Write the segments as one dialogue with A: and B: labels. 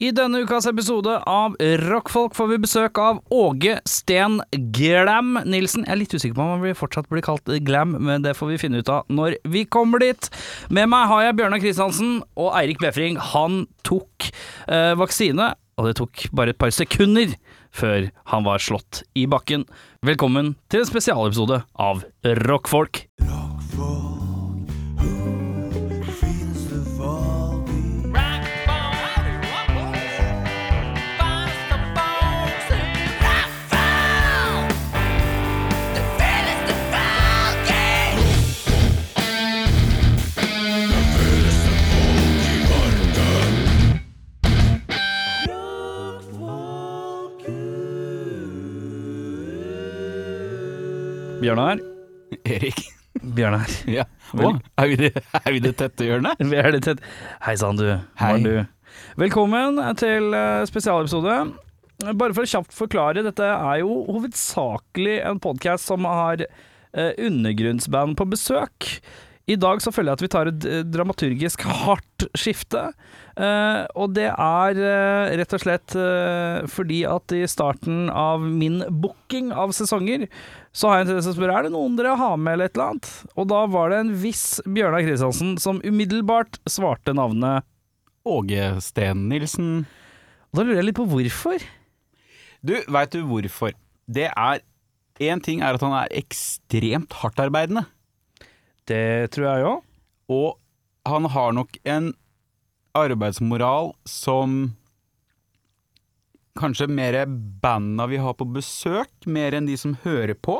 A: I denne ukas episode av Rockfolk får vi besøk av Åge Sten Glam Nilsen. Jeg er litt usikker på om han blir- fortsatt blir kalt Glam, men det får vi finne ut av når vi kommer dit. Med meg har jeg Bjørnar Kristiansen og Eirik Befring. Han tok eh, vaksine, og det tok bare et par sekunder før han var slått i bakken. Velkommen til en spesialepisode av Rockfolk. Bjørnar.
B: Erik.
A: Bjørnar.
B: Ja. Å, er vi det, er vi det tette hjørnet?
A: Vi er litt tett. Hei sann, du.
B: Hei.
A: Morn, du. Velkommen til eh, spesialepisode. Bare for å kjapt forklare, dette er jo hovedsakelig en podkast som har eh, undergrunnsband på besøk. I dag så føler jeg at vi tar et eh, dramaturgisk hardt skifte. Eh, og det er eh, rett og slett eh, fordi at i starten av min booking av sesonger, så har jeg en tendens til å spørre er det noen dere har med eller et eller annet. Og da var det en viss Bjørnar Kristiansen som umiddelbart svarte navnet.
B: Åge Sten Nilsen.
A: Og da lurer jeg litt på hvorfor.
B: Du, veit du hvorfor? Det er Én ting er at han er ekstremt hardtarbeidende,
A: Det tror jeg òg.
B: og han har nok en arbeidsmoral som Kanskje mer banda vi har på besøk, mer enn de som hører på,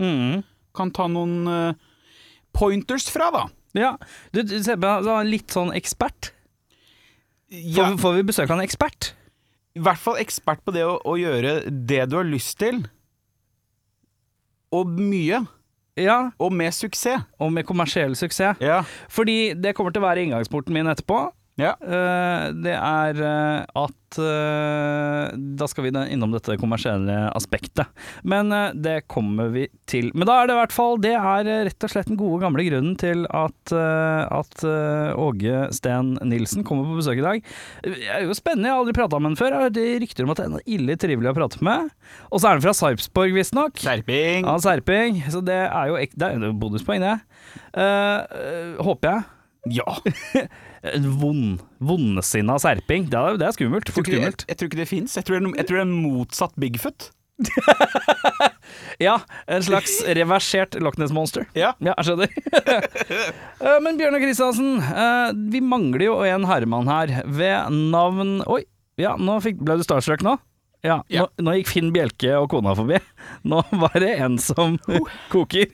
A: Mm.
B: kan ta noen eh, pointers fra, da.
A: Ja. Du, du ser på han han er litt sånn ekspert. Får, vi- får vi besøk av en ekspert?
B: i hvert fall ekspert på det å, å gjøre det du har lyst til, og mye,
A: Ja,
B: og med suksess.
A: og med kommersiell suksess.
B: Ja.
A: Fordi det kommer til å være inngangsporten min etterpå.
B: Ja.
A: Eh, det er eh, at eh, Da skal vi da innom dette kommersielle aspektet. Men eh, det kommer vi til. Men da er det i hvert fall Det er eh, rett og slett den gode gamle grunnen til at, eh, at eh, Åge Sten Nilsen kommer på besøk i dag. Det er jo spennende, jeg har aldri prata med han før. Jeg har hørt rykter om at han er ille trivelig å prate med. Og så er han fra Sarpsborg, visstnok.
B: Skjerping!
A: Ja, Serping. Så det er jo ek det er jo bonuspoeng, det. Eh, eh, håper jeg.
B: Ja.
A: En vond, vondsinna serping. Det er, det er skummelt.
B: Jeg, tror
A: Fort
B: ikke, jeg,
A: skummelt.
B: jeg tror ikke det fins. Jeg, tror det er no- jeg tror det er en motsatt Bigfoot.
A: Ja, en slags reversert Loch Ness Monster.
B: Ja.
A: Ja, jeg skjønner. Eh, Men Bjørnar Kristiansen, eh, vi mangler jo en herremann her ved navn Oi, ja, nå fikk, ble du starstruck nå? Ja,
B: Ja.
A: Nå, nå gikk Finn Bjelke og kona forbi. Nå var det en som
B: Oh.
A: koker.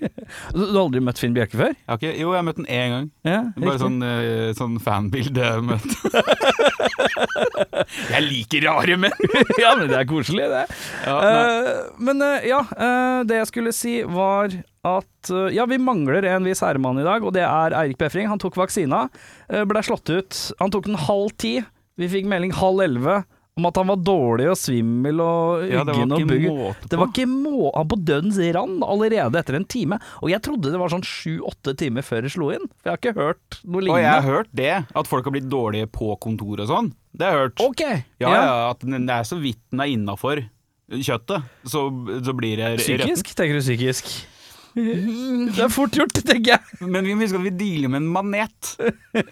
A: Du, du har aldri møtt Finn Bjelke før?
B: Jeg har ikke, jo, jeg har møtt den én gang.
A: Ja,
B: Bare
A: riktig.
B: sånn, eh, sånn fanbilde-møte. jeg liker rare menn!
A: ja, men det er koselig, det.
B: Ja, nei.
A: Eh, men eh, ja, eh, det jeg skulle si var at eh, ja, vi mangler en viss æremann i dag, og det er Eirik Befring. Han tok vaksina, eh, ble slått ut. Han tok den halv ti. Vi fikk melding halv elleve om at han var dårlig og svimmel og
B: ja, det
A: uggen
B: var
A: og
B: ikke
A: bugg.
B: måte
A: Det
B: på.
A: var ikke må... Han på dødens rand allerede etter en time. Og jeg trodde det var sånn sju-åtte timer før det slo inn. For jeg har ikke hørt noe
B: Og jeg har
A: lignende.
B: hørt det, at folk har blitt dårlige på kontor og sånn. Det har jeg hørt.
A: Ok.
B: Ja, ja, at den, det er så vidt den er innafor kjøttet, så, så blir det
A: Psykisk? Tenker du psykisk? Det er fort gjort, tenker jeg.
B: rett. Men vi må huske at vi dealer med en manet.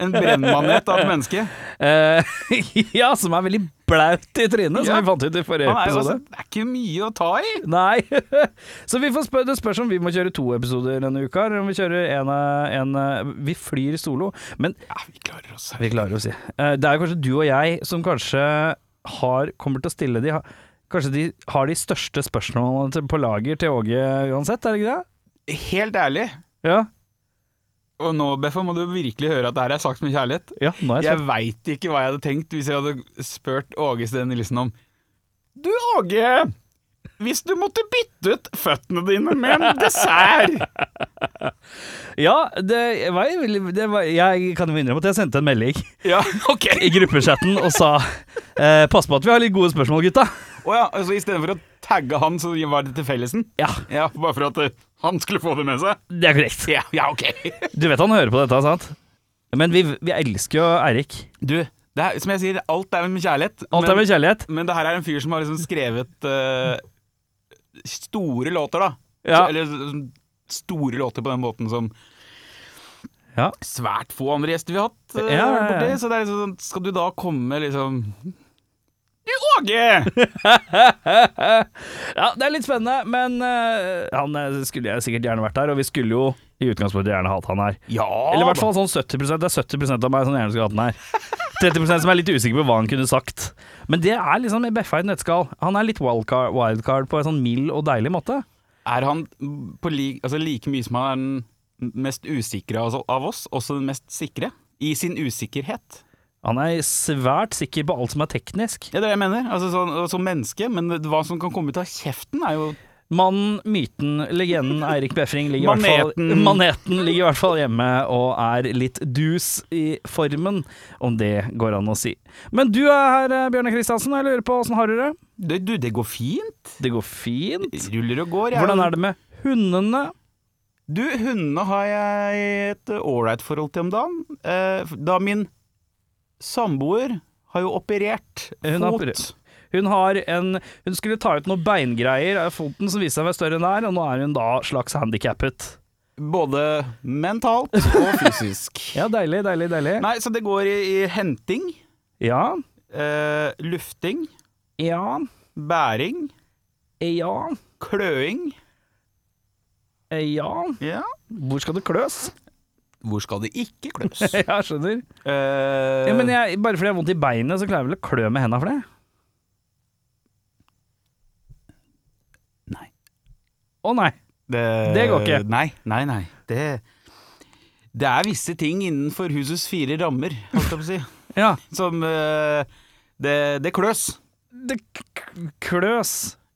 B: En brennmanet av et menneske.
A: Eh, ja, som er veldig blaut i trynet, som
B: Ja.
A: vi fant ut i forrige
B: Han er jo
A: episode.
B: altså, det er ikke mye å ta i.
A: Nei. Så vi får spør, det spørs om vi må kjøre to episoder denne uka, eller om vi kjører en, eh, en eh, Vi flyr solo. Men
B: Ja, vi klarer oss.
A: vi klarer oss, si. Eh, det er kanskje du og jeg som kanskje har, kommer til å stille de Kanskje de har de største spørsmålene til- på lager til Åge uansett, er det ikke det?
B: Helt ærlig,
A: Ja.
B: og nå Beffa, må du virkelig høre at det her er sagt med kjærlighet.
A: ja nå er jeg
B: Jeg veit ikke hva jeg hadde tenkt hvis jeg hadde spurt Åge Steen Nilsen om Du, Åge. Hvis du måtte bytte ut føttene dine med en dessert
A: Ja, det var, jeg veldig- det var Jeg kan jo innrømme at jeg sendte en melding.
B: Ja, ok.
A: i gruppechatten og sa eh, Pass på at vi har litt gode spørsmål, gutta.
B: Å ja, altså istedenfor å tagge han, så var det til fellesen?
A: Ja,
B: Ja, bare for at eh, han skulle få det med seg?
A: det er korrekt.
B: Ja, ja ok.
A: Du vet han hører på dette, sant? Men vi, vi elsker jo Eirik.
B: Du, Det er, som jeg sier, alt er med kjærlighet.
A: Alt er
B: men,
A: med kjærlighet.
B: men det her er en fyr som har liksom skrevet eh, store låter, da.
A: Ja.
B: Så- Eller sånn store låter på den måten som
A: Ja.
B: svært få andre gjester vi har hatt. eh,
A: Ja, ja, ja.
B: borti. Så det er liksom sånn, skal du da komme liksom Du Åge!
A: ja, det er litt spennende, men eh, han eh, skulle jeg sikkert gjerne vært der, og vi skulle jo i utgangspunktet gjerne hatt han her.
B: Ja!
A: Eller i hvert
B: Ah, da.
A: fall sånn 70 Det er 70 av meg som gjerne skulle hatt den her. 30 som er litt usikker på hva han kunne sagt. Men det er liksom beffa i et nøtteskall. Han er litt wildcard, wildcard på en sånn mild og deilig måte.
B: Er han på li, altså like mye som han er den mest usikre av, av oss, også den mest sikre? I sin usikkerhet.
A: Han er svært sikker på alt som er teknisk.
B: Ja, det er det jeg mener. Altså, sånn, som menneske, men hva som kan komme ut av kjeften, er jo
A: Mannen, myten, legenden Eirik Befring ligger i hvert fall,
B: Maneten.
A: maneten ligger i hvert fall hjemme og er litt dus i formen, om det går an å si. Men du er her, eh, Bjørnar Kristiansen, og jeg lurer på åssen har du det?
B: det, Du, det går fint.
A: Det går fint.
B: Ruller og går.
A: Hvordan er det med hundene?
B: Du, hundene har jeg et ålreit forhold til om dagen. Eh, da min samboer har jo operert
A: Eh, Hun har
B: fot.
A: operert. Hun, har en, hun skulle ta ut noen beingreier av foten som viste seg å være større enn der, og nå er hun da slags handikappet.
B: Både mentalt og fysisk.
A: Ja, deilig, deilig, deilig.
B: Nei, så det går i, i henting,
A: Ja,
B: eh, lufting,
A: ja,
B: bæring,
A: ja,
B: kløing.
A: ja.
B: Ja.
A: Hvor skal det kløs?
B: Hvor skal det ikke kløs?
A: Ja, skjønner.
B: Eh,
A: Ja, men jeg, bare fordi jeg har vondt i beinet, så klarer jeg vel å klø med henda for det?
B: Nei.
A: Å nei.
B: Det,
A: Det går ikke.
B: Nei, nei, nei. Det, det er visse ting innenfor husets fire rammer, holdt jeg på å si,
A: Ja.
B: som eh, det, det kløs.
A: Det k- k- kløs.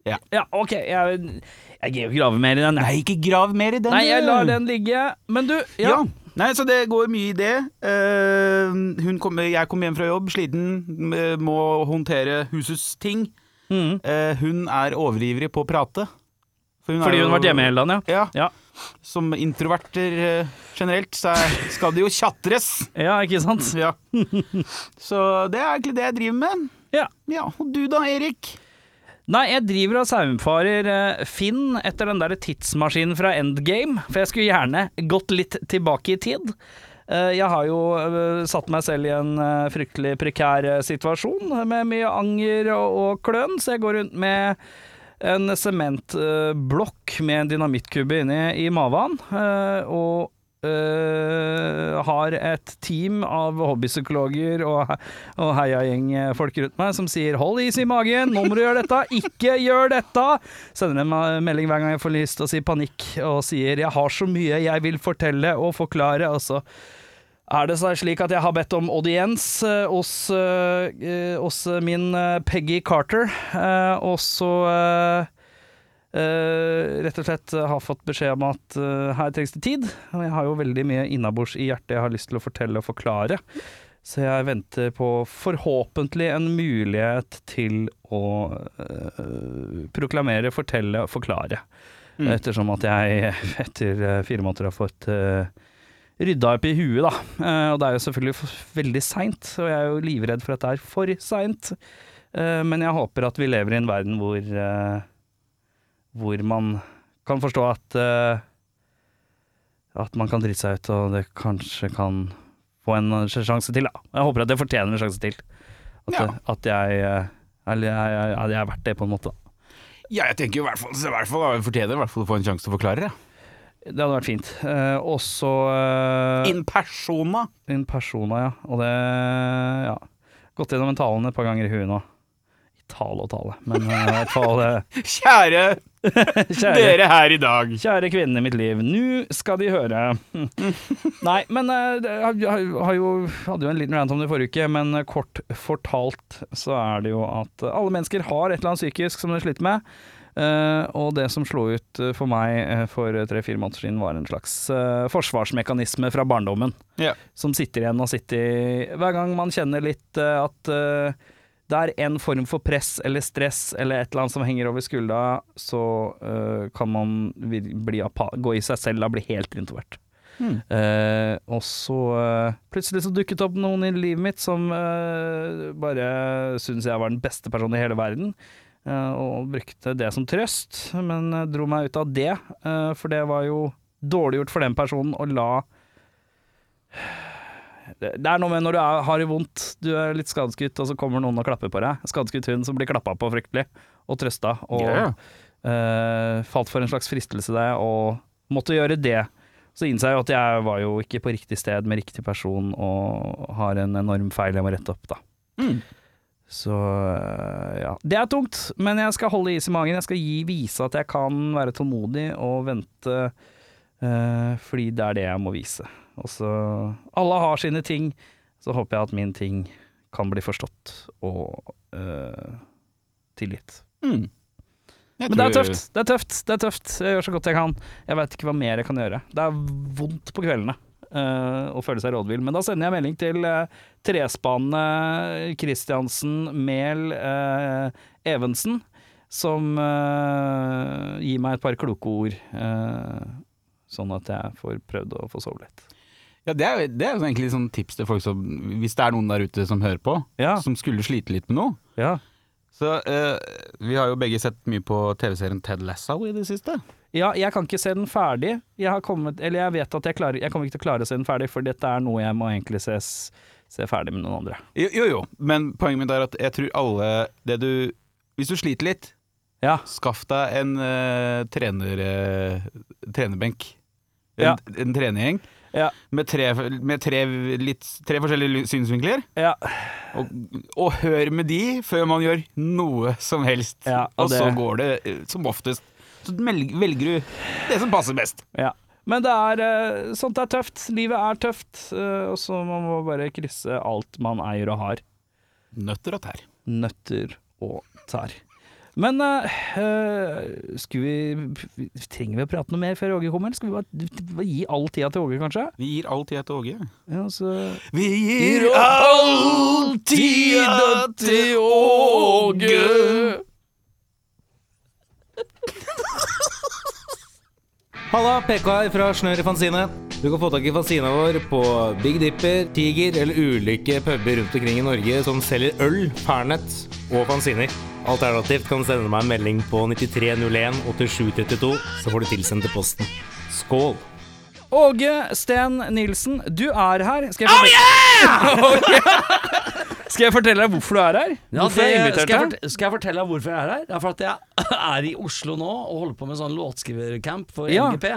B: Ja.
A: OK. Jeg, jeg gir jo ikke grave mer i den. jeg.
B: Nei, ikke grav mer i den.
A: Nei, jeg lar
B: du.
A: den ligge. Men du,
B: Ja.
A: ja.
B: Nei, så det går mye i det. Eh, hun kom, jeg kom hjem fra jobb, sliten, eh, må håndtere husets ting.
A: Mhm.
B: Eh, hun er overivrig på å prate. For hun er
A: Fordi hun har
B: jo-
A: vært hjemme hele dagen, ja.
B: Ja.
A: Ja.
B: Som introverter eh, generelt, så er- skal det jo tjatres.
A: ja, ikke sant?
B: Ja. Så det er egentlig det jeg driver med.
A: Ja.
B: Ja, Og du da, Erik?
A: Nei, jeg driver og saumfarer eh, Finn etter den der tidsmaskinen fra Endgame, for jeg skulle gjerne gått litt tilbake i tid. Eh, Jeg har jo eh, satt meg selv i en eh, fryktelig prekær eh, situasjon med mye anger og, og kløn, så jeg går rundt med en sementblokk med en dynamittkubbe inni i maven, eh, og eh, har et team av hobbypsykologer og, og heiagjengfolk rundt meg som sier 'hold is i magen, nå må du gjøre dette, ikke gjør dette'. Sender en ma- melding hver gang jeg får lyst til å si panikk, og sier 'jeg har så mye jeg vil fortelle og forklare', og så er det så slik at jeg har bedt om audiens eh, hos, eh, eh, hos min eh, Peggy Carter, eh, og så eh, eh, rett og slett eh, har fått beskjed om at eh, her trengs det tid. Og jeg har jo veldig mye innabords i hjertet jeg har lyst til å fortelle og forklare. Så jeg venter på forhåpentlig en mulighet til å eh, proklamere, fortelle og forklare.
B: Mm.
A: Ettersom at jeg etter eh, fire måneder har fått eh, rydda opp i huet, da. Eh, og det er jo selvfølgelig f- veldig seint, og jeg er jo livredd for at det er for seint. Eh, men jeg håper at vi lever i en verden hvor eh, hvor man kan forstå at eh, at man kan drite seg ut, og det kanskje kan få en sjanse til. Da. Jeg håper at jeg fortjener en sjanse til. At,
B: Ja.
A: at jeg eh, Eller jeg, jeg, jeg, jeg er verdt det, på en måte. Da.
B: Ja, jeg tenker i hvert fall, så i hvert fall da, jeg fortjener i hvert fall å få en sjanse til å forklare det.
A: Det hadde vært fint. Eh, og så eh,
B: In persona.
A: In persona, ja. Og det Ja. Gått gjennom en talen et par ganger i huet nå. Tale og tale, men eh, i hvert fall eh,
B: Kjære
A: kjære
B: dere her i dag.
A: Kjære kvinnen i mitt liv, nå skal de høre. Hm. Nei, men eh, det- jeg har- har jo, hadde jo en liten rant om det i forrige uke, men eh, kort fortalt så er det jo at eh, alle mennesker har et eller annet psykisk som de sliter med. Eh, og det som slo ut eh, for meg eh, for tre-fire måneder siden, var en slags eh, forsvarsmekanisme fra barndommen
B: Ja.
A: som sitter igjen og sitter i Hver gang man kjenner litt eh, at eh, det er en form for press eller stress eller et eller annet som henger over skuldra, så eh, kan man vir- bli apa gå i seg selv og bli helt introvert.
B: Mm,
A: Eh, og så eh, plutselig så dukket det opp noen i livet mitt som eh, bare syntes jeg var den beste personen i hele verden, eh, og brukte det som trøst, men eh, dro meg ut av det, eh, for det var jo dårlig gjort for den personen å la det det er noe med når du er, har det vondt, du er litt skadeskutt, og så kommer noen og klapper på deg. Skadeskutt hund som blir klappa på fryktelig, og trøsta, og
B: Ja.
A: eh, falt for en slags fristelse der, og måtte gjøre det. Så innså jeg jo at jeg var jo ikke på riktig sted med riktig person, og har en enorm feil jeg må rette opp, da.
B: Mm.
A: Så eh, ja. Det er tungt, men jeg skal holde is i magen. Jeg skal gi, vise at jeg kan være tålmodig og vente, eh, fordi det er det jeg må vise. Og så Alle har sine ting. Så håper jeg at min ting kan bli forstått og eh, tilgitt.
B: Mm. Jeg
A: Men det er
B: tror-
A: tøft. Det er tøft. det er tøft Jeg gjør så godt jeg kan. Jeg veit ikke hva mer jeg kan gjøre. Det er vondt på kveldene eh, å føle seg rådvill. Men da sender jeg melding til uh, Trespannet, Kristiansen, Mehl, eh, Evensen, som eh, gir meg et par kloke ord. eh, sånn at jeg får prøvd å få sove litt.
B: Ja, det er, det er jo egentlig sånn tips til folk som Hvis det er noen der ute som hører på,
A: Ja.
B: som skulle slite litt med noe.
A: ja.
B: Så eh, vi har jo begge sett mye på TV-serien Ted Lasso i det siste.
A: Ja, jeg kan ikke se den ferdig. Jeg har kommet, eller jeg vet at jeg, klarer, jeg kommer ikke til å klare å se den ferdig, for dette er noe jeg må egentlig se, se ferdig med noen andre.
B: Jo, jo, jo. men poenget mitt er at jeg tror alle det du, Hvis du sliter litt,
A: Ja,
B: skaff deg en eh, trener, eh, trenerbenk. En,
A: Ja.
B: en trenergjeng
A: Ja.
B: med, tre, med tre, litt, tre forskjellige ly- synsvinkler.
A: ja,
B: Og, og hør med de før man gjør noe som helst.
A: Ja,
B: og
A: og det-
B: så går det eh, som oftest. Så melg- velger du det som passer best.
A: ja. Men det er, eh, sånt er tøft. Livet er tøft, eh, og så må man bare krysse alt man eier og har.
B: Nøtter og tær.
A: Nøtter og tær. Men eh, eh, skulle vi, trenger vi å prate noe mer før Åge kommer? Skal vi bare, bare gi all tida til Åge, kanskje?
B: Vi gir all tida til Åge.
A: Ja, så...
B: Vi gir all tida til Åge.
C: Halla, PK her fra Snør i Fanzine. Du kan få tak i fanzina vår på Big Dipper, Tiger eller ulike puber rundt omkring i Norge som selger øl, pernett og fanziner. Alternativt kan du sende meg en melding på 9301 8732, så får du tilsendt til posten. Skål!
A: Åge Sten Nilsen, du er her. Skal jeg fortelle, skal jeg fortelle deg hvorfor du er her?
D: Ja,
A: hvorfor jeg er
D: det,
A: invitert
D: skal, jeg
A: her?
D: fortelle, skal jeg fortelle deg hvorfor jeg er her? Det er for at jeg er i Oslo nå og holder på med sånn låtskrivercamp for
A: Ja.
D: NGP.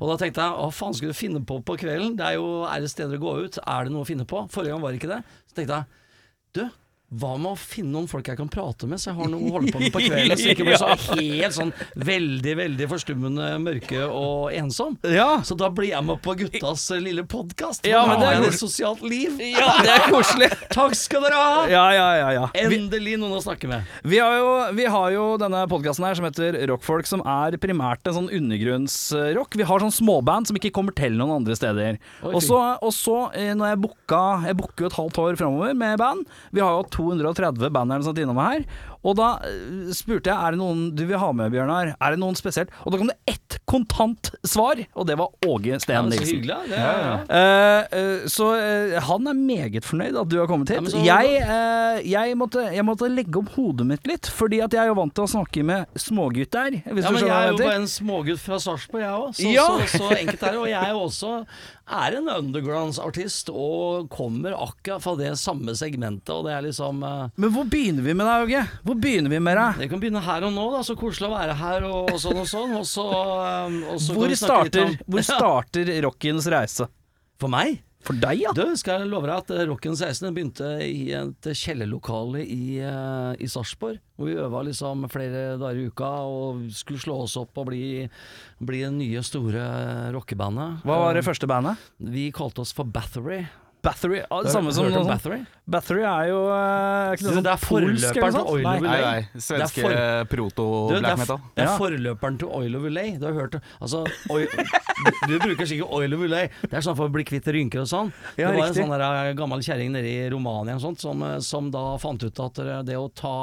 D: Og da tenkte jeg hva faen skulle du finne på på kvelden? Det er jo er det steder å gå ut? Er det noe å finne på? Forrige gang var det ikke det. Så tenkte jeg du, hva med å finne noen folk jeg kan prate med, så jeg har noe å holde på med på kvelden? Så jeg ikke blir så helt sånn veldig, veldig forstummende mørke og ensom.
A: Ja.
D: Så da blir jeg med på guttas eh, lille podkast.
A: Ja, men det er
D: et sosialt liv.
A: det er koselig.
D: Takk skal dere ha!
A: Ja, ja, ja, ja.
D: Endelig noen å snakke med.
A: Vi har jo, vi har jo denne podkasten her som heter Rockfolk, som er primært en sånn undergrunnsrock. Vi har sånn småband som ikke kommer til noen andre steder.
D: Oi,
A: Og så, og så eh, når jeg booka Jeg booker jo et halvt år framover med band. Vi har jo 230 band eller noe sånt innom her. Og da eh, spurte jeg er det noen du vil ha med, Bjørnar. Er det noen spesielt? Og da kom det ett kontant svar, og det var Åge
D: Ja,
A: Steen
D: men så
A: Nilsen.
D: hyggelig, da. Det er, liksom-
A: Eh, eh, så eh, han er meget fornøyd at du har kommet hit.
D: Ja, men så-
A: jeg, eh, jeg, måtte, jeg måtte legge opp hodet mitt litt, fordi at jeg er jo vant til å snakke med smågutter. Hvis
D: Ja,
A: du
D: men
A: skjønner
D: jeg
A: hva
D: er
A: jeg
D: jo
A: heter.
D: bare en smågutt fra Sarpsborg, jeg òg. Så,
A: Ja.
D: så, så enkelt er det. Og jeg er jo også er en undergrounds-artist og kommer akkurat fra det samme segmentet. Og det er liksom eh,
A: Men hvor begynner vi med deg, Åge? Hvor begynner vi med deg?
D: Det kan begynne her og nå, da. Så koselig å være her og, og sånn og sånn. Og så, eh, og så kan
A: Hvor
D: vi snakke litt
A: starter,
D: om-
A: hvor starter rockens reise?
D: For meg?
A: For deg, ja.
D: Du, skal jeg love deg at eh, Rocken 16 begynte i et kjellerlokale i, eh, i Sarpsborg. Hvor vi øva liksom flere dager i uka og skulle slå oss opp og bli, bli det nye, store rockebandet. Eh,
A: Hva var det første bandet?
D: Vi kalte oss for Bathory.
A: Bathory. Ah, det samme som
D: Hørte du om
A: noe sånt.
D: Bathory?
A: Bathory er jo eh, ikke
D: Du,
A: noe
D: det er
A: sånt polsk eller
D: forløperen
A: noe
D: til
A: sånt?
D: Oil
A: Nei.
D: Will
B: Nei,
D: Nei.
B: nei. Svenske
D: Det Du, det,
B: proto-black
D: er,
B: metal.
D: det er
A: Ja.
D: forløperen til Oil of Ulay. Du har hørt det. Altså, oi, du, du bruker sikkert Oil of Ulay. Det er sånn for å bli kvitt rynker og sånn.
A: Ja,
D: det var
A: riktig.
D: en sånn der, eh, gammel kjerring nede i Romania og sånt, som, eh, som da fant ut at eh, det å ta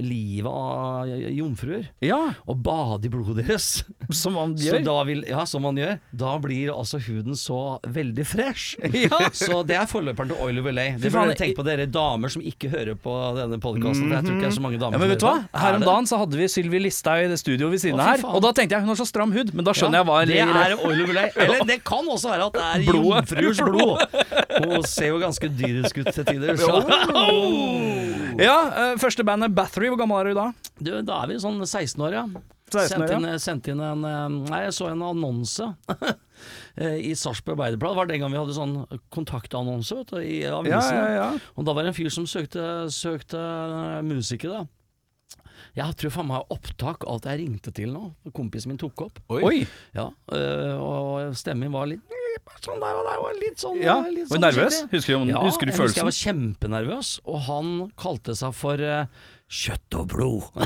D: livet av jomfruer
A: Ja,
D: og bade i blodet deres.
A: som man
D: Så
A: gjør.
D: da vil, ja, som man gjør. Da blir altså huden så veldig fresh. Så det er forløperen til Oil of LA. Det
A: Fy faen, Mm-hmm.
D: burde dere tenke på, dere damer som ikke hører på denne podkasten. Jeg tror ikke det er så mange damer
A: Ja, men vet du hva?
D: som hører på.
A: Her
D: Er
A: om
D: det-
A: dagen så hadde vi Sylvi Listhaug i det studioet ved siden
D: Å,
A: av
D: fy
A: her.
D: faen.
A: Og da tenkte jeg hun har så stram hud, men da skjønner jeg hva
D: Ja,
A: er
D: Det er oil of LA. Eller det kan også være at det er
A: Blodet.
D: jomfruers blod. Hun ser jo ganske dyrisk ut til tider. Så.
A: Ja, eh, første bandet Bathory, hvor gammel er du da?
D: Du, da er vi sånn 16 år, ja.
A: 16 år,
D: sendt, inn, sendt inn en eh, Nei, jeg så en annonse eh, i Sarpsborg Arbeiderblad. Det var den gang vi hadde sånn kontaktannonse vet du, i avisen.
A: ja.
D: Og da var det en fyr som søkte, søkte eh, musikere. da. Jeg tror faen meg opptak av at jeg ringte til nå. Kompisen min tok opp.
A: Oi.
D: Ja, øh, og stemmen min var litt sånn der og der, og litt sånn
A: Ja,
D: litt
A: var du
D: sånn
A: nervøs?
D: skikkelig.
A: Husker du om-
D: ja,
A: husker du
D: jeg Jeg var kjempenervøs, og han kalte seg for eh, Kjøtt og blod.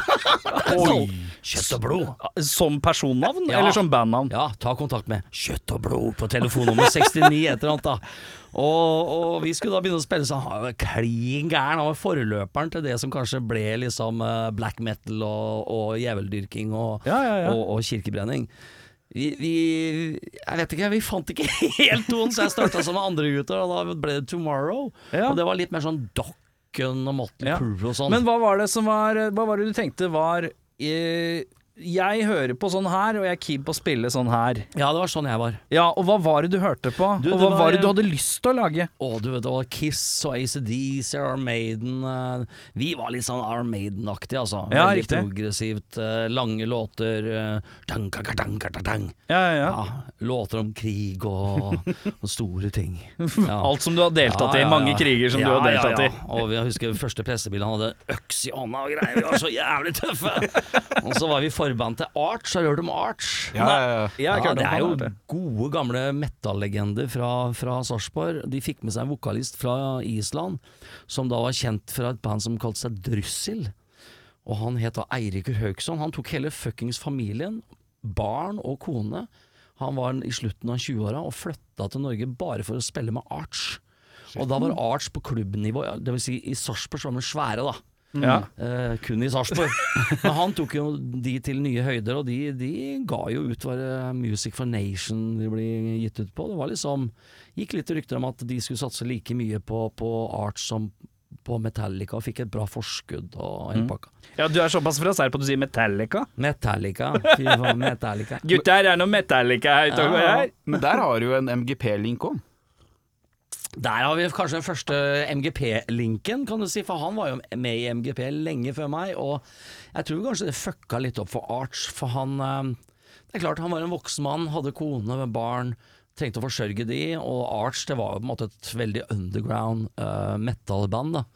D: Kjøtt og blod.
A: Ah, Som personnavn,
D: Ja.
A: eller som bandnavn?
D: Ja, ta kontakt med Kjøtt og blod på telefonnummer 69 et eller annet da. Og, og vi skulle da begynne å spille, så han var klin gæren. Han var forløperen til det som kanskje ble liksom eh, black metal og, og djeveldyrking og,
A: Ja, ja, ja.
D: og, og kirkebrenning. Vi, vi, jeg vet ikke, vi fant ikke helt tonen, så jeg starta som andre gutter, og da ble det Tomorrow.
A: Ja.
D: Og det var litt mer sånn Dokken og Motley
A: Ja.
D: Crue og sånn.
A: Men hva var det som var eh, Hva var det du tenkte var eh, Jeg hører på sånn her, og jeg er keen på å spille sånn her.
D: ja, det var sånn jeg var.
A: Ja, og hva var det du hørte på?
D: Du,
A: og
D: det
A: hva
D: var-
A: var det du hadde lyst til å lage?
D: Å, du vet, det var Kiss og ACDC og Iron Maiden. eh, Vi var litt sånn Iron Maiden-aktig, altså.
A: Ja,
D: Veldig
A: riktig.
D: progressivt. eh, Lange låter. eh, tang, ka, ka, tang, ka, ta, tang.
A: Ja, ja, ja.
D: Ja, låter om krig og, og store ting. Ja.
A: Alt som du har deltatt
D: Ja, ja,
A: i. Mange
D: ja.
A: kriger som
D: Ja,
A: du har deltatt
D: ja, ja. Og vi- jeg husker første pressebildet, han hadde øks i hånda og greier. Vi var så jævlig tøffe! Og så var vi forband til Arch. Har du hørt om Arch?
B: Ja, ja, ja.
A: i. Jeg har ikke
D: Ja,
A: hørt
D: det
A: om
D: er
A: han,
D: jo
A: vet du.
D: gode gamle metallegender fra, fra Sarpsborg. De fikk med seg en vokalist fra Island, som da var kjent fra et band som kalte seg Dryssel. Og han het da Eirikur Haugsson. Han tok hele fuckings familien, barn og kone. Han var i slutten av 20-åra og flytta til Norge bare for å spille med Arch. Og da var Arch på klubbnivå, ja, dvs. Si, i Sarpsborg så var de svære, da.
A: Ja.
D: Eh, kun i Sarpsborg. Men han tok jo de til nye høyder, og de, de ga jo ut var det Music for Nation de ble gitt ut på. Det var liksom Gikk litt rykter om at de skulle satse like mye på, på art som på Metallica, og fikk et bra forskudd og hele pakka.
A: ja, du er såpass fra Serp at du sier Metallica.
D: Metallica, fy faen, Metallica.
A: Gutter, er noe Metallica her ute og går her.
B: Men der har du jo en MGP-link òg.
D: Der har vi kanskje den første MGP-linken, kan du si, for han var jo med i MGP lenge før meg, og jeg tror kanskje det fucka litt opp for Arch, for han eh, Det er klart, han var en voksen mann, hadde kone med barn, trengte å forsørge de, og Arch det var jo på en måte et veldig underground eh, metal-band, da.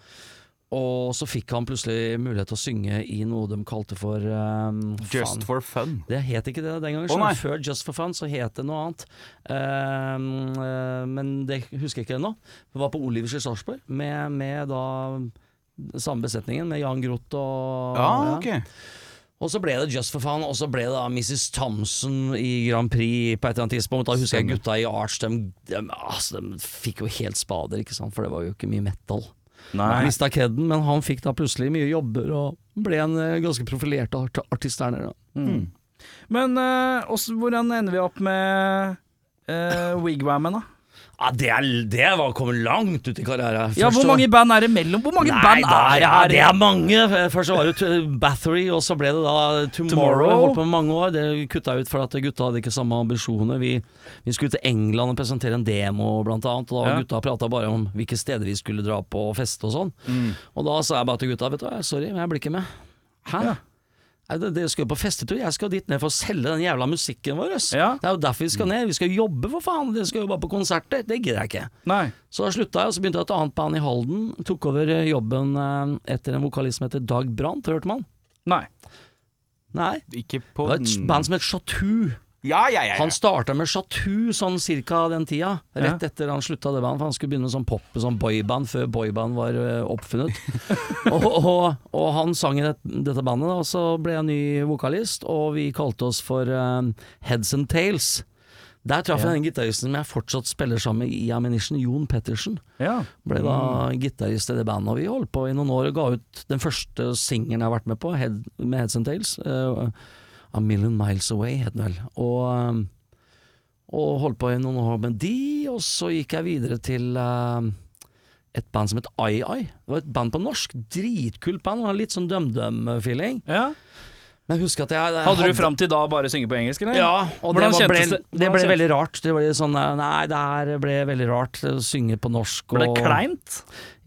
D: Og så fikk han plutselig mulighet til å synge i noe de kalte for eh, faen.
B: Just for fun.
D: Det het ikke det den gangen.
B: Å, nei.
D: skjønner du. Før Just for Fun så het det noe annet. Ehm, eh, men det husker jeg ikke ennå. Vi var på Olivers i Sarpsborg med, med da samme besetningen, med Jan Groth og
B: Ja,
D: Ah,
B: Ah,
D: ja.
B: ok.
D: Og så ble det Just for Fun, og så ble det da Mrs. Thompson i Grand Prix på et eller annet tidspunkt. Da husker jeg gutta i Arch, de, de, altså, de fikk jo helt spader, ikke sant? for det var jo ikke mye metal. Han
A: Nei.
D: Mista kredden, men han fikk da plutselig mye jobber og ble en eh, ganske profilert art artist der nede. da.
A: Men eh, også, hvordan ender vi opp med uh, Wigwammen, da?
D: Ja, det, er, det var kommet langt ut i karriere.
A: Ja,
D: Først
A: hvor
D: så-
A: mange band er det mellom? Hvor mange
D: Nei,
A: band
D: da-
A: er det
D: ja,
A: her?
D: det er mange. Først så var det jo Bathory, og så ble det da Tomorrow.
A: Tomorrow.
D: Jeg Holdt på med mange år. Det kutta jeg ut for at gutta hadde ikke samme ambisjoner. Vi, vi skulle til England og presentere en demo, blant annet. Og da
A: Ja.
D: gutta prata bare om hvilke steder vi skulle dra på og feste og sånn.
A: Mm.
D: Og da sa jeg bare til gutta Vet du hva, sorry, men jeg blir ikke med. Hæ? Nei, det- Dere skal jo på festetur, jeg skal dit ned for å selge den jævla musikken vår. ass.
A: Ja. Mm.
D: Det er jo derfor vi skal ned, vi skal jobbe for faen, dere skal jo bare på konserter, det gidder jeg ikke.
A: Nei.
D: Så da slutta jeg, og så begynte jeg et annet band i Halden. Tok over eh, jobben eh, etter en vokalist som heter Dag Brandt, hørte man?
A: Nei.
D: Nei.
B: Ikke
D: Det
B: på
D: var et band som het Chatou.
B: Ja, ja, ja.
D: Han starta med Chatou sånn cirka den tida, rett
A: Ja.
D: etter han slutta det bandet. For han skulle begynne sånn pop, sånn boyband, før boyband var eh, oppfunnet. og, og, og han sang i det, dette bandet, da, og så ble jeg ny vokalist, og vi kalte oss for eh, Heads and Tails. Der traff jeg den gitaristen som jeg fortsatt spiller sammen med i Ammunition, Jon Pettersen.
A: Ja.
D: Ble da
A: Mm.
D: gitarist i det bandet, og vi holdt på i noen år og ga ut den første singelen jeg har vært med på, head, med Heads and Tails. eh, A Million Miles Away, het den vel. Og, eh, og holdt på i noen år med de, og så gikk jeg videre til eh, et band som het Ai-Ai. Det var et band på norsk. Dritkult band, og litt sånn DumDum-feeling.
A: ja.
D: Men jeg husker at jeg, jeg
A: Hadde du fram til da bare synge på engelsk, eller?
D: ja, og det,
A: Hvordan
D: var, ble,
A: kjentes det?
D: det
A: Hvordan
D: ble
A: kjentes-
D: veldig rart. Det ble sånn eh, Nei, det her ble veldig rart. å Synge på norsk og
A: Ble det kleint?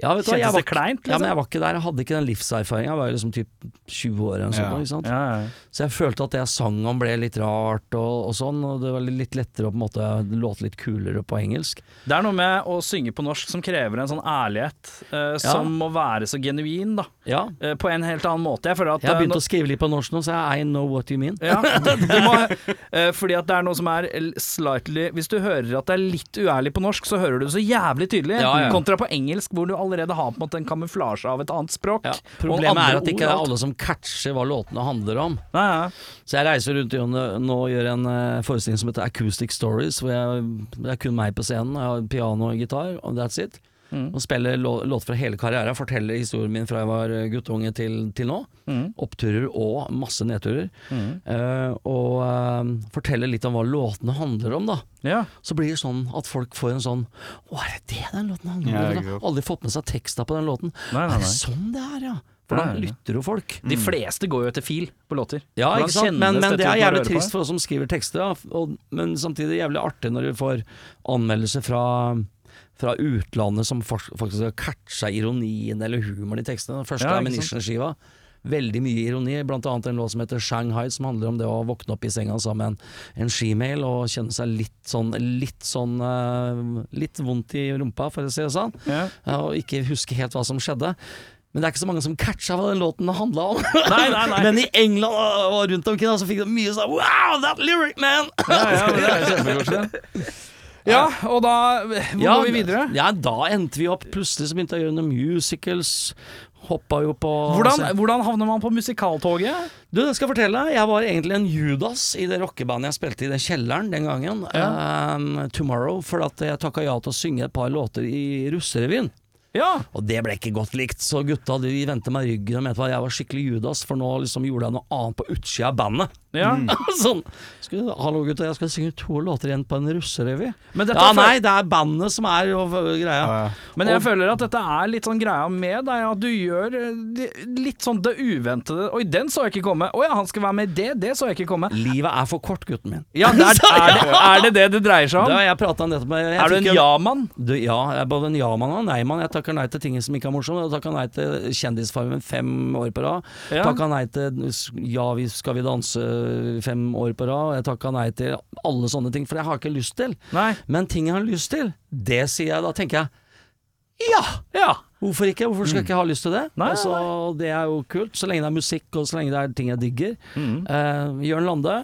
D: Ja, vet du, hva, jeg
A: Kjentes
D: var,
A: det kleint,
D: ja, men
A: liksom?
D: jeg var ikke der. Jeg hadde ikke den livserfaringa. Jeg var jo liksom typ 20 år eller noe sånt.
B: Ja.
D: Ikke sant?
A: Ja, ja.
D: Så jeg følte at det jeg sang om ble litt rart og, og sånn. Og det var litt lettere å på en måte låte litt kulere på engelsk.
A: Det er noe med å synge på norsk som krever en sånn ærlighet, eh, som må være så genuin, da.
D: Ja.
A: Eh, på en helt annen måte. Jeg føler at
D: Jeg har
A: eh,
D: begynt
A: nå-
D: å skrive litt på norsk nå, så jeg I know what you mean.
A: ja, du må, eh, Fordi at det er noe som er l- slightly Hvis du hører at det er litt uærlig på norsk, så hører du det så jævlig tydelig.
D: Ja, ja.
A: Kontra på engelsk, hvor du allerede har på en måte en kamuflasje av et annet språk.
D: Ja.
A: og
D: Problemet
A: andre
D: er at
A: ord,
D: ikke det er
A: alt.
D: alle som catcher hva låtene handler om.
A: Nei, ja.
D: Så jeg reiser rundt i landet nå og gjør en eh, forestilling som heter Acoustic Stories, hvor jeg, det er kun meg på scenen. Jeg har piano og gitar, og that's it.
A: Mm.
D: Og spiller lå, låt fra hele karrieren. Forteller historien min fra jeg var eh, guttunge til, til nå.
A: Mm.
D: Oppturer og masse nedturer. Eh, og eh, forteller litt om hva låtene handler om, da.
A: Ja.
D: Så blir det sånn at folk får en sånn Å, er det det den låten handler
B: Ja,
D: om?
B: ikke
D: da?
B: sant.
D: Aldri fått med seg teksta på den låten.
A: Nei, nei,
D: Er
A: nei.
D: det sånn det er, ja? For da
A: Nei, nei.
D: lytter jo folk.
B: Mm.
A: De fleste går jo etter fil på låter.
D: Ja,
A: Hvordan
D: ikke sant?
A: kjennes
D: Men, men
A: dette ut
D: det er
A: når du
D: jævlig
A: hører på
D: trist for oss som skriver tekster, da. Og, men samtidig jævlig artig når du får anmeldelser fra, fra utlandet som fors- faktisk har catcha ironien eller humoren i tekstene. Den første
A: Ja,
D: er
A: ikke sant?
D: Minition-skiva. Veldig mye ironi, blant annet en låt som heter Shanghai, som handler om det å våkne opp i senga sammen med en skimail og kjenne seg litt sånn Litt sånn eh, Litt vondt i rumpa, for å si det sånn.
A: Ja.
D: Ja, og ikke huske helt hva som skjedde. Men det er ikke så mange som catcha hva den låten handla om.
A: Nei, nei, nei.
D: Men i England og og rundt omkring da, så fikk de mye sånn Wow, that lyric, man!
A: Ja, ja, men det er jo kjempegodt. Ja, og da Hvor
D: Ja,
A: går vi videre?
D: Ja, da endte vi opp. Plutselig så begynte jeg å gjøre noen musicals. Hoppa jo på Altså,
A: Hvordan, hvordan havner man på musikaltoget?
D: Du, det skal jeg fortelle deg. Jeg var egentlig en Judas i det rockebandet jeg spilte i den kjelleren den gangen. Um, Tomorrow. For at jeg takka ja til å synge et par låter i russerevyen.
A: Ja,
D: Og det ble ikke godt likt, så gutta de vendte meg ryggen og mente at jeg var skikkelig Judas, for nå liksom gjorde jeg noe annet på utsida av bandet.
A: ja.
D: sånn. Skal, hallo gutta, jeg skal synge to låter igjen på en russerevy.
A: Men dette
D: Ja,
A: er for-
D: nei, det er bandet som er jo greia.
A: Men jeg føler at dette er litt sånn greia med deg, at du gjør eh, de- litt sånn det uventede. Oi, den så jeg ikke komme. Å ja, han skal være med i det, det så jeg ikke komme.
D: Livet er for kort, gutten min.
A: Ja, det er, er, det, er det det det dreier seg
D: Det
A: om?
D: har jeg prata nettopp med jeg
A: Er du
D: fikk
A: en
D: jo-
A: ja-mann?
D: Du, ja, jeg er både en ja-mann og en nei-mann. Jeg takker nei til ting som ikke er morsomme. Jeg takker nei til Kjendisfarmen fem år på rad.
A: Ja.
D: Takka nei til Ja, vi skal vi danse eh, fem år på rad. Jeg takka nei til alle sånne ting, for jeg har ikke lyst til.
A: Nei.
D: Men ting jeg har lyst til, det sier jeg. Da tenker jeg ja!
A: Ja.
D: Hvorfor ikke? Hvorfor skal jeg ikke ha lyst til det?
A: Mm. Nei, nei,
D: altså, det er jo kult, så lenge det er musikk, og så lenge det er ting jeg digger. Eh, Jørn Lande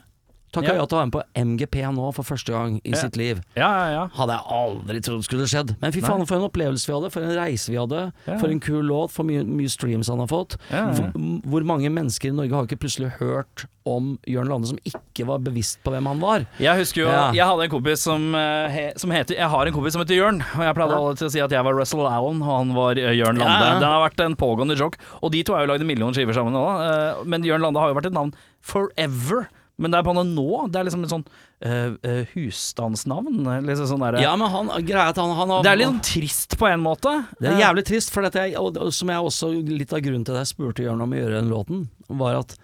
D: takka
A: Mm. Ja.
D: ja. til å være med på MGP nå for første gang i sitt liv
A: Ja, ja, ja.
D: hadde jeg aldri trodd skulle skjedd. Men fy faen, for en opplevelse vi hadde, for en reise vi hadde,
A: Ja.
D: for en kul låt, for mye, mye streams han har fått.
A: Ja, ja.
D: Hvor, hvor mange mennesker i Norge har ikke plutselig hørt om Jørn Lande som ikke var bevisst på hvem han var?
A: Jeg husker jo,
D: Ja.
A: jeg hadde en kompis som, eh, he, som heter Jeg har en kompis som heter Jørn, og jeg pleide
D: Ja.
A: alltid å si at jeg var Russell Allen, og han var eh, Jørn Lande.
D: Ja, ja.
A: Det har vært en pågående joke, og de to har jo lagd en million skiver sammen nå, da. Eh, men Jørn Lande har jo vært et navn forever. Men det er på noe nå. Det er liksom et sånn eh, eh, husstandsnavn. Liksom sånn derre
D: Ja, men han, greia er at han, han har
A: Det er litt sånn trist på en måte.
D: Det er jævlig trist, for dette, jeg- og, og som jeg også litt av grunnen til at jeg spurte Jørn om å gjøre den låten, var at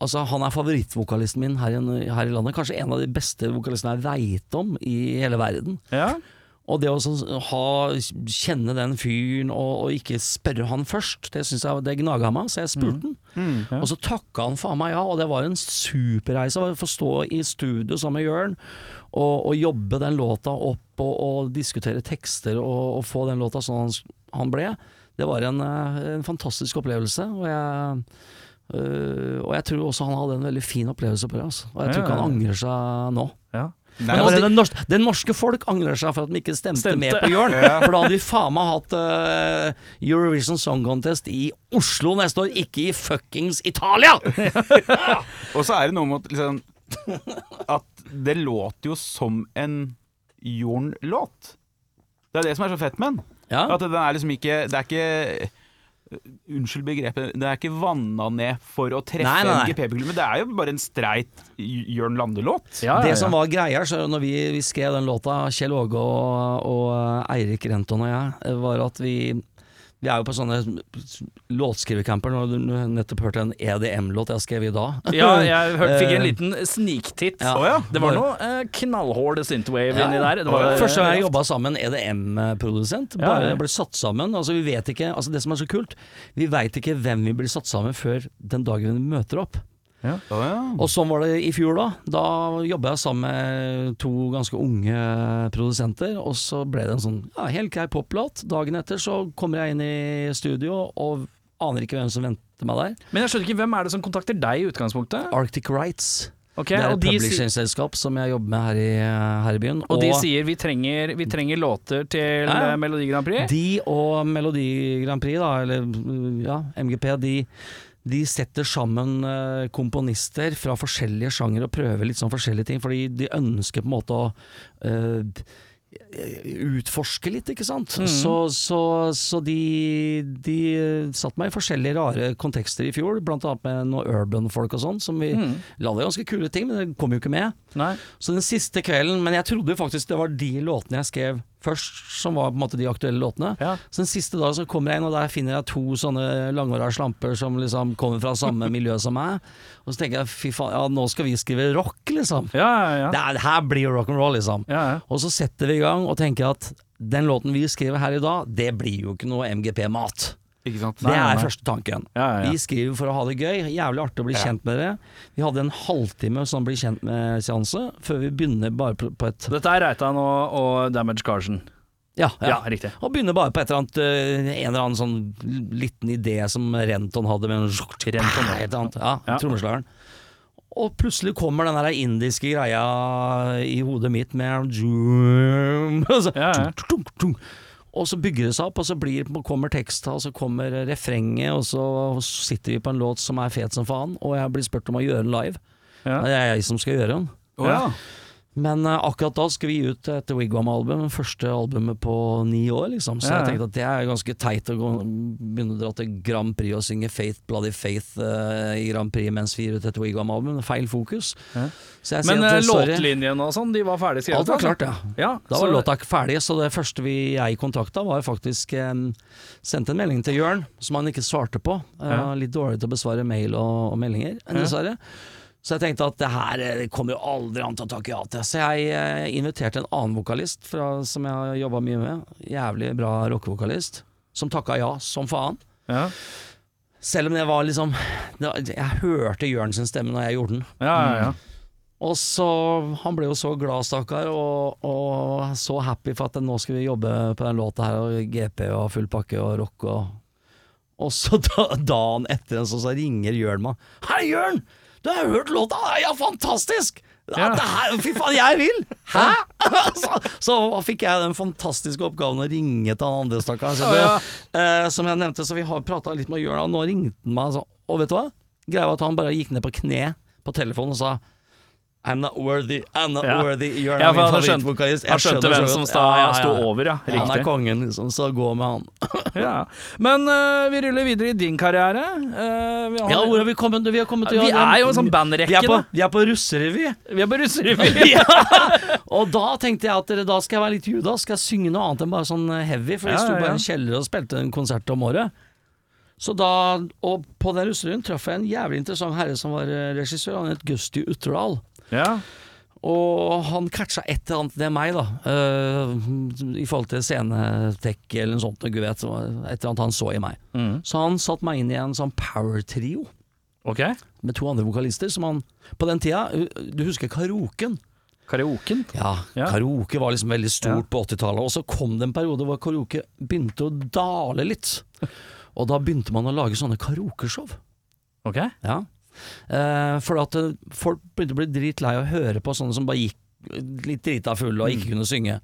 D: altså, han er favorittvokalisten min her i, her i landet. Kanskje en av de beste vokalistene jeg veit om i hele verden.
A: Ja.
D: Og det å så ha, kjenne den fyren og, og ikke spørre han først, det, synes jeg, det gnaga meg, så jeg spurte han. Og så takka han faen meg ja, og det var en superreise. å Få stå i studio sammen med Jørn og, og jobbe den låta opp og, og diskutere tekster og, og få den låta sånn han, han ble. Det var en, eh, en fantastisk opplevelse, og jeg, øh, og jeg tror også han hadde en veldig fin opplevelse på det. Altså. Og jeg tror ikke
A: Ja.
D: han angrer seg nå.
A: ja.
B: Nei,
D: Men
B: men
D: altså,
B: det,
D: det, norske, det norske folk angrer seg for at de ikke stemte,
A: Stemte.
D: med på Jørn. For da hadde vi faen meg hatt eh, Eurovision Song Contest i Oslo neste år, ikke i fuckings Italia!
B: og så er det noe med at liksom, at det låter jo som en Jorn-låt. Det er det som er så fett med den.
D: Ja,
B: At den er liksom ikke Det er ikke uh, Unnskyld begrepet, den er ikke vanna ned for å treffe
D: Nei, nei, nei.
B: en GP-publikum. Det er jo bare en streit Jørn Lande-låt.
A: Ja, ja,
D: Det
A: ja.
D: som var greia, så når vi, vi skrev den låta, Kjell Åge og, og eh, Eirik Renton og jeg, eh, var at vi vi er jo på sånne låtskrivercamper. Nå har du nettopp hørt en EDM-låt jeg skrev i dag.
A: Ja, jeg hørte, fikk en liten sniktitt.
D: Eh, Ja.
B: Å ja.
A: Det var noe eh, knallhård synthwave inni der. Det var,
D: Første gang jeg jobba sammen EDM-produsent.
A: Ja,
D: Bare
A: ja.
D: ble satt sammen. Altså, vi vet ikke, altså, det som er så kult, vi veit ikke hvem vi blir satt sammen før den dagen vi møter opp.
B: Å ja.
D: Og sånn var det i fjor, da. Da jobba jeg sammen med to ganske unge produsenter, og så ble det en sånn ja, helt grei poplåt. Dagen etter så kommer jeg inn i studio og aner ikke hvem som venter meg der.
A: Men jeg skjønner ikke, hvem er det som kontakter deg i utgangspunktet?
D: Arctic Rights.
A: Ok,
D: Det er
A: og
D: et
A: de sier-
D: publishingselskap som jeg jobber med her i, her i byen.
A: og de sier vi trenger, vi trenger låter til
D: Ja, ja.
A: eh, Melodi Grand Prix?
D: De og Melodi Grand Prix, da, eller mm, ja, MGP, de, de setter sammen eh, komponister fra forskjellige sjanger og prøver litt sånn forskjellige ting, fordi de ønsker på en måte å eh, utforske litt, ikke sant. Så, så, så de, de satte meg i forskjellige rare kontekster i fjor, blant annet med noen urban-folk og sånn, som vi
A: Mhm.
D: lagde ganske kule ting, men det kom jo ikke med.
A: Nei.
D: Så den siste kvelden, men jeg trodde jo faktisk det var de låtene jeg skrev først, som var på en måte de aktuelle låtene.
A: Ja.
D: Så den siste dagen så kommer jeg inn, og der finner jeg to sånne langhåra slamper som liksom kommer fra samme miljø som meg. Og så tenker jeg fy faen, ja nå skal vi skrive rock, liksom.
A: Ja, ja, ja.
D: Det, er, det her blir jo rock and roll, liksom.
A: ja, ja.
D: Og så setter vi i gang og tenker at den låten vi skriver her i dag, det blir jo ikke noe MGP-mat.
B: Ikke sant.
D: Det
A: Nei,
D: er
A: nei.
D: første tanken.
A: Ja, ja, ja.
D: Vi skriver for å ha det gøy. Jævlig artig å bli kjent med dere. Vi hadde en halvtime sånn bli kjent med-seanse før vi begynner bare på på et
A: Dette er Reitan og, og Damage Carson.
D: Ja,
A: Ja,
D: ja.
A: riktig.
D: Og begynner bare på et eller annet eh, en eller annen sånn liten idé som Renton hadde med en et
A: Renton, ja.
D: eller annet. Ja,
A: Ja.
D: trommeslageren. Og plutselig kommer den der indiske greia i hodet mitt med og så-
A: Ja, ja.
D: tunk, tunk. Og så bygger det seg opp, og så blir, kommer teksta, og så kommer refrenget, og så sitter vi på en låt som er fet som faen, og jeg blir spurt om å gjøre den live.
A: Ja.
D: Det er jeg som skal gjøre den.
B: Å ja.
D: Men eh, akkurat da skal vi gi ut et Wigwam-album, første albumet på ni år, liksom.
A: Ja,
D: Så
A: ja.
D: jeg tenkte at det er ganske teit å gå, begynne å dra til Grand Prix og synge Faith Bloody Faith eh, i Grand Prix mens vi gir ut et Wigwam-album. Feil fokus.
A: Ja.
D: Så jeg
A: Men eh,
D: sier at sorry.
A: låtlinjene og sånn, de var ferdig skrevet?
D: Alt var
A: altså?
D: klart, ja.
A: Ja,
D: Da
A: så-
D: var låta ikke ferdig, så det første vi jeg kontakta, var faktisk eh, Sendte en melding til Jørn, som han ikke svarte på. Eh,
A: Ja.
D: Litt dårlig til å besvare mail og, og meldinger, dessverre. Så jeg tenkte at det her eh, det kommer jo aldri an til å takke ja til. Så jeg eh, inviterte en annen vokalist fra, som jeg har jobba mye med, jævlig bra rockevokalist, som takka ja som faen.
A: Ja,
D: Selv om det var liksom det var, Jeg hørte Jørn sin stemme når jeg gjorde den.
A: ja, ja.
D: Mm.
A: ja.
D: Og så, Han ble jo så glad, stakkar, og, og så happy for at nå skal vi jobbe på den låta her, og GP og full pakke og rock og Og så da, dagen etter så, så ringer Jørn meg. 'Hei, Jørn! Du har hørt låta? Ja, fantastisk!'
A: Ja.
D: Ja. Det her, fy faen, jeg vil! Hæ?! så, så fikk jeg den fantastiske oppgaven å ringe til han andre, stakkar. Så
A: Ja,
D: det- eh, som jeg nevnte, så vi har prata litt med Jørn, og nå ringte han meg, så, og vet du hva? Greia var at han bare gikk ned på kne på telefonen og sa I'm not worthy, I'm not
A: Ja.
D: worthy, Jørn
A: Ja, for
D: er min
A: han skjønte-
D: favorittvokalist. Jeg
A: Han skjønte
D: skjønner så
A: hvem
D: godt.
A: som sta,
D: Ja, ja, ja.
A: sto over, ja.
D: Han er
A: Riktig.
D: kongen, liksom, så gå med han.
A: Ja. Men eh, vi ruller videre i din karriere. Eh, vi, har,
D: Ja, hvor har vi kommet? Vi, har kommet til,
A: vi er jo en sånn bandrekke,
D: Vi er på,
A: da.
D: vi er på russerevy.
A: Vi er på russerevy.
D: ja. Og da tenkte jeg at dere, da skal jeg være litt Judas, skal jeg synge noe annet enn bare sånn heavy, for
A: Ja,
D: jeg sto
A: ja,
D: bare i
A: ja.
D: en kjeller og spilte en konsert om året. Så da, og på den russerevyen traff jeg en jævlig interessant herre som var eh, regissør, han het Gusti Utterdal.
A: Ja.
D: Og han catcha et eller annet, det er meg, da, eh, i forhold til scenetek eller noe sånt, gud vet, det var et eller annet han så i meg.
A: Mm.
D: Så han satte meg inn i en sånn power-trio
A: Ok.
D: med to andre vokalister som han På den tida, du husker karaoken?
A: Karaoken.
D: Ja,
A: Ja.
D: karaoke var liksom veldig stort
A: Ja.
D: på 80-tallet, og så kom det en periode hvor karaoke begynte å dale litt. Og da begynte man å lage sånne karaokeshow.
A: Ok.
D: Ja. Eh, for at eh, folk begynte å bli dritlei av å høre på sånne som bare gikk litt drita fulle og ikke kunne synge.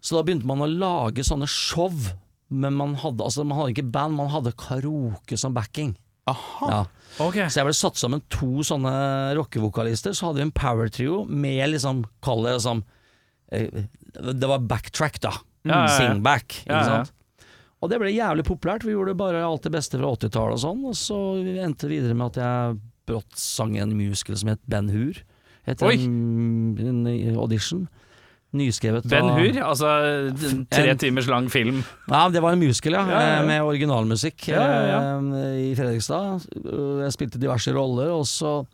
D: Så da begynte man å lage sånne show, men man hadde, altså, man hadde ikke band, man hadde karaoke som backing.
B: Aha.
D: Ja.
A: Ok.
D: Så jeg ble satt sammen to sånne rockevokalister, så hadde vi en power trio med liksom, kall det liksom eh, Det var backtrack, da.
A: Ja, ja, ja.
D: Singback, ikke
A: Ja, ja.
D: sant. Og det ble jævlig populært. Vi gjorde bare alt det beste fra 80-tallet og sånn, og så endte det videre med at jeg brått sang en musical som het Ben Hur. Etter
A: Oi.
D: en, en audition. Nyskrevet av-
A: Ben Hur, altså d- tre
D: En-
A: timers lang film.
D: Ja, det var en musical, ja, eh,
A: Ja, ja, ja.
D: med originalmusikk
A: Ja, ja,
D: eh, i Fredrikstad. Jeg spilte diverse roller, og så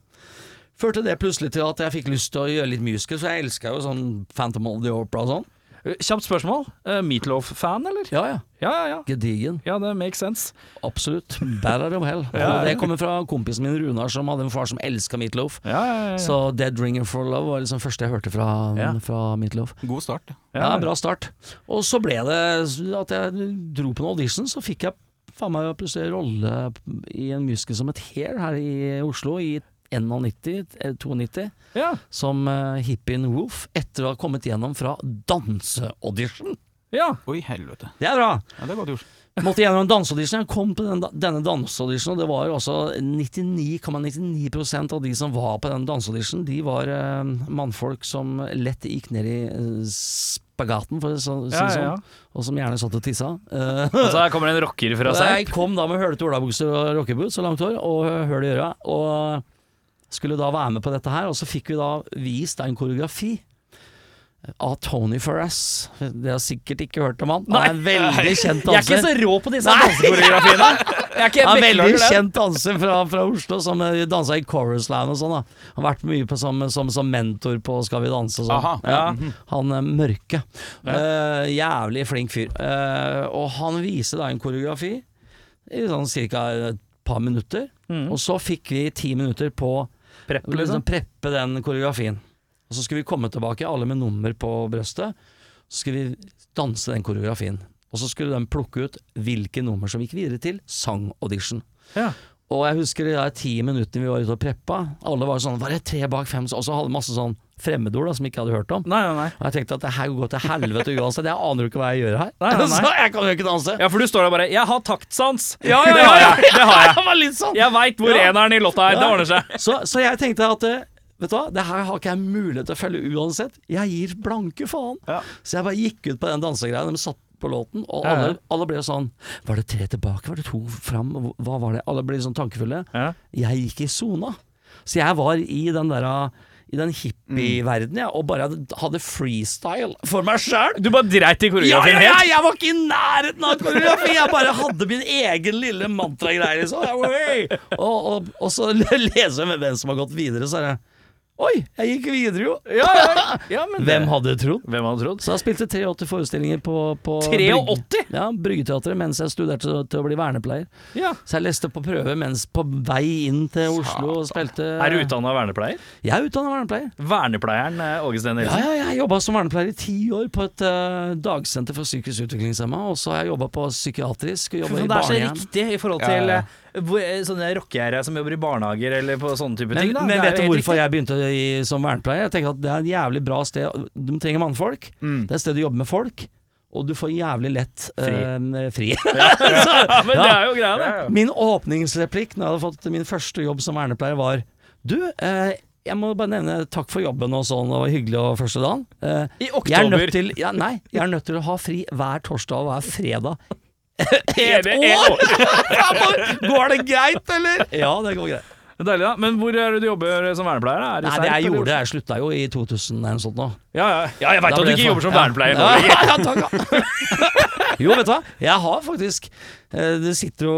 D: førte det plutselig til at jeg fikk lyst til å gjøre litt musical, så jeg elska jo sånn Phantom of the Opera og sånn.
A: Eh, Kjapt spørsmål. Uh, Meatloaf-fan, eller?
D: Ja, ja.
A: Ja, ja, ja.
D: Gedigen.
A: Ja, det makes sense.
D: Absolutt. Battle of hell.
A: Ja, ja.
D: Og det kommer fra kompisen min Runar, som hadde en far som elska Meatloaf.
A: Ja, ja, ja.
D: Så Dead Ringer for Love var liksom første jeg hørte fra,
A: Ja.
D: fra Meatloaf.
B: God start.
D: Ja, bra start. Og så ble det at jeg dro på en audition, så fikk jeg faen meg plutselig rolle i en musical som het Hair her i Oslo i 91, eh, 92,
A: Ja.
D: som eh, hippien Woof, etter å ha kommet gjennom fra danseaudition.
A: ja.
B: Oi, helvete.
D: Det er bra!
B: Ja, det er godt gjort.
D: Måtte gjennom en danseaudition. Jeg kom på den, da- denne danseauditionen, og det var jo altså også 99,99 av de som var på den danseauditionen, de var eh, mannfolk som lett gikk ned i eh, spagaten, for å så- si det
A: Ja, ja, ja.
D: sånn og som gjerne satt og tissa. Eh,
A: Og så her kommer det en rocker fra seg.
D: jeg kom da med hølete olabukser og rockeboots og langt hår og høl i øra, og skulle da være med på dette her. Og så fikk vi da vist en koreografi av Tony Farras. Det har jeg sikkert ikke hørt om han. Han er en veldig kjent
A: Jeg er ikke
D: danser.
A: så rå på disse dansekoreografiene. Jeg er ikke
D: Han er en veldig
A: beklager det.
D: kjent danser fra, fra Oslo, som eh, dansa i Chorusland og sånn. da. Han har vært mye på, som, som, som mentor på Skal vi danse og sånn.
B: Aha,
D: Ja. Han eh, mørke. Eh, jævlig flink fyr. Eh, og han viser da en koreografi i sånn ca. et par minutter.
A: Mm.
D: Og så fikk vi ti minutter på å
A: Prepp,
D: liksom,
A: liksom.
D: preppe den koreografien. Og så skulle vi komme tilbake, alle med nummer på brøstet. Så skulle vi danse den koreografien. Og så skulle de plukke ut hvilke nummer som gikk videre til sangaudition.
A: Ja.
D: Og jeg husker de der ti minuttene vi var ute og preppa. Alle var sånn Var det tre bak fem? Og så hadde masse sånn fremmedord da, som ikke hadde hørt om.
A: Nei, nei, nei.
D: Og jeg tenkte at det her går til helvete uansett. Jeg aner jo ikke hva jeg gjør her.
A: Nei, nei, nei.
D: Så jeg kan jo ikke danse.
A: Ja, for du står der bare 'Jeg har taktsans'.
D: Ja, ja,
A: Det har jeg. Det har jeg.
D: Det var litt sånn.
A: Jeg veit hvor
D: Ja.
A: eneren i låta er. Det
D: Ja.
A: ordner seg.
D: Så, så jeg tenkte at eh, Vet du hva, det her har ikke jeg mulighet til å følge uansett. Jeg gir blanke faen.
B: Ja.
D: Så jeg bare gikk ut på den dansegreia. De satt på låten, og
A: Ja, ja.
D: alle, alle ble sånn Var det tre tilbake? Var det to fram? Hva var det? Alle ble sånn tankefulle.
A: Ja.
D: Jeg gikk i sona. Så jeg var i den der I den hippieverdenen, jeg, og bare hadde- hadde freestyle for meg sjæl.
A: Du bare dreit i
D: Ja, ja,
A: koreografien
D: ja,
A: helt.
D: jeg var ikke i nærheten av koreografi! Jeg bare hadde min egen lille mantragreie, liksom. Jeg var, «Hey!» Og, og, og så leser jeg med hvem som har gått videre, så er det Oi, jeg gikk videre, jo!
A: Ja, ja, ja, men det-
D: Hvem hadde trodd?
A: Hvem hadde trodd?
D: Så jeg spilte 83 forestillinger på, på
A: 83?
D: Brygge- Ja, Bryggeteatret mens jeg studerte til, til å bli vernepleier.
A: Ja.
D: Så jeg leste på prøve mens på vei inn til Oslo og spilte
A: Er du utdanna vernepleier?
D: Jeg er utdanna vernepleier.
A: Vernepleieren eh, Åge Steen
D: Ja,
A: Nilsen.
D: ja, jeg jobba som vernepleier i ti år på et eh, dagsenter for psykisk utviklingshemma, og så har jeg jobba på psykiatrisk og
A: Fy
D: jobba
A: faen, Det er så
D: i barnehjem.
A: riktig i forhold
B: Ja, ja.
A: til eh, hvor- eh, sånne rockegjerde som jobber i barnehager eller på sånne type
D: Men,
A: ting. da.
D: men
A: Det er
D: vet du
A: jo helt
D: hvorfor
A: riktig.
D: jeg begynte i, som vernepleier? Jeg tenker at Det er et jævlig bra sted. De trenger mannfolk.
A: Mm.
D: Det er et sted du jobber med folk, og du får jævlig lett eh, fri.
A: Ja, men det
D: Ja.
A: er jo greia, det.
D: Min åpningsreplikk når jeg hadde fått min første jobb som vernepleier, var Du, eh, jeg må bare nevne takk for jobben og sånn, det var hyggelig og første dagen. Eh,
A: I
D: jeg er nødt
A: oktober.
D: til ja, Nei, jeg er nødt til å ha fri hver torsdag og hver fredag. I
A: Hele-
D: et år! Fremover. Går det greit, eller? Ja, det går greit.
A: Deilig, da. Men hvor er det du jobber som vernepleier? da? Er
D: Nei,
A: Serp,
D: det jeg
A: eller?
D: gjorde, jeg slutta jo i 2000 eller noe sånt nå.
A: Ja, ja. ja jeg veit
D: Da
A: at du
D: ble
A: ikke
D: det
A: jobber
D: faen-
A: som vernepleier nå
D: Ja.
A: lenger.
D: Ja, takk, ja. Jo, vet du hva? Jeg har faktisk eh, Det sitter jo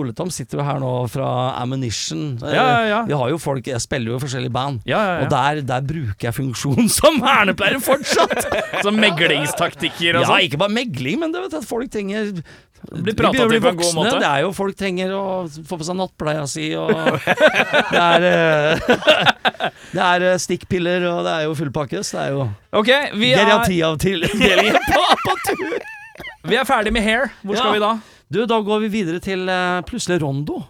D: Ole Tom sitter jo her nå fra Ammunition. Eh,
A: Ja, ja, ja.
D: Vi har jo folk Jeg spiller jo i forskjellige band.
A: Ja, ja, ja.
D: Og der, der bruker jeg funksjon som vernepleier fortsatt!
A: Sånn meglingstaktikker og
D: Ja,
A: sånn.
D: ikke bare megling, men det vet du, at folk trenger
A: Blir
D: Vi begynner
A: pratet
D: å
A: til
D: bli
A: på en god
D: voksne,
A: måte.
D: Det er jo folk trenger å få på seg nattpleia si, og det er, eh, det er eh, stikkpiller, og det er jo full pakke. Så det er jo
A: Ok, vi er,
D: Geriatri av til delingen på, på tur.
A: vi er ferdig med hair. Hvor skal
D: Ja.
A: vi da?
D: Du, da går vi videre til eh, plutselig Rondo.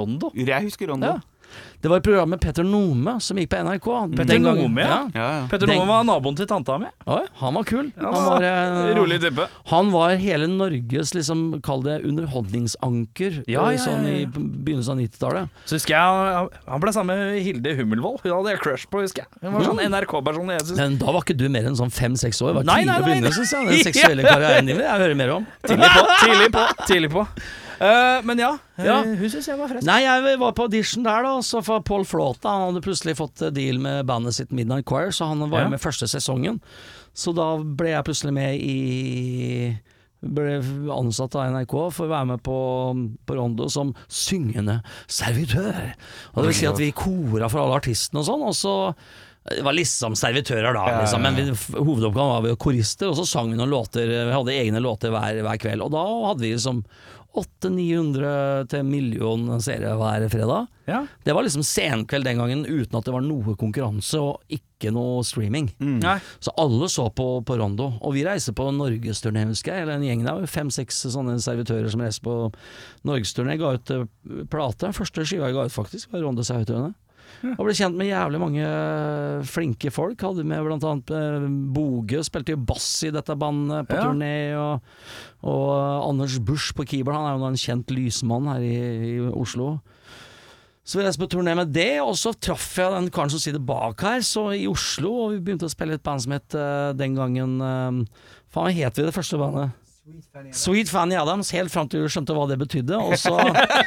A: Rondo?
B: Jeg husker Rondo.
D: Ja. Det var et program med Petter Nome som gikk på NRK.
A: Petter
D: Den gangen-
A: Mm. Nome, ja?
B: Ja, ja.
A: Petter
D: Den-
A: Nome var naboen til tanta mi.
D: Ja, han var kul.
A: Ja,
D: han, var, eh,
A: Rolig type.
D: han var hele Norges, liksom, kall det underholdningsanker,
A: Ja,
D: eh,
A: ja,
D: sånn
A: ja,
D: i
A: ja.
D: begynnelsen av 90-tallet.
A: Så husker jeg han- Han ble sammen med Hilde Hummelvold. Hun hadde jeg crush på, husker jeg. Hun var sånn NRK-person. jeg synes-
D: Men da var ikke du mer enn sånn fem-seks år. Det var
A: Nei,
D: tidlig
A: nei,
D: å
A: nei,
D: begynne,
A: nei.
D: synes jeg. Den seksuelle karrieren din vil jeg høre mer om.
A: Tidlig på, tidlig på. tidlig på Eh, Men ja, eh,
D: Ja.
A: hun syns jeg var fresh.
D: Nei, jeg var på audition der, da. og Så for Paul Flåta Han hadde plutselig fått eh, deal med bandet sitt Midnight Choir, så han var
A: Ja.
D: jo med første sesongen. Så da ble jeg plutselig med i ble ansatt av NRK for å være med på, på Rondo som syngende servitør. Og det vil si at vi kora for alle artistene og sånn, og så det var liksom servitører da, liksom, men vi, hovedoppgaven var vi var korister, og så sang vi noen låter, vi hadde egne låter hver, hver kveld, og da hadde vi liksom 800-900 til en million seere hver fredag.
A: Ja.
D: Det var liksom senkveld den gangen uten at det var noe konkurranse og ikke noe streaming.
A: Nei.
D: Så alle så på, på Rondo, og vi reiser på norgesturné, husker jeg. Eller en gjeng der, fem-seks sånne servitører som reiser på norgesturné. Ga ut eh, plate. Første skiva jeg ga ut, faktisk, var Rondo Sauetøene. Og ble kjent med jævlig mange eh, flinke folk. Hadde med blant annet eh, Boge, spilte jo bass i dette bandet på
A: Ja.
D: turné. Og, og eh, Anders Busch på keyboard, han er jo nå en kjent lysmann her i, i Oslo. Så vi reiste på turné med det, og så traff jeg den karen som sitter bak her, så i Oslo, og vi begynte å spille et band som het eh, den gangen eh, Faen, hva het vi det første bandet? Sweet Fanny Adams, helt fram til vi skjønte hva det betydde. Og så,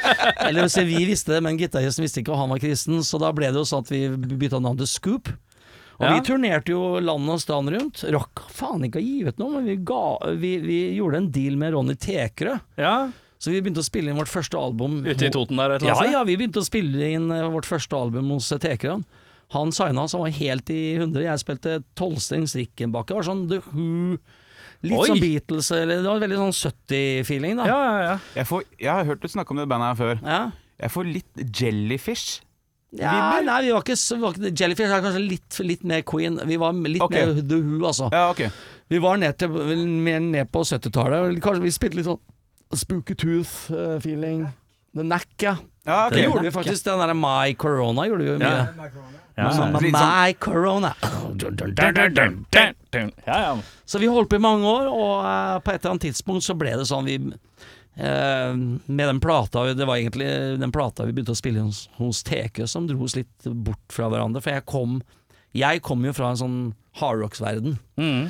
D: eller hvis vi visste det, men gitaristen visste ikke, og han var kristen, så da ble det jo sånn at vi bytta navn til Scoop. Og
A: Ja.
D: vi turnerte jo land og strand rundt. Rock faen ikke å gi ut noe, men vi, ga, vi, vi gjorde en deal med Ronny Tekerø.
A: Ja.
D: Så vi begynte å spille inn vårt første album
A: Ute i Toten der et eller
D: ja,
A: annet
D: ja, vi begynte å spille inn eh, vårt første album hos eh, Tekran. Han signa, så han var helt i hundre. Jeg spilte tolvstrengs Rickenbacker. Det var sånn The Who. Litt
A: Oi.
D: sånn Beatles, eller det var veldig sånn 70-feeling, da.
A: sted? Ja, ja, ja.
B: Jeg, får, jeg har hørt du snakke om det bandet her før.
D: Ja.
B: Jeg får litt Jellyfish.
D: Ja, nei, vi var ikke, så- vi var ikke Jellyfish er kanskje litt, litt mer Queen. Vi var litt
B: Ok.
D: mer The Who, altså.
B: Ja, ok.
D: Vi var ned til, vel, mer ned på 70-tallet. Kanskje vi spilte litt sånn Spooky Tooth-feeling. The Knack, ja.
B: Ja, ok.
D: Det gjorde vi faktisk. Den derre My Corona gjorde vi jo mye.
A: Ja. Ja,
D: Sånn,
A: ja.
D: med
B: Litt sånn-
D: My Corona.
A: ja, ja.
D: Så vi holdt på i mange år, og eh, på et eller annet tidspunkt så ble det sånn vi eh, med den plata Det var egentlig den plata vi begynte å spille hos, hos Teke, som dro oss litt bort fra hverandre. For jeg kom, jeg kom jo fra en sånn hardrocks-verden.
A: Mm.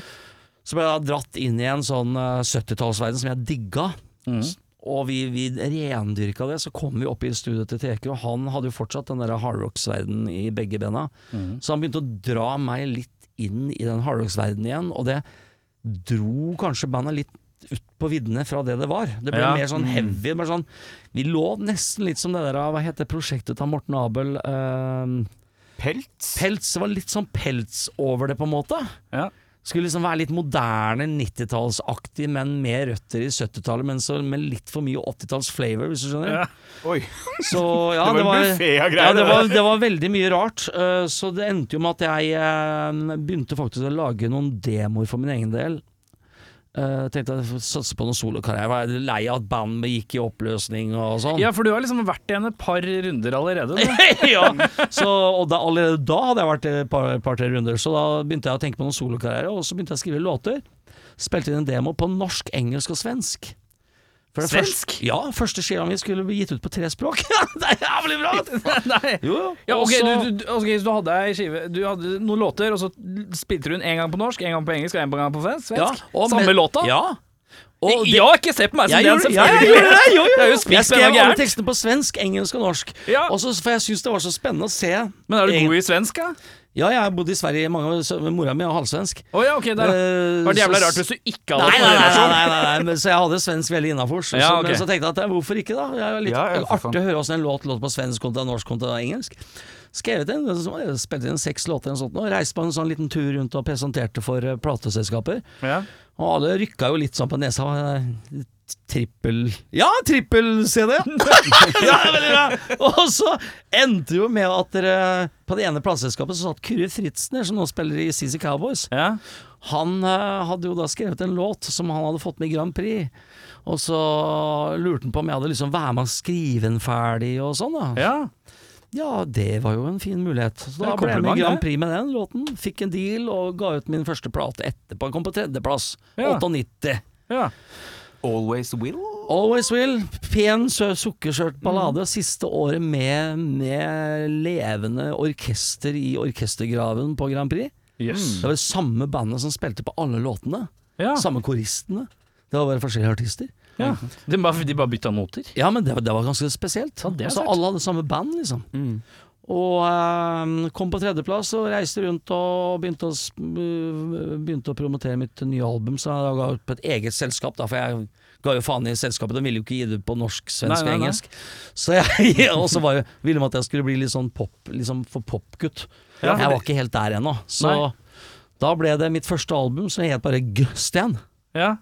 D: Så ble jeg dratt inn i en sånn eh, 70-tallsverden som jeg digga. S- Og vi, vi rendyrka det. Så kom vi opp i studioet til Teke, og han hadde jo fortsatt den der hardrocks-verdenen i begge bena. Så han begynte å dra meg litt inn i den hardrocks-verdenen igjen, og det dro kanskje bandet litt ut på viddene fra det det var. Det ble
A: Ja.
D: mer sånn heavy. Mer sånn, vi lå nesten litt som det der av- Hva heter prosjektet til Morten Abel? Eh,
B: Pelts?
D: pels. Det var litt sånn pels over det, på en måte.
A: Ja.
D: Skulle liksom være litt moderne, 90-tallsaktig, men med røtter i 70-tallet, men så med litt for mye 80-tallsflavor, hvis du skjønner.
A: Ja.
B: Oi.
D: Så, ja,
B: Det var en
D: det var
B: buffet av
D: ja,
B: greier.
D: det, var, det var veldig mye rart, eh, så det endte jo med at jeg eh, begynte faktisk å lage noen demoer for min egen del. Eh, tenkte jeg får satse på noen solokarriere. Jeg var lei av at bandet gikk i oppløsning og sånn.
A: ja, for du har liksom vært igjen et par runder allerede. du.
D: ja. Så, og da, allerede da hadde jeg vært et par- par-tre runder, så da begynte jeg å tenke på noen solokarriere, og så begynte jeg å skrive låter. Spilte inn en demo på norsk, engelsk og svensk. For det
A: Svensk?
D: Første, ja, første skiva mi skulle bli gitt ut på tre språk. det er jævlig bra! vet du.
A: Nei.
D: Jo, jo.
A: Ja,
D: Og
A: ok,
D: så-
A: du, du, ok, så du hadde ei skive Du hadde noen låter, og så spilte du den én gang på norsk, én gang på engelsk og én gang på svensk?
D: ja,
A: svensk.
D: og
A: Samme
D: med-
A: låta?
D: Ja. Og det,
A: ja, ikke se på meg som
D: jeg
A: den,
D: gjorde, ja, jeg
A: selvfølgelig!
D: gjorde det! Jo, jo,
A: Jeg er jo
D: jo.
A: spist
D: Jeg skrev
A: denne
D: alle
A: gærent.
D: tekstene på svensk, engelsk og norsk.
A: Ja.
D: Og så- for jeg syns det var så spennende å se.
A: Men er du god i svensk, da?
D: Ja, jeg har bodd i Sverige i mange år, så mora mi er halvsvensk. Eh,
A: Å ja, ok, der. Det var jævla rart hvis du ikke hadde
D: Nei,
A: fått
D: nei,
A: det. liksom.
D: nei, nei, nei, nei, nei. Men, så jeg hadde svensk veldig innafor. Så,
A: Ja, ok.
D: Men så tenkte jeg at ja, hvorfor ikke, da? Det er jo litt
B: Ja, ja, for faen.
D: artig å høre åssen en låt låt på svensk kontra norsk kontra engelsk. Skrevet en, så jeg spilte inn seks låter eller noe sånt, og reiste på en sånn liten tur rundt og presenterte for eh, plateselskaper.
A: Ja.
D: Og alle rykka jo litt sånn på nesa. eh, Trippel Ja, trippel-CD! ja, veldig bra! Og så endte jo med at dere På det ene plateselskapet så satt Kyrre Fritzner, som nå spiller i CC Cowboys.
A: Ja.
D: Han eh, hadde jo da skrevet en låt som han hadde fått med i Grand Prix. Og så lurte han på om jeg hadde liksom være med å skrive den ferdig og sånn. da
A: ja.
D: Ja, det var jo en fin mulighet. Så
A: er
D: da
A: et
D: ble jeg med
A: kompliment,
D: i Grand
A: det.
D: Prix med den låten. Fikk en deal og ga ut min første plate etterpå. Jeg kom på tredjeplass.
A: Ja.
D: 98.
A: Ja.
B: Always will?
D: Always Will. Pen, sø- sukkersørt
A: Mm.
D: ballade. Siste året med, med levende orkester i orkestergraven på Grand Prix.
A: Yes.
D: Det var det samme bandet som spilte på alle låtene.
A: Mm. Ja.
D: Samme koristene. Det var bare forskjellige artister.
A: ja. De, bare, de bare bytta noter.
D: Ja, men det, var- det var ganske spesielt.
A: Ja, det er Mm.
D: altså,
A: sterkt.
D: alle hadde samme band, liksom. Og eh, kom på tredjeplass og reiste rundt og begynte å, sp- begynte å promotere mitt nye album. Så jeg ga ut på et eget selskap, da, for jeg ga jo faen i selskapet. De ville jo ikke gi det på norsk,
A: Nei, nei,
D: svensk og
A: nei.
D: engelsk. Så jeg, og så var jo, ville de at jeg skulle bli litt sånn pop, liksom for popgutt.
A: Ja, for
D: jeg
A: det-
D: var ikke helt der ennå. Så
A: Nei.
D: da ble det mitt første album som het bare Gusten.
A: Ja.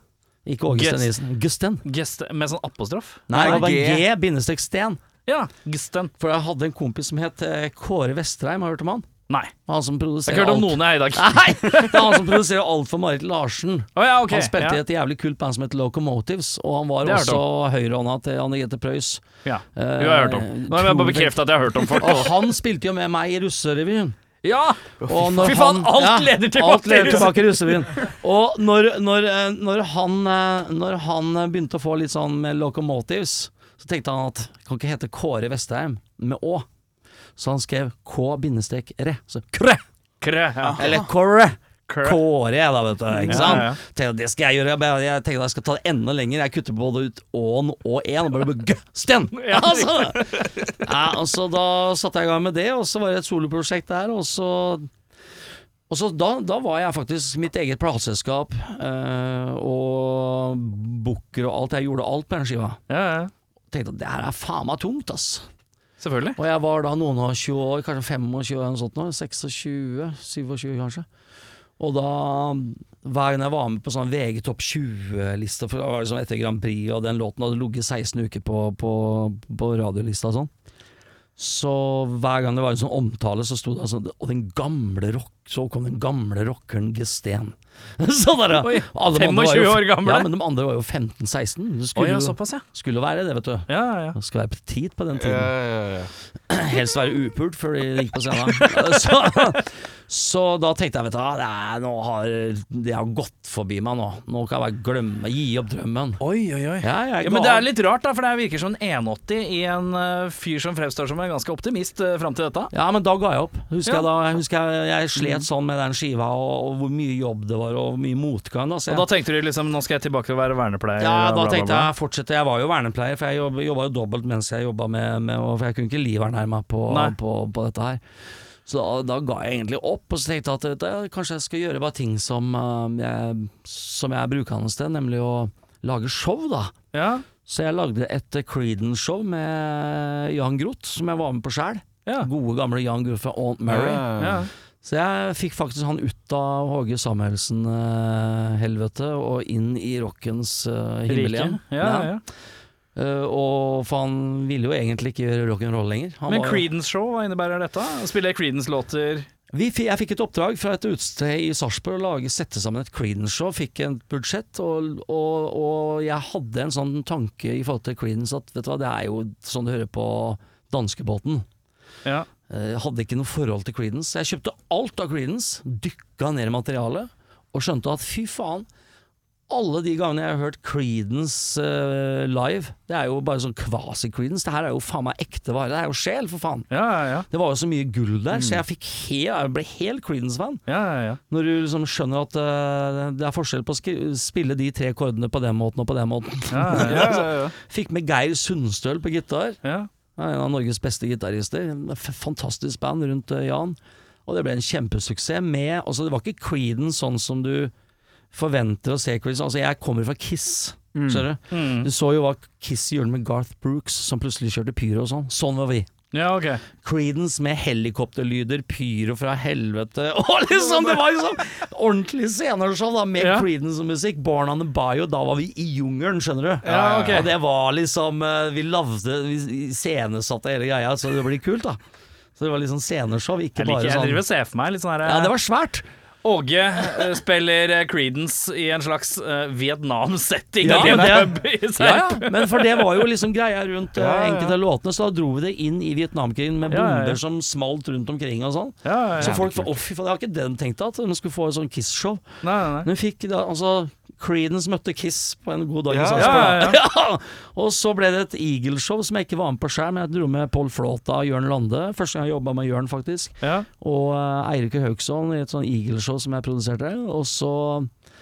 D: Ikke Åge
A: Gust.
D: Stenisen. Gusten.
A: Gest, med sånn apostrof.
D: Nei, det
B: Nei,
D: var
B: G.
D: G, bindestrek Sten.
A: Ja. Gesten.
D: For jeg hadde en kompis som het eh, Kåre Vestheim, har du hørt om han?
A: Nei.
D: Han som
A: Jeg har
D: produserer
A: ikke hørt om
D: alt.
A: noen jeg er i dag.
D: Nei, det er han som produserer alt for Marit Larsen.
A: Å ja, ok.
D: han spilte i
A: ja.
D: et jævlig kult band som het Locomotives, og han var
A: Det har jeg hørt
D: også høyrehånda til Anne Grete Preus.
A: Ja.
D: Eh,
A: Jo, jeg har hørt om. Nå vil jeg bare
D: utrolig-
A: bekrefte at jeg har hørt om folk.
D: Og han spilte jo med meg i russerevyen.
A: Ja!
D: Og når
A: Fy faen,
D: han-
A: alt leder tilbake
D: alt
A: til
D: leder tilbake til russevyen. Og når, når, eh, når, han, eh, når han eh, begynte å få litt sånn med locomotives, så tenkte han at kan ikke hete Kåre Vestheim med Å. Så han skrev K-re. Så Kre!
A: Kre, ja.
D: Eller Kåre.
A: Kre.
D: Kåre, da, vet du. Ikke sant?
A: ja.
D: Tenkte, det skal jeg gjøre. Jeg bare- Jeg tenkte jeg skal ta det enda lenger. Jeg kutter både ut Å-en og En. Og bare blir Gøsten!
A: Ja,
D: Altså. Ja, og så da satte jeg i gang med det, og så var det et soloprosjekt der, og så og så da, da var jeg faktisk mitt eget plateselskap eh, og booker og alt. Jeg gjorde alt på den skiva.
A: Ja, ja.
D: Tenkte at det her er faen meg tungt, ass.
A: Selvfølgelig.
D: Og jeg var da noen og 20 år, kanskje 25 eller noe sånt nå, 26, 27 kanskje. Og da, hver gang jeg var med på sånn VG Topp 20-lista, for det var liksom etter Grand Prix, og den låten hadde ligget 16 uker på, på, på radiolista og sånn. Så hver gang det var en sånn omtale, så sto det altså Og den gamle rock, så kom den gamle rockeren Gesten. Så der, ja.
A: Oi,
D: Alle de andre var
A: 25
D: jo-
A: år gamle.
D: Ja, men de andre var jo 15-16. Det
A: Å
D: skulle,
A: ja,
D: jo-
A: såpass, ja.
D: skulle være det, vet du.
A: Ja, ja.
D: Det skulle være petit på den
B: Ja,
D: tiden.
B: ja, ja.
D: Helst være upult før de gikk på scenen. Så, så da tenkte jeg vet du, hva, det, er, nå har, det har gått forbi meg nå. Nå kan jeg bare glemme, gi opp drømmen.
A: Oi, oi, oi.
D: Ja, jeg
A: Ja,
D: ga
A: men det
D: opp.
A: er litt rart, da, for det her virker som en 180 i en eh, fyr som fremstår som en ganske optimist uh, fram til dette.
D: ja, men da ga jeg opp.
A: Ja.
D: Husker jeg, da, jeg husker jeg, jeg slet sånn med den skiva, og, og hvor mye jobb det var, og hvor mye motgang. Da, så
A: Og
D: jeg,
A: da tenkte du liksom nå skal jeg tilbake til å være vernepleier?
D: ja,
A: og
D: da
A: bla, bla,
D: tenkte
A: bla.
D: jeg fortsette. Jeg var jo vernepleier, for jeg jobb- jobba jo dobbelt mens jeg jobba med, med og- For jeg kunne ikke livernærme meg på,
A: Nei.
D: på, på dette her. Så da, da ga jeg egentlig opp, og så tenkte jeg at vet du, kanskje jeg skal gjøre bare ting som, eh, jeg, som jeg er brukende til, nemlig å lage show, da.
A: Ja,
D: Så jeg lagde et eh, Creedence-show med Jan Groth, som jeg var med på sjæl.
A: ja,
D: Gode, gamle Jan Groth fra Aunt
B: Ja,
D: Mary.
B: ja,
A: ja.
B: ja.
D: Så jeg fikk faktisk han ut av Håge Samuelsen-helvete og inn i rockens eh, himmel
A: Rike.
D: igjen.
A: Ja, ja.
D: Eh, og for han ville jo egentlig ikke gjøre rock'n'roll lenger. Han
A: Men
D: var jo-
A: Creedence-show, hva innebærer dette? Å Spille Creedence-låter
D: Vi, fi- jeg fikk et oppdrag fra et utested i Sarpsborg å lage, sette sammen et Creedence-show. Fikk en budsjett, og, og, og jeg hadde en sånn tanke i forhold til Creedence at vet du hva, det er jo sånn du hører på danskebåten.
A: ja.
D: Eh, Jeg hadde ikke noe forhold til Creedence. Jeg kjøpte alt av Creedence, dykka ned i materialet, og skjønte at fy faen, alle de gangene jeg har hørt Creedence eh, live, det er jo bare sånn kvasi-Creedence. Det her er jo faen meg ekte vare. Det er jo sjel, for faen.
A: Ja, ja,
D: Det var jo så mye gull der, så jeg, fikk he jeg ble helt Creedence-fan.
A: ja. ja, ja.
D: Når du liksom skjønner at eh, det er forskjell på å skri- spille de tre akkordene på den måten og på den måten.
A: ja, ja,
B: Ja, ja, ja.
D: Fikk med Geir Sundstøl på gitar.
A: ja.
D: Han er En av Norges beste gitarister. En f- Fantastisk band rundt eh, Jan. Og det ble en kjempesuksess med altså Det var ikke Creedence sånn som du forventer å se Creedence. Altså, jeg kommer fra Kiss. Skjønner du?
A: Mm.
D: Du så jo hva Kiss gjorde med Garth Brooks, som plutselig kjørte pyro og sånn. Sånn var vi.
A: ja ok.
D: Creedence med helikopterlyder, pyro fra helvete og liksom, Det var liksom ordentlig sceneshow da, med
A: Ja.
D: Creedence-musikk. Born on the Bio, da var vi i jungelen, skjønner du.
A: Ja, ok.
D: Og det var liksom eh, Vi lagde Vi scenesatte hele greia, så det blir kult, da. Så det var liksom sceneshow, ikke
A: Jeg liker
D: bare
A: Jeg
D: sånn
A: driver og ser for meg litt sånn her
D: Ja, det var svært.
A: Åge eh, spiller eh, Creedence i en slags eh, Vietnam-setting.
D: Ja,
A: i en
D: men
A: pub i Serp.
D: Ja, ja, men for det var jo liksom greia rundt eh,
A: Ja, ja.
D: enkelte av låtene, så da dro vi det inn i Vietnamkrigen med
A: Ja, ja, ja.
D: bomber som smalt rundt omkring og sånn.
A: Ja, ja, ja.
D: Så folk var Å, fy faen, jeg har ikke den tenkt at hun skulle få et sånn Kiss-show.
A: Nei, nei, nei.
D: Men hun fikk da, altså Creedence møtte Kiss på en god dag i
A: Ja,
D: Sarpsborg. Og så ble det et Eagle-show som jeg ikke var med på sjøl, men jeg dro med Pål Flåta og Jørn Lande. Første gang jeg jobba med Jørn, faktisk.
A: Ja.
D: Og eh, Eirik Haugsson i et sånn Eagle-show som jeg produserte. Og så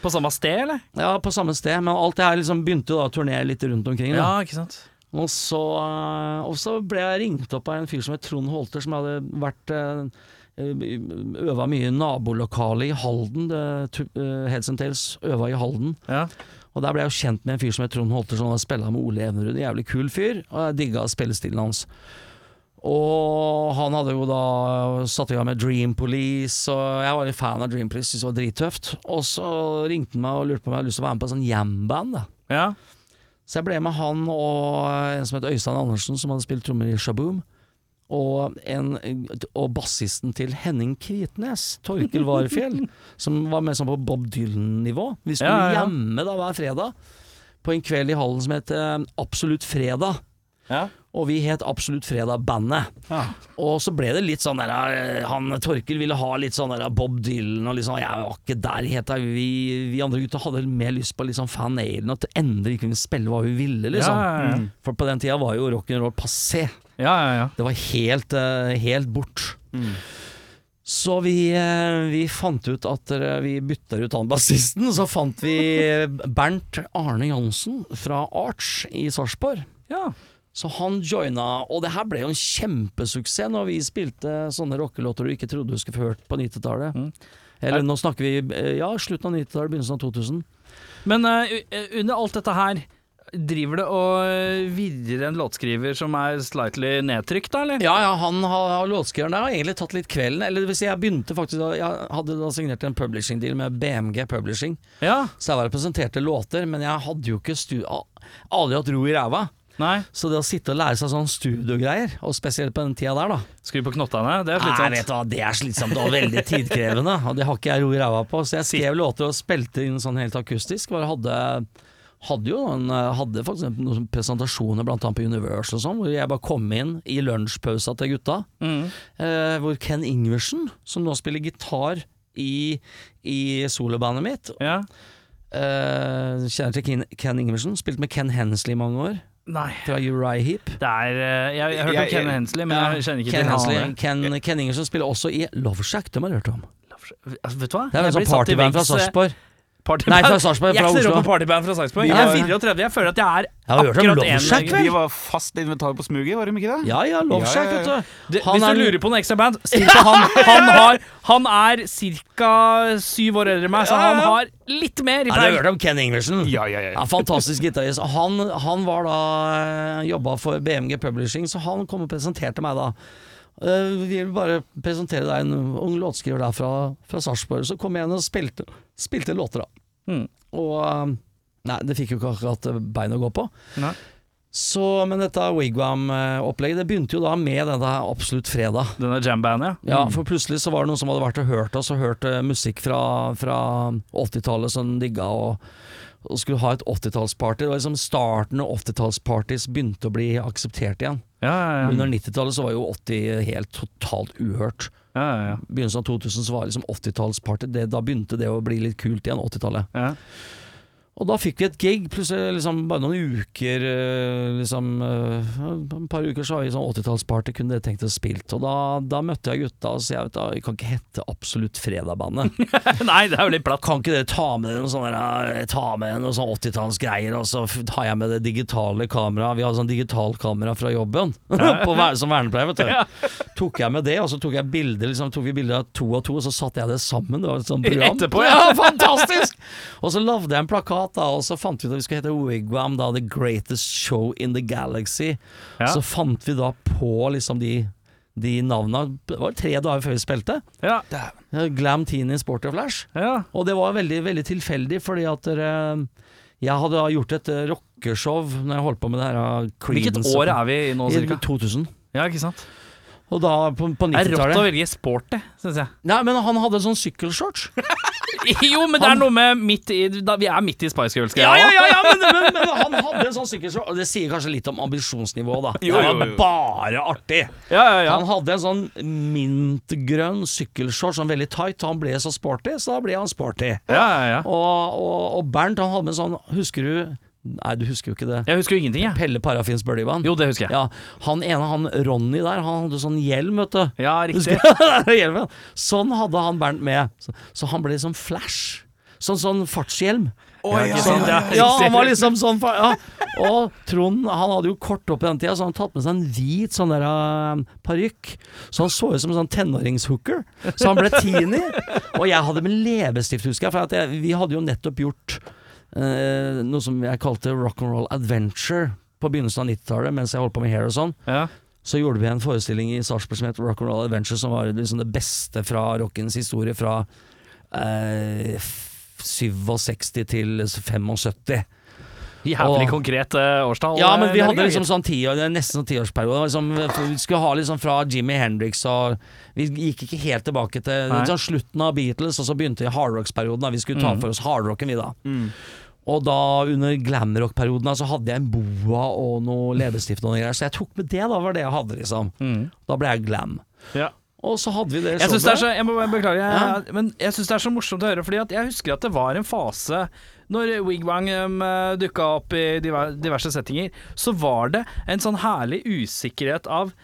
A: På samme sted, eller?
D: Ja, på samme sted, men alt det her liksom begynte jo da å turnere litt rundt omkring. Da.
A: ikke sant.
D: Og så, eh, og så ble jeg ringt opp av en fyr som het Trond Holter, som hadde vært eh, Øva mye i nabolokalet i Halden. Det, tu- eh, Heads and Tails øva i Halden.
A: Ja.
D: Og der ble jeg jo kjent med en fyr som het Trond Holter, som hadde spilla med Ole Evenrud. En Jævlig kul fyr, og jeg digga spillestilen hans. Og han hadde jo da satt i gang med Dream Police, og jeg var litt fan av Dream Police, syntes det var drittøft. Og så ringte han meg og lurte på om jeg hadde lyst til å være med på et sånn jam-band. da.
A: Ja.
D: Så jeg ble med han og en som het Øystein Andersen, som hadde spilt trommer i Shaboom. Og, en, og bassisten til Henning Kvitnes, Torkil Varfjell, som var med sånn på Bob Dylan-nivå. Vi skulle
A: Ja, ja, ja.
D: hjemme da hver fredag på en kveld i hallen som het eh, Absolutt fredag.
A: Ja.
D: Og vi het Absolutt Fredag-bandet. Og så ble det litt sånn der eh, Han Torkil ville ha litt sånn der Bob Dylan og liksom Jeg var ikke der helt. da. Vi, vi andre gutta hadde mer lyst på liksom Van Halen, og at endelig kunne vi spille hva vi ville, liksom.
A: Ja, ja, ja.
D: Mm. For på den tida var jo rock'n'roll passé.
A: Ja, ja, ja.
D: Det var helt, eh, helt bort.
A: Mm.
D: Så vi, eh, vi fant ut at eh, vi bytta ut han bassisten. Så fant vi eh, Bernt Arne Johnsen fra Arch i Sarpsborg.
A: ja.
D: Så han joina, og det her ble jo en kjempesuksess når vi spilte sånne rockelåter du ikke trodde du skulle få hørt på 90-tallet. Eller nå snakker vi eh, ja, slutten av 90-tallet, begynnelsen av 2000.
A: Men eh, u- under alt dette her, driver det og eh, virrer en låtskriver som er slightly nedtrykt, da, eller?
D: Ja, ja, han har, låtskriveren der har egentlig tatt litt kvelden. Eller det vil si, jeg begynte faktisk da, Jeg hadde da signert en publishing deal med BMG Publishing.
A: Ja.
D: Så jeg var og presenterte låter, men jeg hadde jo ikke stu... a- Aldri hatt ro i ræva.
A: Nei.
D: Så det å sitte og lære seg sånn studiogreier, og spesielt på den tida der, da
A: Skru på knottene, det er
D: Nei, vet
A: slitsomt.
D: du hva, det er slitsomt og veldig tidkrevende, og det har ikke jeg ro i ræva på. Så jeg skrev låter og spilte inn sånn helt akustisk. Bare hadde, hadde jo en, hadde for eksempel noen sånne presentasjoner blant annet på Universe og sånn, hvor jeg bare kom inn i lunsjpausa til gutta.
A: Mm.
D: Eh, hvor Ken Ingversen, som nå spiller gitar i, i solobandet mitt,
A: Ja.
D: eh, kjenner til Ken, Ken Ingversen, spilte med Ken Hensley i mange år,
A: Nei.
D: fra Uriah Heep.
A: Det er eh, Jeg, jeg hørte
B: Jeg-
A: om Ken
B: jeg-
A: Hensley, men jeg kjenner ikke
D: Ken
A: til
D: Hensley,
A: han.
D: Ken, Ken Ingersen spiller også i Love Shack, det har jeg hørt om.
A: Altså, vet du hva?
D: Det er vel
A: Jeg
D: sånn
A: blir satt i
D: partyband fra
A: veggs, eh,
D: Sarpsborg.
A: Partyband.
D: Nei, fra Sarpsborg, fra
A: Jeg stiller
D: Oslo.
A: opp på partyband fra Sarpsborg.
D: Vi
A: Jeg
D: var-
A: er 34, jeg føler at jeg er
D: Jeg har hørt om
A: akkurat
D: Love Shack,
A: en
D: vel?
B: De var fast inventar på smuget, var de ikke det?
D: Ja, ja, Love
B: Ja,
D: Shack,
B: ja, ja.
D: vet du.
A: Det, hvis
D: Han
A: du
D: er-
A: lurer på en ekstraband, still på han. Han, har, han er ca. syv år eldre enn meg, så han har litt mer i
D: Har du
A: pleie.
D: hørt om Ken Ingersen?
B: Ja, ja, ja.
D: Ja, fantastisk gitarist. Han, han var da eh, jobba for BMG Publishing, så han kom og presenterte meg da. Eh, vi vil bare presentere deg en ung låtskriver der fra, fra Sarpsborg. Så kom jeg igjen og spilte, spilte låter, da.
A: Mm.
D: Og eh, Nei, det fikk jo ikke akkurat eh, bein å gå på.
A: Nei.
D: Så, men dette Wigwam-opplegget Det begynte jo da med denne Absolutt fredag.
A: Denne jambandet, ja.
D: Ja, for plutselig så var det noen som hadde vært og hørt oss og hørt eh, musikk fra, fra 80-tallet som de digga og, og skulle ha et 80-tallsparty. Det var liksom starten av 80-tallspartys begynte å bli akseptert igjen.
A: Ja, ja, ja.
D: Under 90-tallet så var jo 80 helt totalt uhørt.
A: ja, ja,
D: Begynnelsen av 2000 så var det liksom 80-tallsparty, det- da begynte det å bli litt kult igjen, 80-tallet.
A: ja. ja.
D: Og da fikk vi et gig, plutselig liksom bare noen uker eh, liksom, eh, Et par uker så var vi sånn 80-tallsparty, kunne dere tenkt dere spilt? Og da, da møtte jeg gutta og sa at vi kan ikke hete Absolutt Fredag-bandet.
A: Nei, det er jo litt platt.
D: Kan ikke dere ta med dere noen sånne der, eh, Ta med noen sånn 80-tallsgreier, og så f- tar jeg med det digitale kameraet. Vi har sånn digitalkamera fra jobben på, ver- som vernepleier, vet du. Tok jeg med det, og så tok jeg bilder liksom, tok vi bilder av to og to, og så satte jeg det sammen. Det var et sånt program.
A: Etterpå, ja.
D: Fantastisk! Og så lagde jeg en plakat, da, og så fant vi ut at vi skulle hete Wigwam, da, The Greatest Show in the Galaxy.
A: Ja.
D: Så fant vi da på liksom de, de navna. Det var tre dager før vi spilte.
A: Ja,
D: Glam Teen i Sporty og Flash.
A: ja.
D: Og det var veldig, veldig tilfeldig, fordi at eh, jeg hadde da gjort et eh, rockeshow når jeg holdt på med det her eh,
A: Hvilket
D: Creedence-
A: år er vi i nå,
D: I
A: cirka?
D: 2000.
A: Ja, ikke sant?
D: Og da på, på
A: Det er rått å
D: 90-tallet
A: velge sporty, syns jeg.
D: Nei, men han hadde sånn sykkelshorts.
A: Jo, men det er noe med midt i da, Vi er midt i Spice Girls-greia.
D: Ja, ja, ja, ja men, men, men han hadde sånn sykkelshorts. Og det sier kanskje litt om ambisjonsnivået, da.
B: Jo, jo,
D: Det
B: jo.
D: var bare artig.
A: ja, ja, ja.
D: Han hadde en sånn mintgrønn sykkelshorts, sånn veldig tight, og han ble så sporty, så da ble han sporty.
A: ja, ja, ja.
D: Og, og, og Bernt han hadde med sånn, husker du Nei, du husker jo ikke det.
A: Jeg husker jo ingenting, jeg.
D: Pelle Parafins Bøllevann.
A: Jo, det husker jeg.
D: Ja, han ene, han Ronny der, han hadde sånn hjelm, vet du.
A: Ja, riktig.
D: Husker du? Hjelmen. Sånn hadde han Bernt med. Så, så han ble liksom flash. Sånn, sånn fartshjelm.
A: Ja, ikke sant, ja,
D: Ja,
A: riktig.
D: han var liksom sånn fa- ja. Og Trond han hadde jo kort opp i den tida, så han hadde tatt med seg en hvit sånn der eh, parykk. Så han så ut som en sånn tenåringshooker. Så han ble teeny. Og jeg hadde med leppestift, husker jeg, for at jeg, vi hadde jo nettopp gjort eh, noe som jeg kalte rock'n'roll adventure på begynnelsen av 90-tallet, mens jeg holdt på med hair og sånn.
A: Ja.
D: Så gjorde vi en forestilling i Sarpsborg som het Rock'n'roll adventure, som var liksom det beste fra rockens historie fra eh, f- 67 til 75.
A: Jævlig
D: Åh.
A: konkret eh, årstall.
D: Ja, men
A: eh,
D: vi
A: Jørgen.
D: hadde liksom sånn ti år, nesten sånn tiårsperiode. Liksom, for vi skulle ha liksom fra Jimmy Hendrix og Vi gikk ikke helt tilbake til
A: Nei.
D: sånn slutten av Beatles, og så begynte hardrocksperioden. da. Vi skulle
A: Mhm.
D: ta for oss hardrocken, vi da.
A: Mm.
D: Og da under glamrock-perioden da, så hadde jeg en boa og noe leppestift og noe greier. Så jeg tok med det, da var det jeg hadde, liksom. Da ble jeg glam.
A: Ja.
D: Og så hadde vi det
A: Mm. Jeg synes det er
D: showet.
A: så, jeg må bare beklage, jeg, men jeg syns det er så morsomt å høre, fordi at jeg husker at det var en fase når Wigwang um, dukka opp i diver- diverse settinger, så var det en sånn herlig usikkerhet av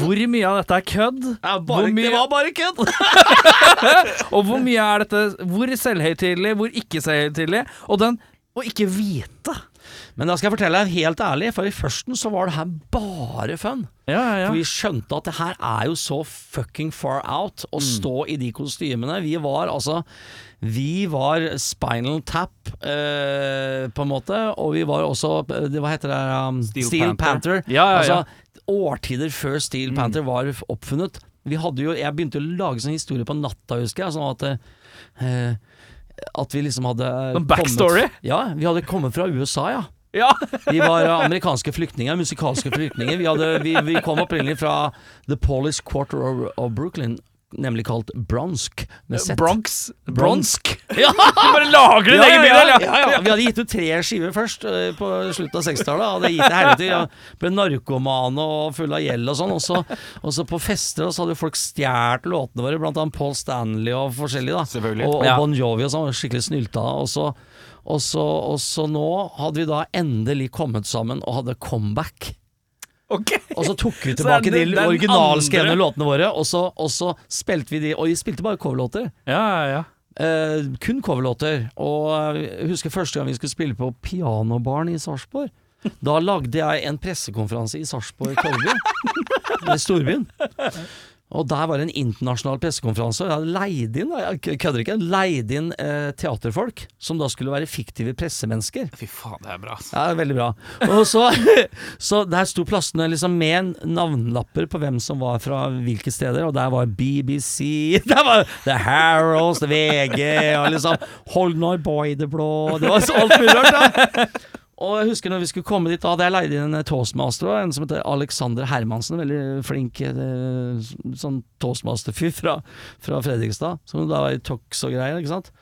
A: hvor mye av dette er kødd,
D: Ja,
A: hvor
D: bare,
A: mye-
D: Det var bare kødd!
A: og hvor mye er dette Hvor selvhøytidelig, hvor ikke selvhøytidelig, og den å ikke vite.
D: Men da skal jeg fortelle deg helt ærlig, for i førsten så var det her bare fun.
A: Ja,
D: For vi skjønte at det her er jo så fucking far out
A: Mm.
D: å stå i de kostymene. Vi var altså Vi var Spinal Tap, eh, på en måte, og vi var også eh, det, Hva heter det? Um,
B: Steel
D: Panther.
A: Ja, ja, Mm. ja.
D: Altså, årtider før Steel Panther var f- oppfunnet. Vi hadde jo, jeg begynte å lage sånn historie på natta, husker jeg. Sånn at eh, At vi liksom hadde
A: Sånn backstory?
D: Kommet, ja, vi hadde kommet fra USA, ja.
A: Ja.
D: Vi var eh, amerikanske flyktninger, musikalske flyktninger. Vi, hadde, vi, vi kom opprinnelig fra The Polish Quarter of, of Brooklyn, nemlig kalt Bronsk. Med Z.
A: Bronx.
D: Bronsk.
A: Ja. Du bare lager din egen bydel,
D: ja, ja, ja. Vi hadde gitt ut tre skiver først eh, på slutten av 60-tallet. Hadde gitt til helvete. Jeg ble narkoman og full av gjeld og sånn. Og så- Og så på fester og så hadde jo folk stjålet låtene våre, blant annet Paul Stanley og forskjellig. da
B: Selvfølgelig.
D: Og, og
A: Ja.
D: Bon Jovi og sånn. var Skikkelig snylta. Og så, og, så, og så nå hadde vi da endelig kommet sammen og hadde comeback.
A: Ok.
D: Og så tok vi
A: Så det er
D: tilbake
A: den-
D: de
A: den
D: originalskrevne
A: andre-
D: låtene våre, og så, og så spilte vi de. Og vi spilte bare coverlåter.
A: Ja, ja, ja.
D: Eh, kun coverlåter. Og jeg husker første gang vi skulle spille på Pianobaren i Sarpsborg. Da lagde jeg en pressekonferanse i Sarpsborg Torvby, i storbyen. Og der var det en internasjonal pressekonferanse, og jeg hadde leid inn jeg k- kødder ikke, leid inn eh, teaterfolk som da skulle være fiktive pressemennesker.
B: Fy faen, det er bra. ass.
D: Ja, veldig bra. Og så, så der sto plassene liksom med navnlapper på hvem som var fra hvilke steder, og der var BBC, der var The Harrows, The VG, og liksom Hold nå boy det blå, det var så alt mulig rart, da. Og jeg husker når vi skulle komme dit, da hadde jeg leid inn en eh, toastmaster, og en som heter Alexander Hermansen, veldig flink eh, sånn toastmaster-fyr fra, fra Fredrikstad, som da var i Tox og greier, ikke sant.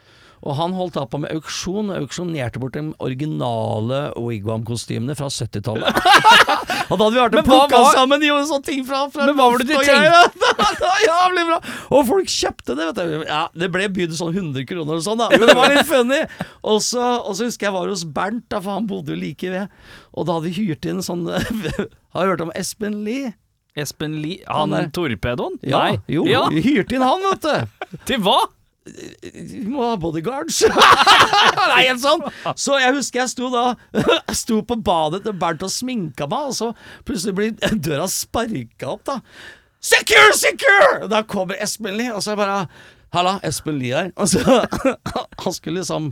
D: Og han holdt da på med auksjon, auksjonerte bort de originale Wigwam-kostymene fra 70-tallet. og da hadde vi vært og
A: Men hva
D: plukka
A: var-
D: sammen i og sånne ting fra, fra
A: Men hva var det du
D: og greier, da. det var jævlig bra! Og folk kjøpte det, vet du. Ja, det ble bydd sånn 100 kroner og sånn, da. Men det var litt funny. Og så, og så husker jeg var hos Bernt, da, for han bodde jo like ved. Og da hadde vi hyrt inn sånn Har du hørt om Espen Lie?
A: Espen Lie
D: Han
A: Han
D: er-
A: torpedoen?
D: Ja,
A: Nei.
D: jo,
A: Ja.
D: vi hyrte inn han, vet du.
A: Til hva?
D: vi må ha bodyguards. Nei, helt sånn. Så jeg husker jeg sto da jeg sto på badet til Bernt og sminka meg, og så plutselig blir døra sparka opp, da. Secure, secure! Da kommer Espen Lie, og så er jeg bare Halla, Espen Lie her. Og så, han skulle liksom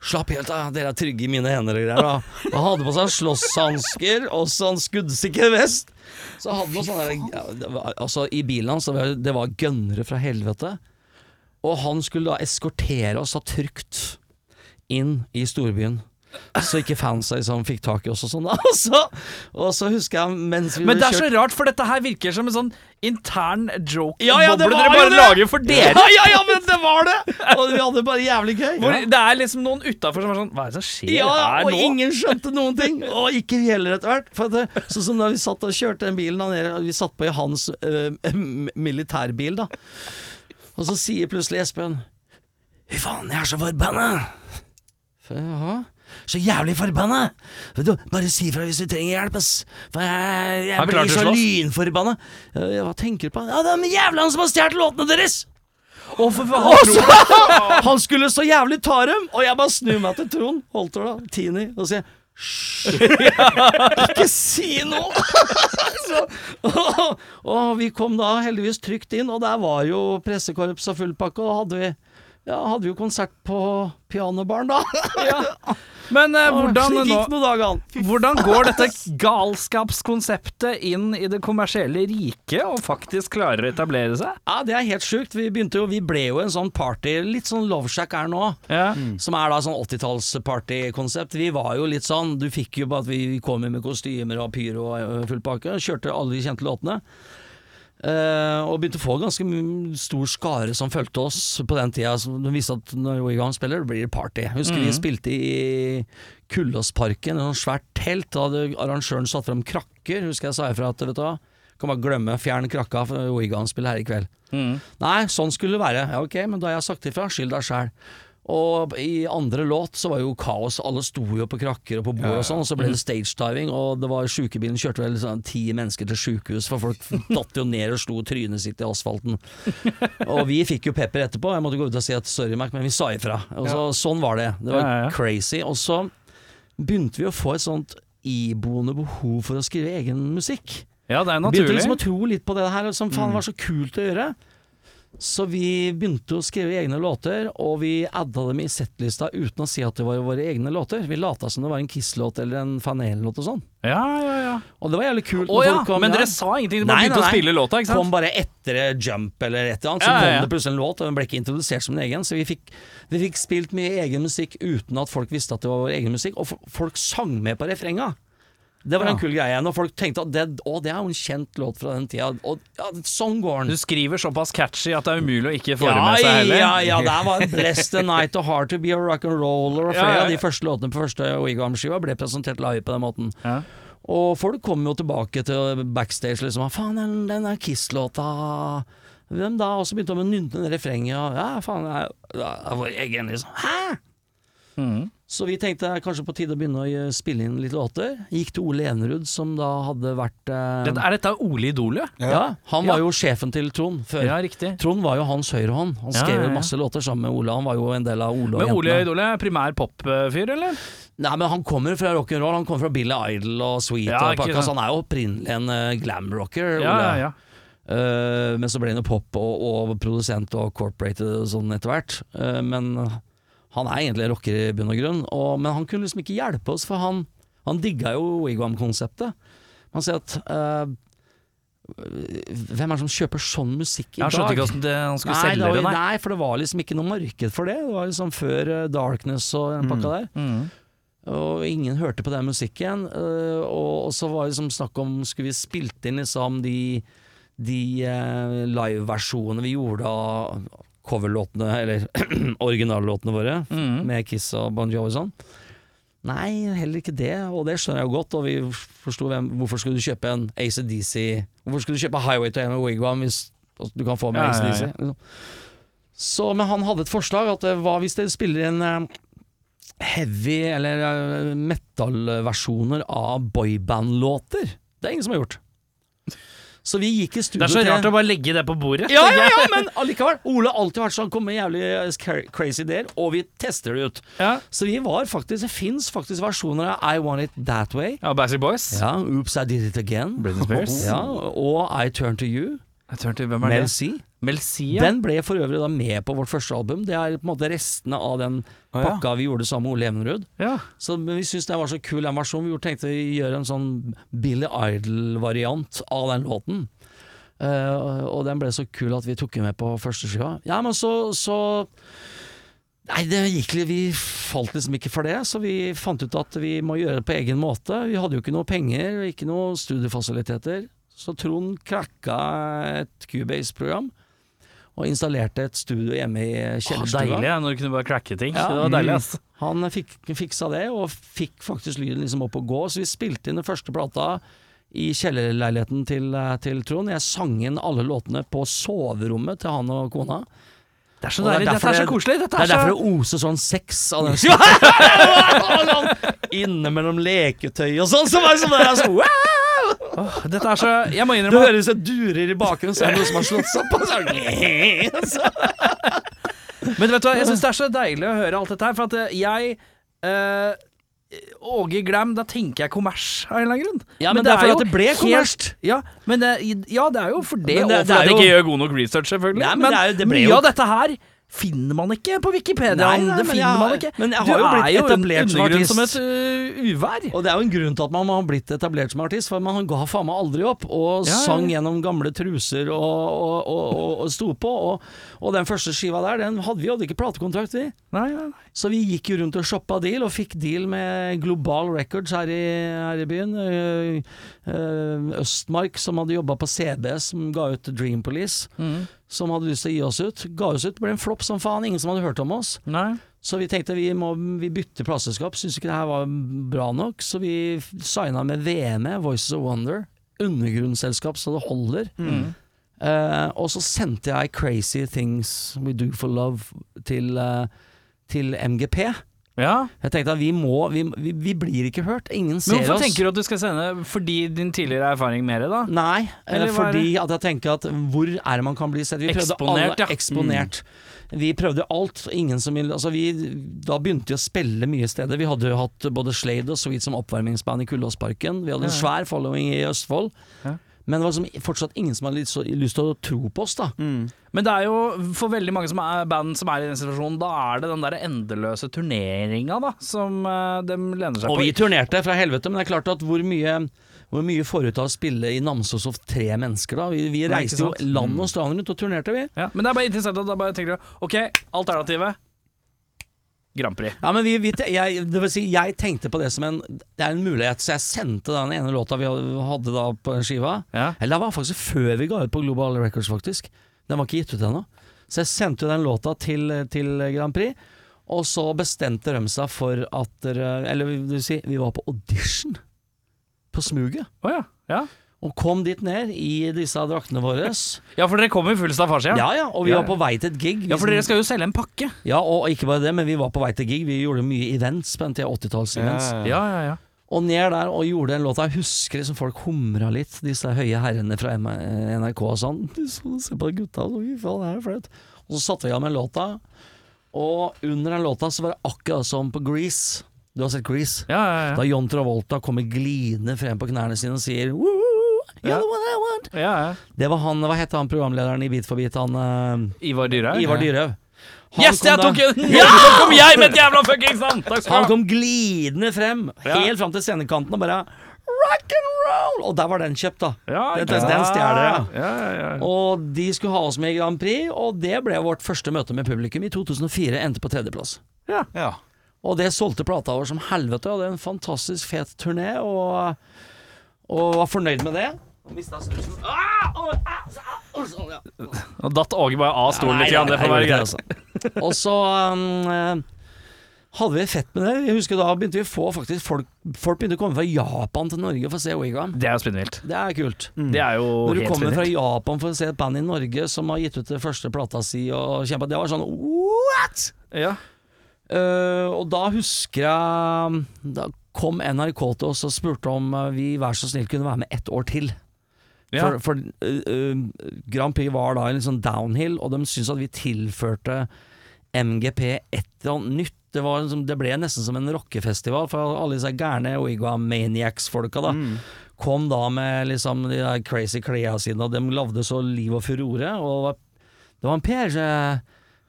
D: Slapp helt av, dere er trygge i mine hender og greier. da. Og han hadde på seg slåsshansker og sånn skuddsikker vest. Så hadde han noe sånn der- ja, det var- Altså, i bilen hans, det var- det var gønnere fra helvete. Og han skulle da eskortere oss da trygt inn i storbyen. Så ikke fansa liksom fikk tak i oss og sånn. da. Og så, og så husker jeg mens vi
A: Men det
D: ble
A: er så
D: kjørt
A: rart, for dette her virker som en sånn intern joke.
D: Ja, ja, det
A: boble
D: var
A: dere
D: jo
A: bare
D: det!
A: lager for dere.
D: Ja, ja, ja, men det var det! Og vi hadde det bare jævlig gøy.
A: Hvor det er liksom noen utafor som er sånn Hva er det som skjer
D: Ja,
A: her
D: og
A: nå?
D: ingen skjønte noen ting. Og ikke vi heller etter hvert. For at det, sånn som da vi satt og kjørte den bilen da nede, og vi satt på i hans øh, m- militærbil, da. Og så sier plutselig Espen Fy faen, jeg er så forbanna! For, Jaha? Så jævlig forbanna! Vet du, Bare si fra hvis du trenger hjelp, ass. For jeg,
A: Han
D: jeg
A: klarte
D: blir
A: å
D: så
A: slåss.
D: lynforbanna. Øh, Hva tenker du på? Ja, det er de jævla han som har stjålet låtene deres!
A: Å, for faen,
D: Og så, han skulle så jævlig ta dem, og jeg bare snur meg til Trond Holter, da, Tini, og sier Hysj! Ikke si noe! så, og, og vi kom da heldigvis trygt inn, og der var jo pressekorps og fullpakke, og hadde vi ja, hadde vi jo konsert på pianobaren da.
A: Men eh, hvordan,
D: Slik gikk
A: nå,
D: noen dager an.
A: hvordan går dette galskapskonseptet inn i det kommersielle riket og faktisk klarer å etablere seg?
D: Ja, det er helt sjukt. Vi begynte jo, vi ble jo en sånn party, litt sånn Love Shack er nå.
A: Ja.
D: Som er da sånn 80-tallspartykonsept. Vi var jo litt sånn Du fikk jo bare at vi kom inn med kostymer og pyro og ø, full pakke. Kjørte alle de kjente låtene. Eh, og begynte å få ganske m- stor skare som fulgte oss på den tida. Som de visste at når Wigan spiller, blir det party. Jeg Husker vi spilte i Kullåsparken, et sånt svært telt. Da hadde arrangøren satt frem krakker. Husker jeg sa ifra at vet du hva, kan bare glemme, fjern krakka, for Wigan spiller her i kveld. Nei, sånn skulle det være. Ja, ok, men da har jeg sagt ifra. Skyld deg sjæl. Og i andre låt så var jo kaos. Alle sto jo på krakker og på bord og sånn, og så
A: Mm.
D: ble det stagediving, og det var sjukebilen kjørte vel sånn ti mennesker til sjukehus, for folk datt jo ned og slo trynet sitt i asfalten. Og vi fikk jo pepper etterpå. Jeg måtte gå ut og si at sorry, Mac, men vi sa ifra. Og så, Sånn var det. Det var
A: Ja, ja, ja.
D: crazy. Og så begynte vi å få et sånt iboende behov for å skrive egen musikk.
A: ja, det er
D: Begynte
A: naturlig. Mm.
D: liksom å tro litt på det her, som faen var så kult å gjøre. Så vi begynte å skrive egne låter, og vi adda dem i settlista uten å si at det var våre egne låter. Vi lata som det var en Kiss-låt eller en Fanel-låt og sånn.
A: Ja, ja, ja.
D: Og det var jævlig
A: Å
D: kult. når
A: ja,
D: folk kom,
A: men
D: ja.
A: dere sa ingenting. Dere
D: Nei,
A: bare begynte
D: nei,
A: å
D: nei.
A: spille låta, ikke
D: Kom
A: sant?
D: bare etter eh, Jump eller et eller annet, så
A: Ja, ja, ja.
D: kom det plutselig en låt, og den ble ikke introdusert som en egen. Så vi fikk, vi fikk spilt mye egen musikk uten at folk visste at det var vår egen musikk, og fo- folk sang med på refrenga. Det var
A: Ja.
D: en kul greie. Når folk tenkte at det, å, det er jo en kjent låt fra den tida, og ja, sånn går den.
A: Du skriver såpass catchy at det er umulig å ikke få det
D: Ja,
A: med seg heller.
D: ja, ja, der var Bless the Night og Hard to Be a Rock and Roller og
A: Ja,
D: flere
A: ja, ja.
D: av de første låtene på første Wigam-skiva ble presentert live på den måten.
A: Ja.
D: Og folk kom jo tilbake til backstage liksom Faen, den, den der Kiss-låta Hvem da? Og så begynte de å nynne det refrenget og Ja, faen, det er- det er vår egen, liksom. Hæ?
A: Mm.
D: Så vi tenkte det er kanskje på tide å begynne å gjø- spille inn litt låter. Gikk til Ole Enerud, som da hadde vært eh,
A: Dette- Er dette Ole Idolet?
D: ja, Han var
A: Ja.
D: jo sjefen til Trond før.
A: Ja, riktig.
D: Trond var jo hans høyrehånd. Han
A: Ja,
D: skrev
A: ja,
D: jo
A: ja.
D: masse låter sammen med Ole. Han var jo en del av Ole og
A: Men Ole
D: jentene.
A: Idolet er primær popfyr, eller?
D: Nei, men han kommer fra rock'n'roll. Han kommer fra Billy Idol og Sweet.
A: Ja,
D: og
A: ikke
D: pakka,
A: sant.
D: så han er jo opprinnelig en eh, glamrocker.
A: Ja,
D: Ole.
A: ja, ja.
D: Eh, men så ble han jo pop og, og produsent og corporated og sånn etter hvert. Eh, men han er egentlig en rocker i bunn og grunn. Og, men han kunne liksom ikke hjelpe oss, for han, han digga jo Wigwam-konseptet. Man sier at eh, Hvem er det som kjøper sånn musikk i
A: Jeg skjønte
D: dag?
A: ikke hvordan det, han skulle
D: nei,
A: selge
D: det
A: det,
D: var,
A: nei.
D: nei, for det var liksom ikke noe marked for det. Det var liksom før eh, Darkness og den pakka der.
A: Mm.
D: Og ingen hørte på den musikken. øh, Og, og så var det liksom snakk om skulle vi spilt inn liksom de, de eh, liveversjonene vi gjorde av coverlåtene, eller originallåtene våre,
A: Mm.
D: med Kiss og Bon Jovi og sånn. Nei, heller ikke det, og det skjønner jeg jo godt. Og vi forsto hvem Hvorfor skulle du kjøpe en ACDC Hvorfor skulle du kjøpe Highway to Hell Wigwam hvis altså, du kan få med
A: Ja, ja,
D: ACDC?
A: ja.
D: liksom. Så, men han hadde et forslag. At det var hvis dere spiller inn eh, heavy eller eh, metal-versjoner av boyband-låter? Det er ingen som har gjort. Så vi gikk i studio
A: Det er så
D: til-
A: rart å bare legge det på bordet.
D: ja, ja, ja, men allikevel. Ole har alltid vært sånn, kommer med jævlig eh, cra- crazy ideer, og vi tester det ut.
A: Ja.
D: Så vi var faktisk, det fins faktisk versjoner av I Want It That Way.
A: Ja, Backstreet Boys.
D: Ja, Oops I Did It Again.
A: Britney Spears.
D: Ja, og I Turn To You.
A: Jeg turte, hvem er
D: Mel
A: det?
D: C.
A: Mel C, ja.
D: Den ble for øvrig da med på vårt første album. Det er på en måte restene av den
B: Å, ja.
D: pakka vi gjorde sammen med Ole Evenrud.
A: ja.
D: Så, men vi syntes det var så kul den versjonen. Vi gjorde- tenkte vi gjøre en sånn Billy Idol-variant av den låten. Eh, og- og den ble så kul at vi tok den med på første skiva. Ja, men så, så Nei, det gikk litt, vi falt liksom ikke for det, så vi fant ut at vi må gjøre det på egen måte. Vi hadde jo ikke noe penger, og ikke noe studiefasiliteter. Så Trond krakka et Cubase-program, og installerte et studio hjemme i kjellerstua.
A: deilig ja, når du kunne bare cracke ting.
D: Ja. Mm.
A: Det var deilig, ass.
D: Han fikk, fiksa det, og fikk faktisk lyden liksom opp å gå. Så vi spilte inn den første plata i kjellerleiligheten til, eh, til Trond. Jeg sang inn alle låtene på soverommet til han og kona.
A: Det er så
D: Og det er
A: deilig.
D: derfor
A: Dette er så
D: det-
A: koselig.
D: Det
A: Dette
D: er
A: er
D: derfor
A: så
D: det oser sånn sex av den sånn. Inne mellom leketøy og sånn, som er som det er sånn wow!
A: Åh, Dette er så Jeg må
D: Det
A: innrømme
D: høres ut som det durer i bakgrunnen, så er det noen som har slått seg på. sånn. Så-
A: Men vet du hva, jeg syns det er så deilig å høre alt dette her, for at eh, jeg eh, Åge Glam, da tenker jeg kommers av en eller annen grunn.
D: Ja, men det er fordi at det ble
A: helt-
D: kommersielt.
A: Ja, men det, ja, det er jo for det,
D: Men det-
A: og
D: det
A: for
D: er
A: at jeg
D: jo-
A: ikke gjør god nok research, selvfølgelig.
D: Nei, men det er jo- det ble
A: mye
D: jo-
A: av dette her finner man ikke på Wikipedia.
D: Nei, nei,
A: det
D: men
A: finner
D: jeg-
A: man ikke.
D: men jeg
A: du
D: har jo blitt
A: er jo en
D: etablert som
A: undergrunn
D: artist.
A: som et øh, uvær.
D: Og det er jo en grunn til at man har blitt etablert som artist, for man ga faen meg aldri opp, og
A: Ja, ja, ja.
D: sang gjennom gamle truser og, og, og, og, og sto på. Og, og den første skiva der, den hadde vi hadde ikke platekontrakt, vi.
A: Nei, nei, nei.
D: Så vi gikk jo rundt og shoppa deal, og fikk deal med Global Records her i, her i byen. Eh, eh, Østmark, som hadde jobba på CB, som ga ut Dream Police,
A: Mm.
D: som hadde lyst til å gi oss ut. Ga oss ut, ble en flopp som faen, ingen som hadde hørt om oss.
A: nei.
D: Så vi tenkte vi, må, vi bytter plateselskap, syntes ikke det her var bra nok, så vi f- signa med VME, Voices of Wonder, undergrunnsselskap så det holder.
A: Mm.
D: Eh, og så sendte jeg Crazy Things We Do For Love til, eh, til MGP.
A: Ja.
D: Jeg tenkte at vi må, vi, vi, vi blir ikke hørt, ingen
A: Men
D: ser
A: hvorfor
D: oss.
A: tenker du at du skal sende fordi din tidligere erfaring med det, da?
D: Nei, eh,
A: Eller hva er
D: fordi at jeg tenker at hvor er det man kan bli sett? Vi prøvde
A: Eksponert,
D: alle,
A: ja. Mm.
D: Eksponert. Vi prøvde alt. Ingen som ville altså vi, Da begynte vi å spille mye steder. Vi hadde jo hatt både Slade og Sweet som oppvarmingsband i Kullåsparken. Vi hadde en svær following i Østfold.
A: Ja.
D: Men det var liksom fortsatt ingen som hadde lyst, lyst til å tro på oss, da.
A: Mm. Men det er jo for veldig mange som er band som er i den situasjonen, da er det den der endeløse turneringa da, som eh, de lener seg
D: Og
A: på.
D: vi turnerte fra helvete, men det er klart at hvor mye hvor mye får du ut av å spille i Namsos og tre mennesker, da? Vi, vi
A: Nei, ikke
D: reiste jo
A: sant? Mm.
D: land og strand rundt og turnerte, vi.
A: ja. Men det er bare interessant at da bare tenker du OK, alternativet Grand Prix.
D: Ja, men vi, vi, jeg, det vil si, jeg tenkte på det som en Det er en mulighet, så jeg sendte den ene låta vi hadde da på skiva.
A: Ja.
D: Eller det var faktisk før vi ga ut på Global Records, faktisk. Den var ikke gitt ut ennå. Så jeg sendte jo den låta til, til Grand Prix, og så bestemte de seg for at dere- Eller det vil si, vi var på audition på smuget.
A: Å ja. ja.
D: Og kom dit ned i disse draktene våre.
A: Ja, for dere kommer i full staffasje?
D: Ja ja, og vi
A: Ja,
D: var på vei til et gig.
A: ja, for dere skal jo selge en pakke.
D: ja, og ikke bare det, men vi var på vei til gig. Vi gjorde mye events på den tida, 80-talls-events.
A: Ja, ja, ja.
D: Og ned der og gjorde den låta. Jeg husker liksom folk humra litt, disse høye herrene fra M- NRK og sånn. Du så- Se på de gutta, så fy faen, det her er flaut. Og så satte vi av med låta, og under den låta så var det akkurat som på Grease. Du har sett Grease?
A: ja, ja,
D: Da John Travolta kommer glidende frem på knærne sine og sier «Woo, You're
A: Ja.
D: the one I want.
A: ja. ja, ja.
D: Det var han, hva het han programlederen i Bit for bit, han eh,
A: Ivar Dyrhaug?
D: Ivar Dyrhaug. Han
A: Yes,
D: kom
A: jeg
D: da-
A: tok en! Ja! Så kom jeg med et jævla fuckings navn! Takk
D: Han
A: skal du ha.
D: kom glidende frem,
A: Ja.
D: helt fram til scenekanten og bare Rock and roll! Og der var den kjøpt, da. den,
A: ikke sant?
D: den stjeler jeg.
A: Ja, ja, ja.
D: Og de skulle ha oss med i Grand Prix, og det ble vårt første møte med publikum i 2004. Endte på tredjeplass.
B: Ja.
D: Og det solgte plata vår som helvete, og det er en fantastisk fet turné, og, og var fornøyd med det. Og mistet snusen. Ah! Au! Au! Au! Sånn, ja.
A: Nå datt Åge bare av stolen litt,
D: Nei,
A: grann, det
D: jeg
A: får være
D: gjorde
A: greit.
D: det, altså. Og så um, eh, hadde vi det fett med det. Jeg husker Da begynte vi å få faktisk folk, folk begynte å komme fra Japan til Norge for å se Wigram.
A: Det er jo spinnvilt.
D: Det er kult.
A: Det er jo
D: Når du
A: Mm. helt
D: kommer
A: spinnvilt.
D: fra Japan for å se et band i Norge som har gitt ut det første plata si og kjempa, det var sånn what?!
A: Ja.
D: Eh, og da husker jeg Da kom NRK til oss og spurte om eh, vi vær så snill kunne være med ett år til.
A: Ja.
D: For, for eh, eh, Grand Prix var da en litt sånn downhill, og de syntes at vi tilførte MGP et eller annet nytt. Det, var, liksom- det ble nesten som en rockefestival, for alle disse gærne Oigwa-maniacs-folka da
A: Mm.
D: kom da med liksom de der crazy klærne sine, og de lagde så liv og furore. Og det var, det var en Per eh,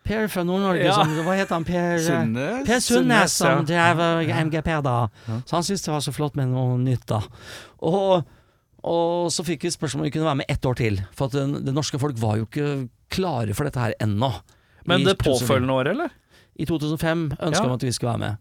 D: Per fra Nord-Norge
A: Ja.
D: som Hva het han? Per eh,
B: Sunnes?
D: Per Sundnes
A: ja.
D: som drev eh, MGP da. Så han syntes det var så flott med noe nytt, da. Og, og så fikk vi spørsmål om vi kunne være med ett år til. For at den- det norske folk var jo ikke klare for dette her ennå.
A: Men
D: I
A: det
D: 2000
A: påfølgende året, eller?
D: i 2005 ønska
A: Ja.
D: om at vi skulle være med.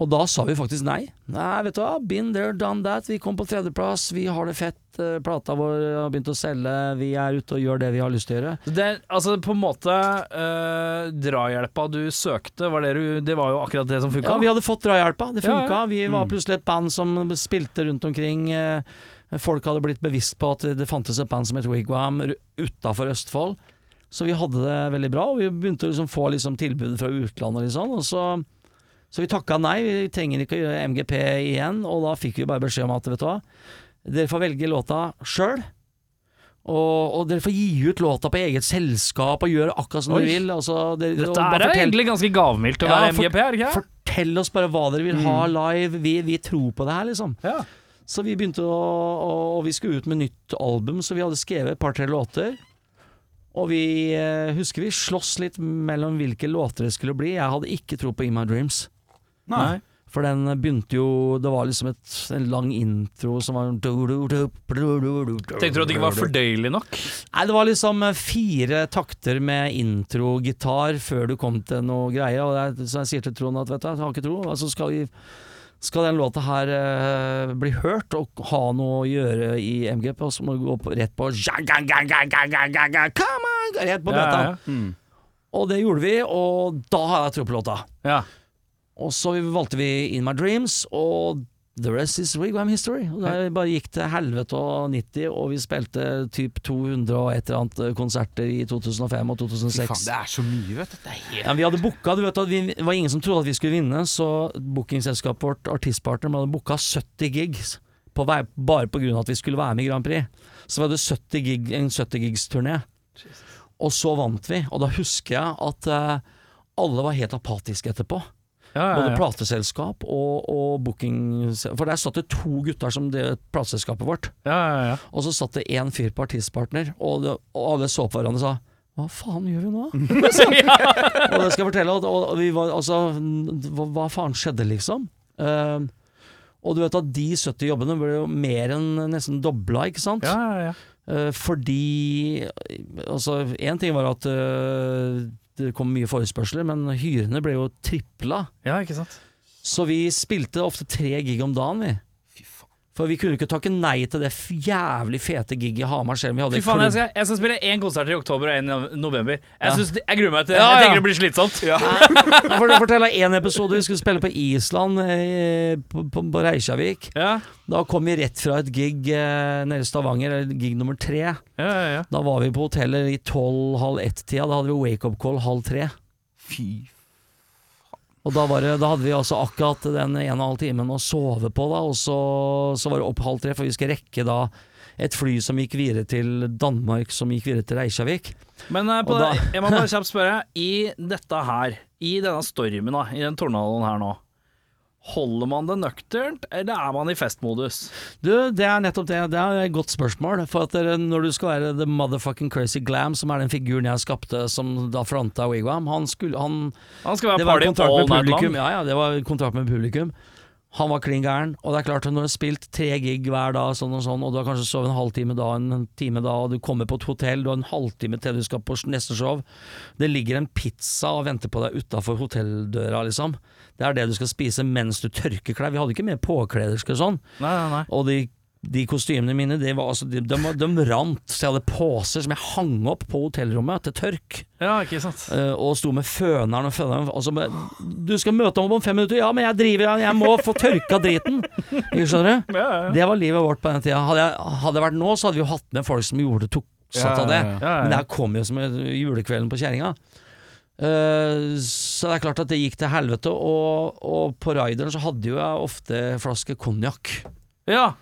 D: Og da sa vi faktisk nei. Nei, vet du hva, been there, done that. Vi kom på tredjeplass, vi har det fett, eh, plata vår har begynt å selge, vi er ute og gjør det vi har lyst til å gjøre.
A: Så Det er, altså på en måte eh, Drahjelpa du søkte, var det, du, det var jo akkurat det som funka?
D: Ja, vi hadde fått drahjelpa. Det
A: Ja, ja. Mm.
D: funka. Vi var plutselig et band som spilte rundt omkring. eh, Folk hadde blitt bevisst på at det fantes et band som het Wigwam utafor Østfold. Så vi hadde det veldig bra, og vi begynte å liksom få liksom tilbud fra utlandet. Liksom, og så, så vi takka nei, vi trenger ikke å gjøre MGP igjen. Og da fikk vi bare beskjed om at vet du hva, dere får velge låta sjøl. Og, og dere får gi ut låta på eget selskap og gjøre akkurat som
A: Oi.
D: dere vil. Altså, dere, og
A: Dette
D: bare
A: er
D: fortell-
A: egentlig ganske gavmildt å
D: Ja,
A: være
D: for-
A: MGP, er det ikke?
D: Fortell oss bare hva dere vil ha
A: Mm.
D: live. Vi, vi tror på det her, liksom.
A: Ja.
D: Så vi begynte å, å Og vi skulle ut med nytt album, så vi hadde skrevet et par-tre låter. Og vi eh, husker vi sloss litt mellom hvilke låter det skulle bli. Jeg hadde ikke tro på In My Dreams.
B: Nei.
D: For den begynte jo Det var liksom et, en lang intro som var Tenkte
A: Tenkte du at det ikke var fordøyelig nok?
D: Nei, det var liksom fire takter med intro-gitar før du kom til noe greie, og jeg, så jeg sier til Trond at vet du, hva, jeg har ikke tro, altså skal vi skal den låta her eh, bli hørt og ha noe å gjøre i MGP, så må du gå på, rett på ja, ga, ga, ga, ga, ga, ga, ga, Come on! Rett
A: Ja,
D: på bøtta.
A: ja,
D: Og det gjorde vi, og da har jeg tro på låta.
A: ja.
D: Og så valgte vi In My Dreams, og The Rest Is Wigwam History. Og det bare gikk til helvete og 90, og vi spilte typ 200 og et eller annet eh, konserter i 2005 og
B: Fy faen,
D: 2006.
B: det er så mye, vet du. Det er helt
D: Ja, vi hadde booka, du vet at vi, det var ingen som trodde at vi skulle vinne, så bookingselskapet vårt, artistpartner, vi hadde booka 70 gigs. På vei, bare pga. at vi skulle være med i Grand Prix. Så vi hadde 70 gig, en 70 gigs-turné. Og så vant vi, og da husker jeg at eh, alle var helt apatiske etterpå.
A: ja, ja,
D: Både
A: ja.
D: plateselskap og, og booking For der satt det to gutter som drev plateselskapet vårt.
A: ja, ja, ja.
D: Og så satt det én fyr på artistpartner, og, det, og alle så på hverandre og sa hva faen gjør vi nå?
A: Mm.
D: og det skal jeg fortelle. Og, og vi var, altså, hva, hva faen skjedde, liksom? Eh, og du vet at de 70 jobbene ble jo mer enn nesten dobla, ikke sant?
A: ja, ja, ja.
D: Eh, fordi Altså, én ting var at eh, det kom mye forespørsler, men hyrene ble jo tripla.
A: ja ikke sant.
D: Så vi spilte ofte tre gig om dagen, vi. For vi kunne ikke takke nei til det f- jævlig fete giget i Hamar, selv om vi hadde
A: Fy faen, jeg
D: klubb.
A: skal, jeg skal spille én konsert i oktober og én i november. Jeg, synes, jeg gruer meg til
D: Ja,
A: Jeg
D: ja.
A: tenker det blir slitsomt.
D: For å fortelle én episode vi skulle spille på Island, eh, på, på, på Reykjavik.
A: Ja,
D: Da kom vi rett fra et gig eh, nede i Stavanger, eller gig nummer tre.
A: ja, ja, ja.
D: Da var vi på hotellet i tolv-halv ett-tida. Da hadde vi wake-up call halv tre.
B: Fy
D: Og da, var det, da hadde vi altså akkurat den ene og en halv timen å sove på, da, og så, så var det opp halv tre, for vi skal rekke da et fly som gikk videre til Danmark, som gikk videre til Reykjavik.
A: Men eh, på,
D: Og da-
A: jeg må bare kjapt spørre. I dette her, i denne stormen, da, i den tornadoen her nå, holder man det nøkternt, eller er man i festmodus?
D: Du, det er nettopp det. Det er et godt spørsmål. For at dere, når du skal være the motherfucking crazy glam, som er den figuren jeg skapte som da fronta Wigwam, han skulle han,
A: Han skal
D: Det
A: være party
D: var kontrakt med
A: all night
D: publikum.
A: long.
D: Ja, ja, det var kontrakt med publikum. Han var klin gæren. Og det er klart, at når du har spilt tre gig hver dag, sånn og sånn, og du har kanskje sovet en halvtime da, en time da, og du kommer på et hotell, du har en halvtime til du skal på neste show Det ligger en pizza og venter på deg utafor hotelldøra, liksom. Det er det du skal spise mens du tørker klær. Vi hadde ikke med påkledersker og sånn.
A: Nei, nei, nei.
D: Og de, de kostymene mine, de, var, altså, de, de, var- de rant. Så jeg hadde poser som jeg hang opp på hotellrommet til tørk.
A: Ja, ikke sant.
D: Eh, og sto med føneren og føneren og så bare, Du skal møte ham om fem minutter. Ja, men jeg driver, jeg må få tørka driten. Ikke Skjønner du?
A: Ja, ja,
D: Det var livet vårt på den tida. Hadde, jeg- hadde det vært nå, så hadde vi jo hatt med folk som gjorde det tok satt av det.
B: Ja, ja,
A: ja.
D: Men det her kom jo som julekvelden på kjerringa. Eh, så det er klart at det gikk til helvete, og, og på Raideren så hadde jo jeg ofte flaske konjakk.
A: ja.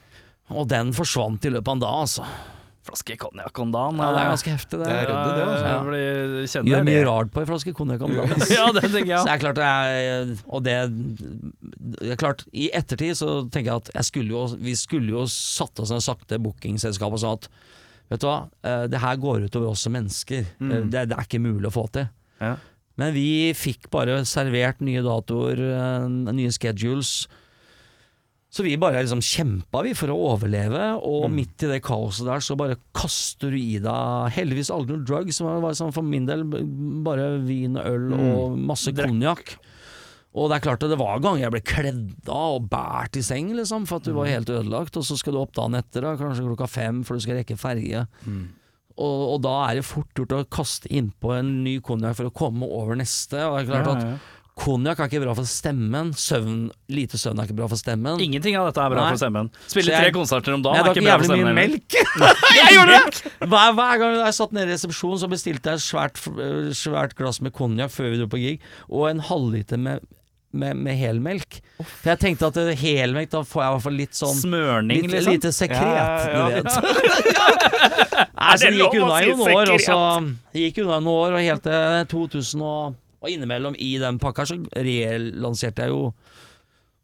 D: Og den forsvant i løpet av en dag, altså.
A: Flaske konjakk om dagen.
D: Ja, det er
A: eh,
D: ganske heftig, det.
B: Det er- ryddig, det, altså.
A: Ja, jeg blir-
D: Gjør
A: kjenner
D: mye
A: det.
D: rart på ei flaske konjakk om dagen.
A: Ja, det tenker
D: Så
A: jeg.
D: det er klart det er, Og det, det er klart I ettertid så tenker jeg at jeg skulle jo, Vi skulle jo satt oss ned og sagt til bookingselskapet og sa at Vet du hva, eh, det her går utover oss som mennesker. Eh, Det, det er ikke mulig å få til.
A: Mm. Ja.
D: Men vi fikk bare servert nye datoer, eh, nye schedules. Så vi bare liksom kjempa vi for å overleve,
A: Mm.
D: og midt i det kaoset der så bare kaster du i deg Heldigvis aldri noe drugs, det var bare sånn for min del b- bare vin, øl
A: Mm.
D: og masse konjakk. Og det er klart at det var ganger jeg ble kledd av og båret i seng, liksom, for at du
A: Mm.
D: var helt ødelagt, og så skal du opp dagen etter, da, kanskje klokka fem, for du skal rekke ferge.
A: Mm.
D: Og, og da er det fort gjort å kaste innpå en ny konjakk for å komme over neste, og det er klart
A: Ja,
D: at
A: ja.
D: Konjakk er ikke bra for stemmen. Søvn, lite søvn er ikke bra for stemmen.
A: Ingenting av dette er bra
D: Nei.
A: for stemmen.
D: Så
A: Spille
D: jeg-
A: tre konserter om dagen er
D: jeg drakk
A: ikke bra for
D: jævlig
A: stemmen.
D: mye
A: heller.
D: melk. jeg gjorde det! Hver, hver gang jeg satt nede i resepsjonen, så bestilte jeg et svært, øh, svært glass med konjakk før vi dro på gig, og en halvliter med, med, med helmelk. For jeg tenkte at øh, helmelk, da får jeg i hvert fall litt sånn
A: Smørning,
D: Litt
A: liksom.
D: lite sekret,
A: Ja, ja, ja.
D: du vet. Nei, så
A: det
D: det gikk
A: lov å
D: unna i
A: si
D: noen år, og
A: sekret?
D: så gikk unna i noen år, og helt til 2000 og, og innimellom i den pakka så relanserte jeg jo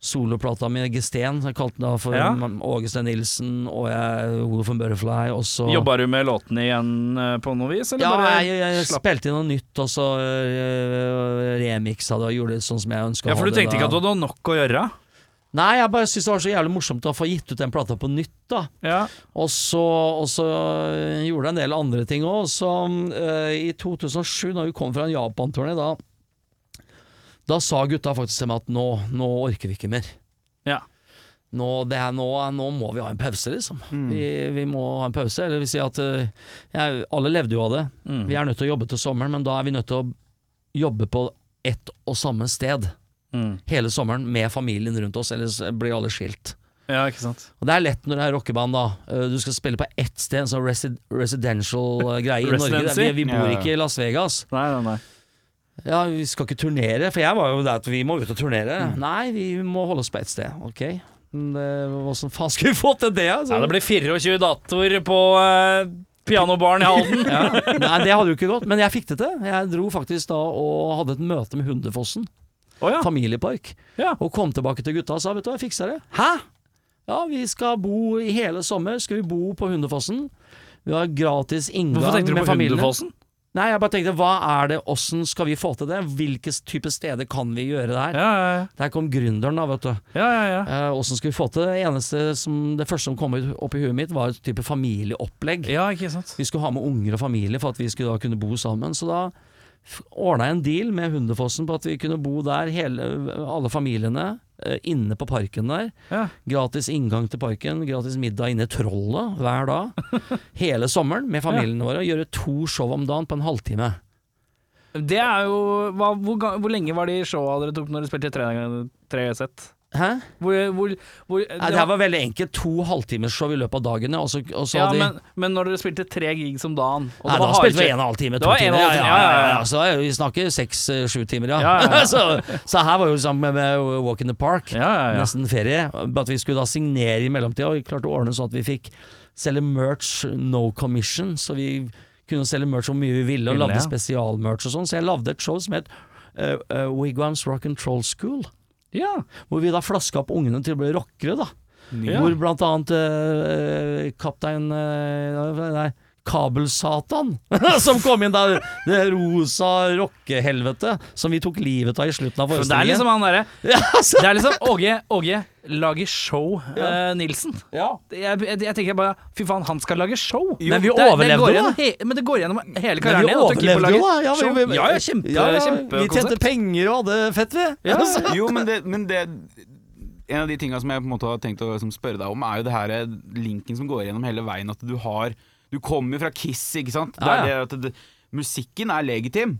D: soloplata mi Gesten. Jeg kalte den da for
A: Ja.
D: Åge Steen Nilsen, og jeg Wolf and Butterfly, og så
A: Jobba du med låtene igjen eh, på noe vis, eller
D: sånn- ja,
A: bare
D: jeg, jeg, jeg spilte inn noe nytt, og så øh, remiksa det og gjorde det sånn som jeg ønska.
A: Ja, for du tenkte ikke at du hadde nok å gjøre?
D: Nei, jeg bare syntes det var så jævlig morsomt å få gitt ut den plata på nytt, da.
A: Ja.
D: Og så, og så øh, gjorde jeg en del andre ting òg. Så øh, i 2007, da vi kom fra en Japan-turné, da, da sa gutta faktisk til meg at nå, nå orker vi ikke mer.
A: Ja.
D: Nå, det er, nå, nå må vi ha en pause, liksom. Vi, vi må ha en pause. Eller det vil si at øh, jeg, alle levde jo av det.
A: Mm.
D: Vi er nødt til å jobbe til sommeren, men da er vi nødt til å jobbe på ett og samme sted
A: Mm.
D: hele sommeren med familien rundt oss, ellers blir alle skilt.
A: ja, ikke sant.
D: Og Det er lett når det er rockeband. da Eh, Du skal spille på ett sted, en sånn resi residential eh, greie i Norge. Det-
A: Residency?
D: Vi, vi bor
B: Ja.
D: ikke i Las Vegas.
A: Nei, nei, nei.
D: Ja, Vi skal ikke turnere, for jeg var jo der at vi må ut og
A: Mm.
D: turnere. Nei, vi må holde oss på ett sted. Ok, Men det- Hvordan faen skulle vi få til det? Altså?
A: Nei, det blir 24 datoer på eh, pianobaren i Halden.
D: ja. Nei, det hadde jo ikke gått, men jeg fikk det til. Jeg dro faktisk da og hadde et møte med Hundefossen.
A: Å ja.
D: familiepark.
A: Ja.
D: Og kom tilbake til gutta og sa vet du hva, jeg fiksa det. Hæ? Ja, vi skal bo i hele sommer, skal vi bo på Hundefossen. Vi har gratis inngang
A: Hvorfor tenkte du
D: med
A: på
D: familiene.
A: Hundefossen?
D: Nei, jeg bare tenkte hva er det, åssen skal vi få til det? Hvilke type steder kan vi gjøre det her?
A: Ja, ja,
D: Der kom gründeren, da, vet du.
A: ja. ja, ja, ja.
D: Eh, Åssen skulle vi få til det? Eneste som, det første som kom ut- opp i huet mitt, var et type familieopplegg.
A: Ja, ikke sant.
D: Vi skulle ha med unger og familie for at vi skulle da kunne bo sammen. Så da ordna jeg en deal med Hundefossen på at vi kunne bo der, hele, alle familiene, eh, inne på parken der.
A: Ja.
D: Gratis inngang til parken, gratis middag inne i Trollet hver dag. Hele sommeren med familien vår. Og gjøre to show om dagen på en halvtime.
A: Det er jo hva, hvor, ga- hvor lenge var de showa dere tok når dere spilte tre, tre sett?
D: Hæ?
A: Hvor, hvor, hvor
D: Nei, det her var veldig enkelt. To halvtimeshow i løpet av dagen, ja, og så, og så
A: ja,
D: hadde de
A: men, men når dere spilte tre gigs om dagen og
D: Nei,
A: det var
D: da spilte
A: hardkjørt-
D: vi en og en halv time,
A: Det
D: to
A: var en
D: timer.
A: og en halv time, ja, ja, ja.
D: Så er vi snakker seks-sju timer, ja.
A: Ja, ja, ja.
D: så, så her var jo sammen med, med Walk in the Park.
A: Ja, ja, ja.
D: Nesten ferie. Bare At vi skulle da signere i mellomtida, og vi klarte å ordne sånn at vi fikk selge merch no commission. Så vi kunne selge merch så mye vi ville, og
A: Ville,
D: lagde
A: ja.
D: spesialmerch og sånn. Så jeg lagde et show som het eh, eh, Wigwams Rock and Troll School.
A: Ja.
D: Hvor vi da flaska opp ungene til å bli rockere, da. Hvor blant annet eh, kaptein eh, Nei, Kabelsatan, som kom inn der. Det rosa rockehelvete som vi tok livet av i slutten av
A: For det er
D: forestillingen.
A: liksom han derre
D: ja, altså.
A: Det er liksom Åge, Åge lager show, eh, Nilsen. Jeg, jeg, jeg tenker bare Fy faen, han skal lage show!
D: Men
A: Det
D: vi
A: er- det
D: overlevde
A: går
D: jo,
A: gjennom
D: da.
A: he- Men det går gjennom hele
D: Men
A: karrieren
D: vi
A: din, at du ikke får
D: overlevde
A: lage
D: jo, da. Ja,
A: show.
D: vi, vi,
A: Ja, ja, kjempe,
D: ja, ja, vi tjente
A: kjempekonsept.
D: penger og hadde det fett, vi. Altså.
B: Jo, men det, men det En av de tinga som jeg på en måte har tenkt å liksom spørre deg om, er jo det her eh, linken som går gjennom hele veien. At du har Du kommer fra Kiss, ikke sant? Det
A: Ja,
B: er det at det, musikken er legitim.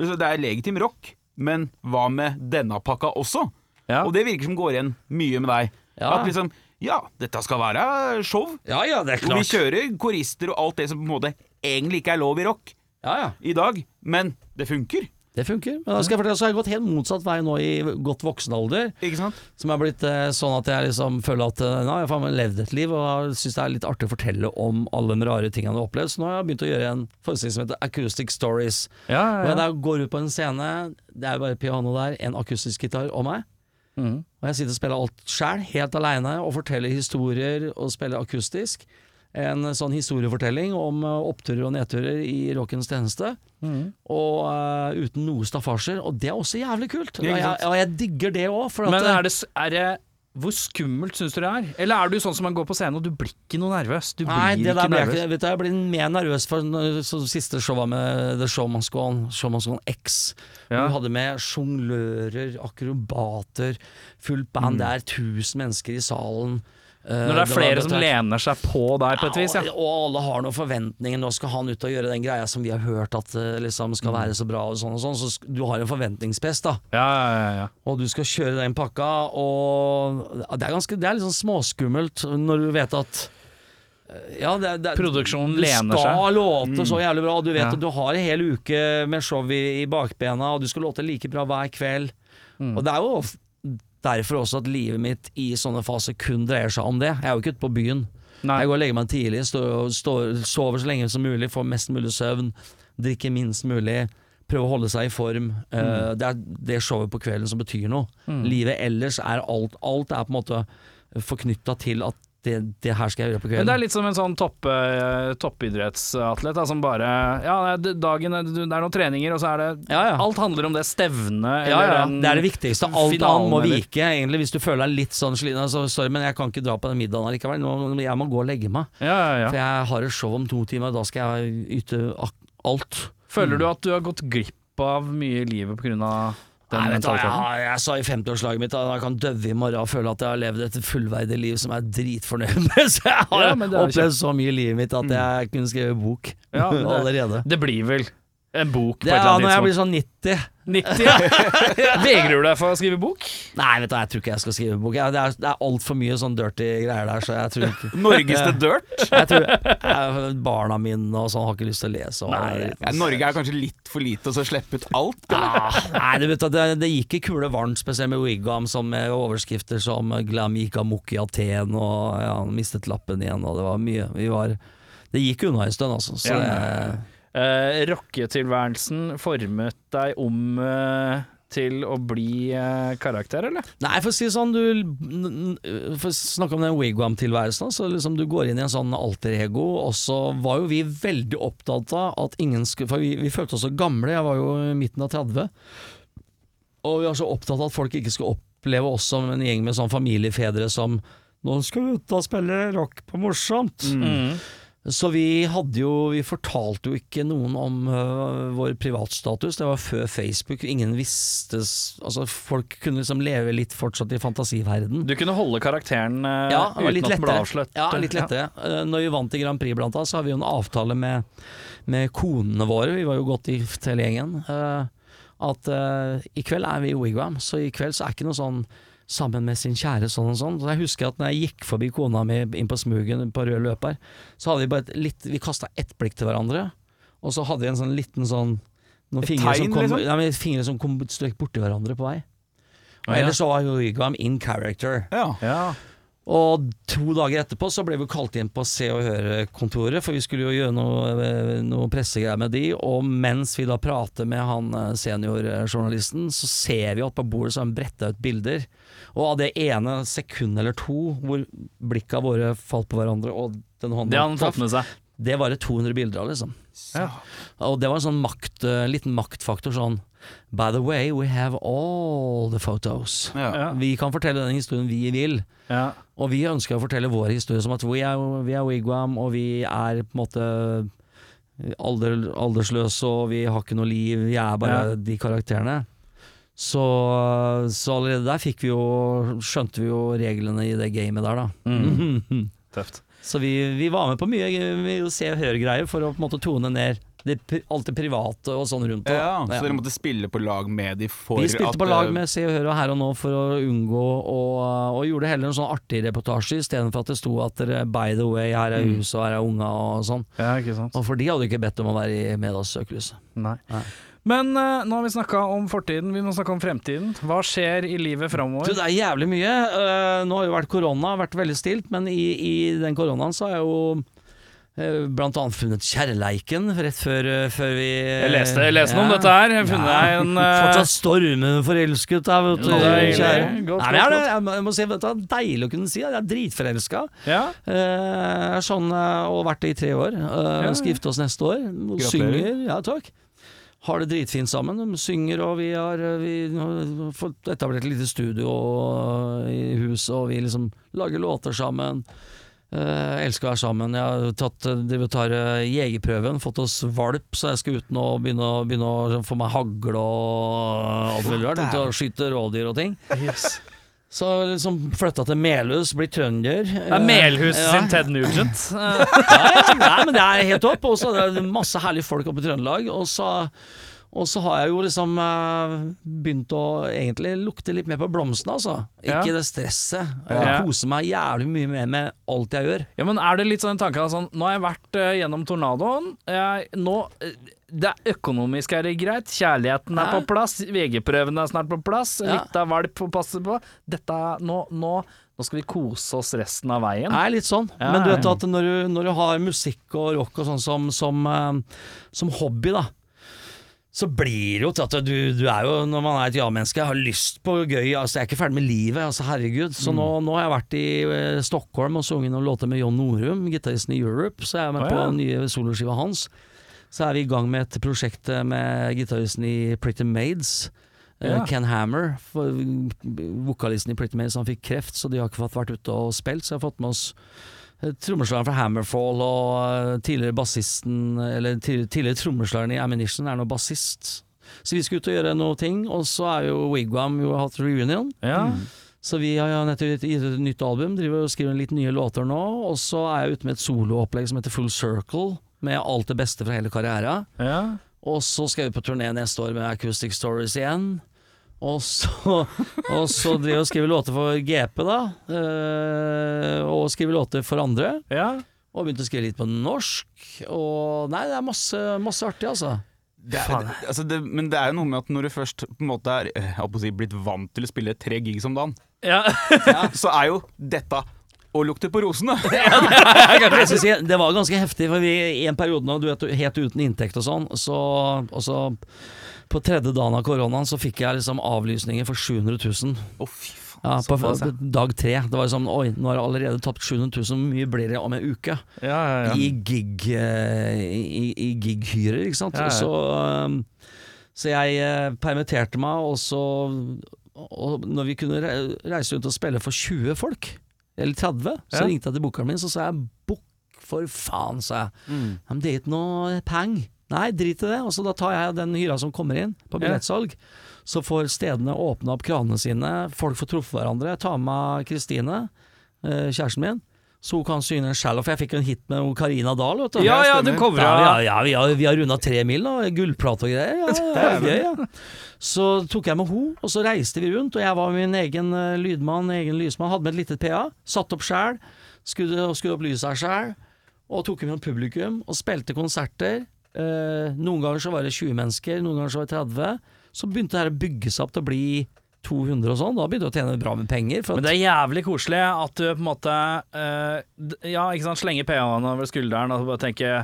B: Altså, Det er legitim rock, men hva med denne pakka også?
A: Ja.
B: Og det virker som går igjen mye med deg.
D: Ja.
B: At liksom Ja, dette skal være show.
D: Ja ja, det er
B: Og vi
D: klart.
B: kjører korister og alt det som på en måte egentlig ikke er lov i rock
D: Ja, ja.
B: i dag, men det funker.
D: Det funker. Men da skal jeg fortelle, så har jeg gått helt motsatt vei nå i godt voksen alder.
B: Ikke sant?
D: Som er blitt eh, sånn at jeg liksom føler at eh, nå har jeg faen meg levd et liv og syns det er litt artig å fortelle om alle de rare tingene jeg har opplevd. Så nå har jeg begynt å gjøre en forestilling som heter Acoustic Stories.
A: Ja,
D: Og
A: ja,
D: jeg
A: ja.
D: da går ut på en scene, det er bare piano der, en akustisk gitar og meg.
A: Mhm.
D: Og jeg sitter og spiller alt sjæl, helt aleine, og forteller historier og spiller akustisk. En sånn historiefortelling om eh, oppturer og nedturer i rockens tjeneste. Og eh, uten noe staffasjer. Og det er også jævlig kult. Og
B: ikke
D: jeg,
B: sant?
D: og jeg digger det òg.
A: Men er det, s- er det Hvor skummelt syns du det er? Eller er du sånn som man går på scenen og du blir ikke noe nervøs? Du blir
D: Nei, det
A: ikke
D: der ble jeg
A: nervøs.
D: ikke vet du, Jeg ble mer nervøs for når- så det siste showet med The Showman's Gone, Showman's Gone X.
A: Ja.
D: Hvor Vi hadde med sjonglører, akrobater, fullt band der, 1000 mennesker i salen. Eh,
A: Mm. Når det er
D: var-
A: flere som lener seg på der på et vis,
D: Ja,
A: ja.
D: og, og alle har noen forventninger. Nå skal han ut og gjøre den greia som vi har hørt at eh, liksom skal
A: Mm.
D: være så bra og sånn og sånn. Så sk- du har en forventningspress, da.
A: Ja, ja, ja, ja.
D: Og du skal kjøre den pakka, og ja, det er ganske Det er litt sånn småskummelt når du vet at eh, ja, det, er- det, er-
A: Produksjonen
D: du
A: lener seg. Mm.
D: skal låte så jævlig bra, og du vet
A: Ja.
D: at du har en hel uke med show i, i bakbena, og du skal låte like bra hver kveld.
A: Mm.
D: Og det er jo of- derfor også at livet mitt i sånne faser kun dreier seg om det. Jeg er jo ikke ute på byen.
A: Nei.
D: Jeg går og legger meg tidlig, står, står, sover så lenge som mulig, får mest mulig søvn, drikker minst mulig, prøver å holde seg i form. Eh,
A: Mm.
D: det er det showet på kvelden som betyr noe. Livet ellers er alt. Alt er på en måte forknytta til at det, det her skal jeg gjøre på
A: Men
D: kvelden.
A: det er litt som en sånn topp, eh, toppidrettsatlet da, som bare Ja, det er dagen er- det er noen treninger, og så er det
D: ja, ja.
A: Alt handler om det stevnet
D: ja, ja.
A: den
D: Det er det viktigste. Alt
A: finalen,
D: annet må
A: eller-
D: vike, egentlig. Hvis du føler deg litt sånn sliten altså, Sorry, men jeg kan ikke dra på den middagen allikevel. Nå- Jeg må gå og legge meg.
A: Ja, ja,
D: For
A: ja.
D: jeg har et show om to timer, og da skal jeg yte ak- alt.
A: Føler
D: Mm.
A: du at du har gått glipp av mye i livet pga. den
D: Nei, vet du hva, jeg,
A: mentaliteten?
D: har- jeg sa i 50-årslaget mitt at jeg kan døve i morgen og føle at jeg har levd et fullverdig liv som jeg er dritfornøyd med. Så jeg har
A: Ja, men det er jo
D: opplevd så mye i livet mitt at jeg kunne skrevet bok
A: Ja, men det-
D: allerede.
A: Det blir vel en bok på
D: Det
A: et
D: er
A: eller
D: når jeg
A: annet tidspunkt.
D: blir sånn 90.
A: 90, ja. Vegrer du deg for å skrive bok?
D: Nei, vet du, hva, jeg tror ikke jeg skal skrive bok. Jeg- Det er, det er altfor mye sånn dirty greier der, så jeg tror ikke
B: Norges The Dirt.
D: jeg tror, jeg, Barna mine og sånn har ikke lyst til å lese. Og,
B: Ja, Norge er kanskje litt for lite til å slippe ut alt.
D: Ah, nei, det, vet du, det, det gikk i kule varmt, spesielt med Wigam, som med overskrifter som eh, 'Glam gikk amok i Aten', og ja, han mistet lappen igjen, og det var mye. Vi var, det gikk unna en stund, altså. Så
A: Ja.
D: det,
A: Eh, Rocketilværelsen formet deg om eh, til å bli eh, karakter, eller?
D: nei, for å si det sånn, du n- n- For å snakke om den Wigam-tilværelsen, da, så liksom du går inn i en sånn alter ego, og så var jo vi veldig opptatt av at ingen skulle For vi, vi følte oss så gamle, jeg var jo i midten av 30. Og vi var så opptatt av at folk ikke skulle oppleve oss som en gjeng med sånn familiefedre som Nå skal vi ut og spille rock på morsomt. Så vi hadde jo Vi fortalte jo ikke noen om øh, vår privatstatus. Det var før Facebook. Ingen visste s- Altså, folk kunne liksom leve litt fortsatt i fantasiverden.
A: Du kunne holde karakteren eh,
D: Ja, det var
A: uten
D: litt
A: at den ble
D: lettere.
A: avslørt.
D: Ja, litt lettere. Eh, Når vi vant i Grand Prix blant annet, så har vi jo en avtale med, med konene våre, vi var jo godt gift hele gjengen, eh, at eh, i kveld er vi i Wigwam, så i kveld så er ikke noe sånn sammen med sin kjære sånn og sånn. Så jeg husker at når jeg gikk forbi kona mi inn på smugen på rød løper, så hadde vi bare et litt, vi kastet ett blikk til hverandre, og så hadde vi en sånn liten sånn, noen fingre,
B: tegn,
D: som kom,
B: liksom?
D: nei, men fingre som kom strøk borti hverandre på vei. Og
A: Ja, ja.
D: ellers så var jo Wigwam in character.
B: Ja.
A: Ja.
D: Og to dager etterpå så ble vi kalt inn på Se og Hør-kontoret, for vi skulle jo gjøre noe, eh, noe pressegreier med de. Og mens vi da prater med han eh, seniorjournalisten, så ser vi at på bordet så har han bretta ut bilder. Og av det ene sekundet eller to hvor blikka våre falt på hverandre, og den hånda
A: Det hadde han
D: traff,
A: tatt med seg.
D: det var det 200 bilder av, liksom.
A: Ja.
D: Og det var en sånn makt, eh, liten maktfaktor sånn By the way, we have all the photos.
B: Ja.
A: Ja.
D: Vi kan fortelle den historien vi vil.
A: Ja.
D: Og vi ønsker å fortelle vår historie som at vi er, vi er wigwam, og vi er på en måte alder, aldersløse, og vi har ikke noe liv, vi er bare
A: Ja.
D: de karakterene. Så, så allerede der fikk vi jo skjønte vi jo reglene i det gamet der, da.
A: Tøft.
D: Så vi, vi var med på mye mye se og hør-greier for å på en måte tone ned det, pri- alt det private og sånn rundt.
B: Ja,
D: da.
B: Eh, så dere måtte spille på lag med de for
D: Vi spilte
B: at,
D: på lag
B: eh,
D: med Se og Hør og Her og Nå for å unngå og, og gjorde heller en sånn artig reportasje istedenfor at det sto at dere by the way,
A: Mm.
D: her er huset og her er unga og sånn.
A: Ja, ikke sant.
D: Og for de hadde jo ikke bedt om å være i medias-søkelyset.
A: Nei.
D: Nei.
A: Men eh, nå har vi snakka om fortiden, vi må snakke om fremtiden. Hva skjer i livet
D: Du,
A: framover?
D: det er jævlig mye. Eh, nå har jo vært korona, vært veldig stilt, men i, i den koronaen så har jeg jo eh, Blant annet funnet kjærleiken rett før, eh, før vi
A: Jeg leste, jeg leste noe om dette her. Jeg har funnet deg en eh,
D: Fortsatt stormende forelsket der, vet du.
A: Deilig.
D: kjære.
A: Godt,
D: Nei, men jeg,
A: godt,
D: er- jeg, må- jeg må si, vet du, hva, Deilig å kunne si det. Jeg er dritforelska.
A: ja.
D: Eh, sånn, eh, og vært det i tre år. Eh,
A: ja.
D: Skal gifte oss neste år. Og
B: Gratulerer.
D: Synger. Ja, takk. har det dritfint sammen. De synger, og vi har, eh, vi har fått etablert et lite studio eh, i huset, og vi liksom lager låter sammen. Eh, elsker å være sammen. Jeg har tatt eh, de tar eh, jegerprøven, fått oss valp, så jeg skal ut nå og begynne, å- begynne å liksom få meg hagle og eh, alt mulig rart. Ut og skyte rådyr og ting. Så liksom flytta til Melhus, blir trønder.
A: Det er
D: Eh,
A: Melhus
D: ja.
A: sin Ted Nugent. Eh,
D: Nei, nei, men det er helt topp. Og så er det masse herlige folk oppe i Trøndelag. Og så, og så har jeg jo liksom eh, begynt å egentlig lukte litt mer på blomstene, altså.
A: Ja.
D: Ikke det stresset. Jeg
A: Ja.
D: koser meg jævlig mye mer med alt jeg gjør.
A: Ja, men er det litt sånn en tanke av sånn Nå har jeg vært eh, gjennom tornadoen. Jeg, nå eh, Det er økonomisk er det greit. Kjærligheten er
D: Ja.
A: på plass. VG-prøven er snart på plass.
D: Ja.
A: Litt av valp å passe på. Dette er- nå, nå, nå skal vi kose oss resten av veien.
D: Det er litt sånn.
A: Ja,
D: Men du
A: ja.
D: vet at når du, når du har musikk og rock og sånn som, som, eh, som hobby, da. Så blir det jo til at du, du er jo, når man er et ja-menneske, har lyst på gøy altså Jeg er ikke ferdig med livet, altså herregud.
A: Mm.
D: Så nå, nå har jeg vært i eh, Stockholm og sunget noen låter med John Norum, gitaristen i Europe, så jeg er med
A: Å,
D: på
A: ja.
D: den nye soloskiva hans. Så er vi i gang med et prosjekt eh, med gitaristen i Pretty Maids. eh,
A: Ja.
D: Ken Hammer, for mm, vokalisten i Pretty Maids, han fikk kreft, så de har ikke fått vært ute og spilt. Så jeg har fått med oss eh, trommeslageren fra Hammerfall og eh, tidligere bassisten Eller tidligere, tidligere trommeslageren i Ammunition er nå bassist. Så vi skal ut og gjøre noe ting, og så er jo Wigwam jo hatt reunion.
A: Ja.
D: Mm. Så vi har jo nettopp gitt gitt ut et nytt album, driver og skriver litt nye låter nå. Og så er jeg ute med et soloopplegg som heter Full Circle, med alt det beste fra hele karriera.
A: ja.
D: Og så skal jeg ut på turné neste år med Acoustic Stories igjen. Og så, og så driver jeg og skriver låter for GP, da. eh, Og skriver låter for andre.
A: ja.
D: Og begynte å skrive litt på norsk. Og nei, det er masse, masse artig, altså.
B: Det er, det- altså det, men det er jo noe med at når du først på en måte er eh, jeg holdt på å si, blitt vant til å spille tre gigs om dagen,
A: ja.
B: så er jo dette å lukte på rosene.
D: Nei, jeg skal si, det var ganske heftig, for vi i en periode nå, du vet, helt uten inntekt og sånn, så, og så på tredje dagen av koronaen så fikk jeg liksom avlysninger for 700 000
B: Å, fy faen. altså.
D: ja, på,
B: Såpass, ja.
D: dag tre. Det var liksom, oi, nå har jeg allerede tapt 700 000, hvor mye blir det om en uke?
A: ja, ja, ja.
D: I gig eh, i, i gighyrer, ikke sant.
A: Ja, ja.
D: Så, ehm, så jeg eh, permitterte meg, og så og Når vi kunne re- reise rundt og spille for 20 folk, eller 30, så
A: Ja.
D: ringte jeg til bookeren min, så sa jeg 'book for faen', sa jeg.
A: Mm.
D: Ja, Men det er ikke noe peng. Nei, drit i det. Og så da tar jeg den hyra som kommer inn på
A: Ja.
D: billettsalg. Så får stedene åpna opp kranene sine, folk får truffet hverandre. Jeg tar med Kristine, eh, kjæresten min, så hun kan synge en shallow, for jeg fikk jo en hit med hun Karina Dahl, vet du.
A: ja, ja, du
B: stemmer.
A: covra
D: Ja, ja, ja, vi har, vi har runda tre mil, da. Gullplate og greier. Ja, det er gøy, ja. Så tok jeg med ho, og så reiste vi rundt. Og jeg var min egen eh, lydmann, egen lysmann. Hadde med et litet PA. Satt opp sjæl. Skudde, skudde opp lysa sjæl. Og tok med publikum. Og spilte konserter. Eh, noen ganger så var det 20 mennesker, noen ganger så var det 30. Så begynte det her å bygge seg opp til å bli 200 og sånn. Da begynte jeg å tjene bra med penger. For
A: Men
D: at,
A: det er jævlig koselig at du på en måte eh, d- Ja, ikke sant, slenger PA-en over skulderen og bare tenker ja,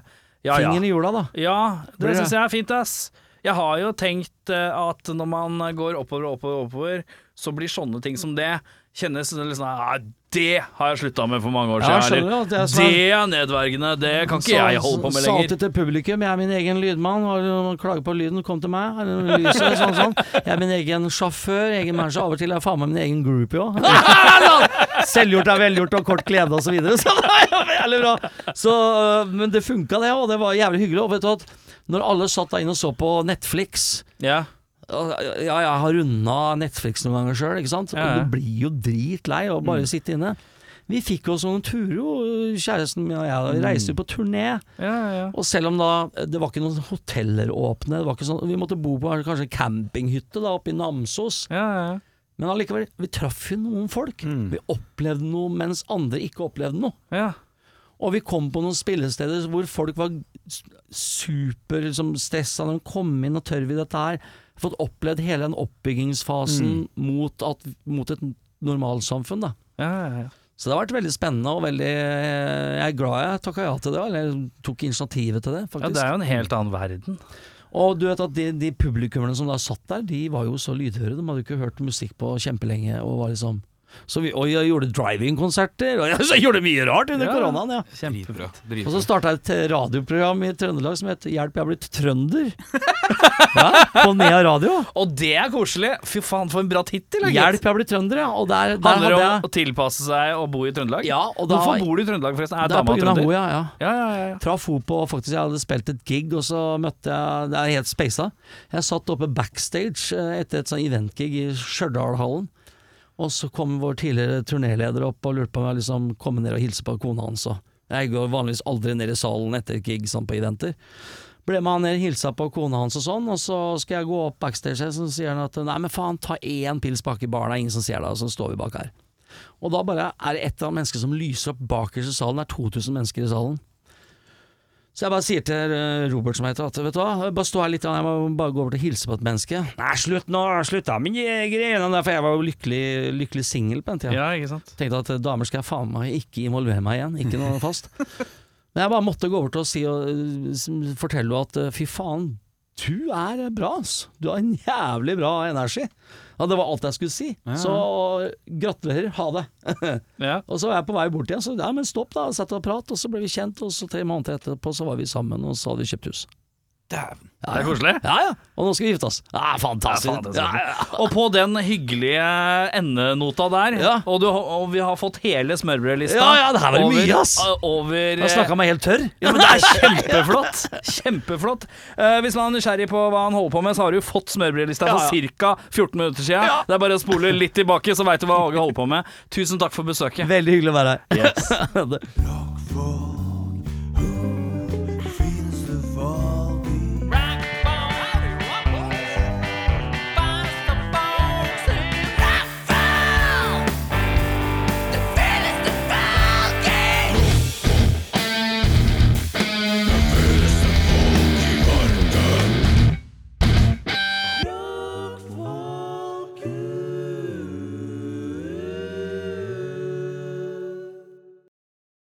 A: ja.
D: fingeren i jorda, da.
A: Ja,
D: Blir
A: det
D: det?
A: syns jeg er fint, ass. Jeg har jo tenkt eh, at når man går oppover og oppover, og oppover så blir sånne ting som det kjennes litt sånn «Ah, Det har jeg slutta med for mange år
D: Ja,
A: siden.
D: skjønner
A: eller,
D: du, det er
A: det,
D: sånn-
A: er nedverdigende. Det kan ikke jeg holde på med
D: Sa
A: lenger.
D: alltid til publikum, jeg er min egen lydmann, har du noen klager på lyden, kom til meg. Er det noe lys eller sånn, sånn. Jeg er min egen sjåfør, egen manager, av og til er jeg faen meg min egen groupie òg. Selvgjort er velgjort og kort glede og så videre. Så det var jo jævlig bra. Så, øh, men det funka det, og det var jævlig hyggelig. Og vet du at når alle satt der inne og så på Netflix
A: Ja.
D: ja, ja, jeg har runda Netflix noen ganger sjøl, ikke sant.
A: Ja, ja. Mm.
D: Og du blir jo dritlei av å bare sitte inne. Vi fikk oss noen turer, jo, kjæresten min og jeg, vi
A: Mm.
D: reiste jo på turné.
A: Ja, ja.
D: Og selv om da det var ikke noen hoteller åpne, det var ikke sånn, vi måtte bo på kanskje en campinghytte da oppe i Namsos,
A: ja, ja.
D: men allikevel, vi traff jo noen folk.
A: Mm.
D: Vi opplevde noe mens andre ikke opplevde noe.
A: ja.
D: Og vi kom på noen spillesteder hvor folk var s- super liksom, stressa når de kom inn, og tør vi dette her? Fått opplevd hele den oppbyggingsfasen
A: Mm.
D: mot, at, mot et normalsamfunn, da.
A: ja, ja, ja.
D: Så det har vært veldig spennende, og veldig eh, Jeg er glad jeg takka ja til det, eller tok initiativet til det, faktisk.
A: ja det er jo en helt annen verden.
D: Og du vet at de, de publikummerne som da satt der, de var jo så lydhøre. De hadde jo ikke hørt musikk på kjempelenge og var liksom Så vi, og jeg gjorde driving-konserter, og jeg, så jeg gjorde mye rart under
A: Ja.
D: koronaen, ja.
B: Dritbra.
D: Og
B: dritbra.
D: så starta jeg et eh, radioprogram i Trøndelag som het Hjelp, jeg er blitt trønder. ja, på Nea radio.
A: Og det er koselig! Fy faen, for en bra tittel! da, gitt.
D: Hjelp, jeg er blitt trønder, ja. Og der, der
A: Handler
D: hadde
A: det om
D: jeg
A: å tilpasse seg og bo i Trøndelag?
D: Ja, og da
A: Hvorfor bor du i Trøndelag, forresten? Er
D: Det er
A: dama
D: på grunn av
A: trønder?
D: henne, ja. ja.
A: Ja, ja, ja, ja.
D: Traff henne på Faktisk, jeg hadde spilt et gig, og så møtte jeg Det er helt speisa. Jeg satt oppe backstage eh, etter et sånn eventgig i Stjørdalhallen. Og så kom vår tidligere turnéleder opp og lurte på om jeg liksom komme ned og hilse på kona hans. Og jeg går vanligvis aldri ned i salen etter et gig sånn på eventer. Ble med han ned, hilsa på kona hans og sånn, og så skal jeg gå opp backstage, her, så sier han at nei, men faen, ta én pils bak i baren, det er ingen som ser deg, og så står vi bak her. Og da bare er det et eller annet menneske som lyser opp bakerst i salen, det er 2000 mennesker i salen. Så jeg bare sier til eh, Robert som heter at vet du hva, bare stå her litt, jeg må bare gå over til å hilse på et menneske. Nei, slutt nå, slutt da med de greiene der, for jeg var jo lykkelig, lykkelig singel på den tida.
A: ja, ikke sant.
D: Tenkte at eh, damer skal jeg faen meg ikke involvere meg igjen, ikke noe fast. Men jeg bare måtte gå over til å si og eh, s- fortelle henne at eh, fy faen, du er bra, ass. Du har en jævlig bra energi. Ja, det var alt jeg skulle si. Så gratulerer, ha det.
A: Ja.
D: Og så var jeg på vei bort igjen, så ja, men stopp da, sett og prat, og så ble vi kjent, og så tre måneder etterpå så var vi sammen, og så hadde vi kjøpt hus.
B: Dæven.
D: Ja,
A: Det
D: ja.
A: er koselig.
D: Ja, ja, og nå skal vi gifte oss. Ja, fantastisk.
A: Ja, faen, det er
D: Ja,
A: sant.
D: ja, ja.
A: Og på den hyggelige endenota der,
D: Ja.
A: og, du, og vi har fått hele smørbrødlista
D: Ja, ja, det her var det
A: over- eh,
D: mye, ass.
A: Over,
D: Jeg snakka meg helt tørr.
A: Ja, men det er kjempeflott! Kjempeflott. Eh, hvis man er nysgjerrig på hva han holder på med, så har du fått smørbrødlista
D: Ja,
A: for ca. 14 minutter siden. Det er bare å spole litt tilbake, så veit du hva Åge holder på med. Tusen takk for besøket.
D: Veldig hyggelig å være her. Yes.
E: for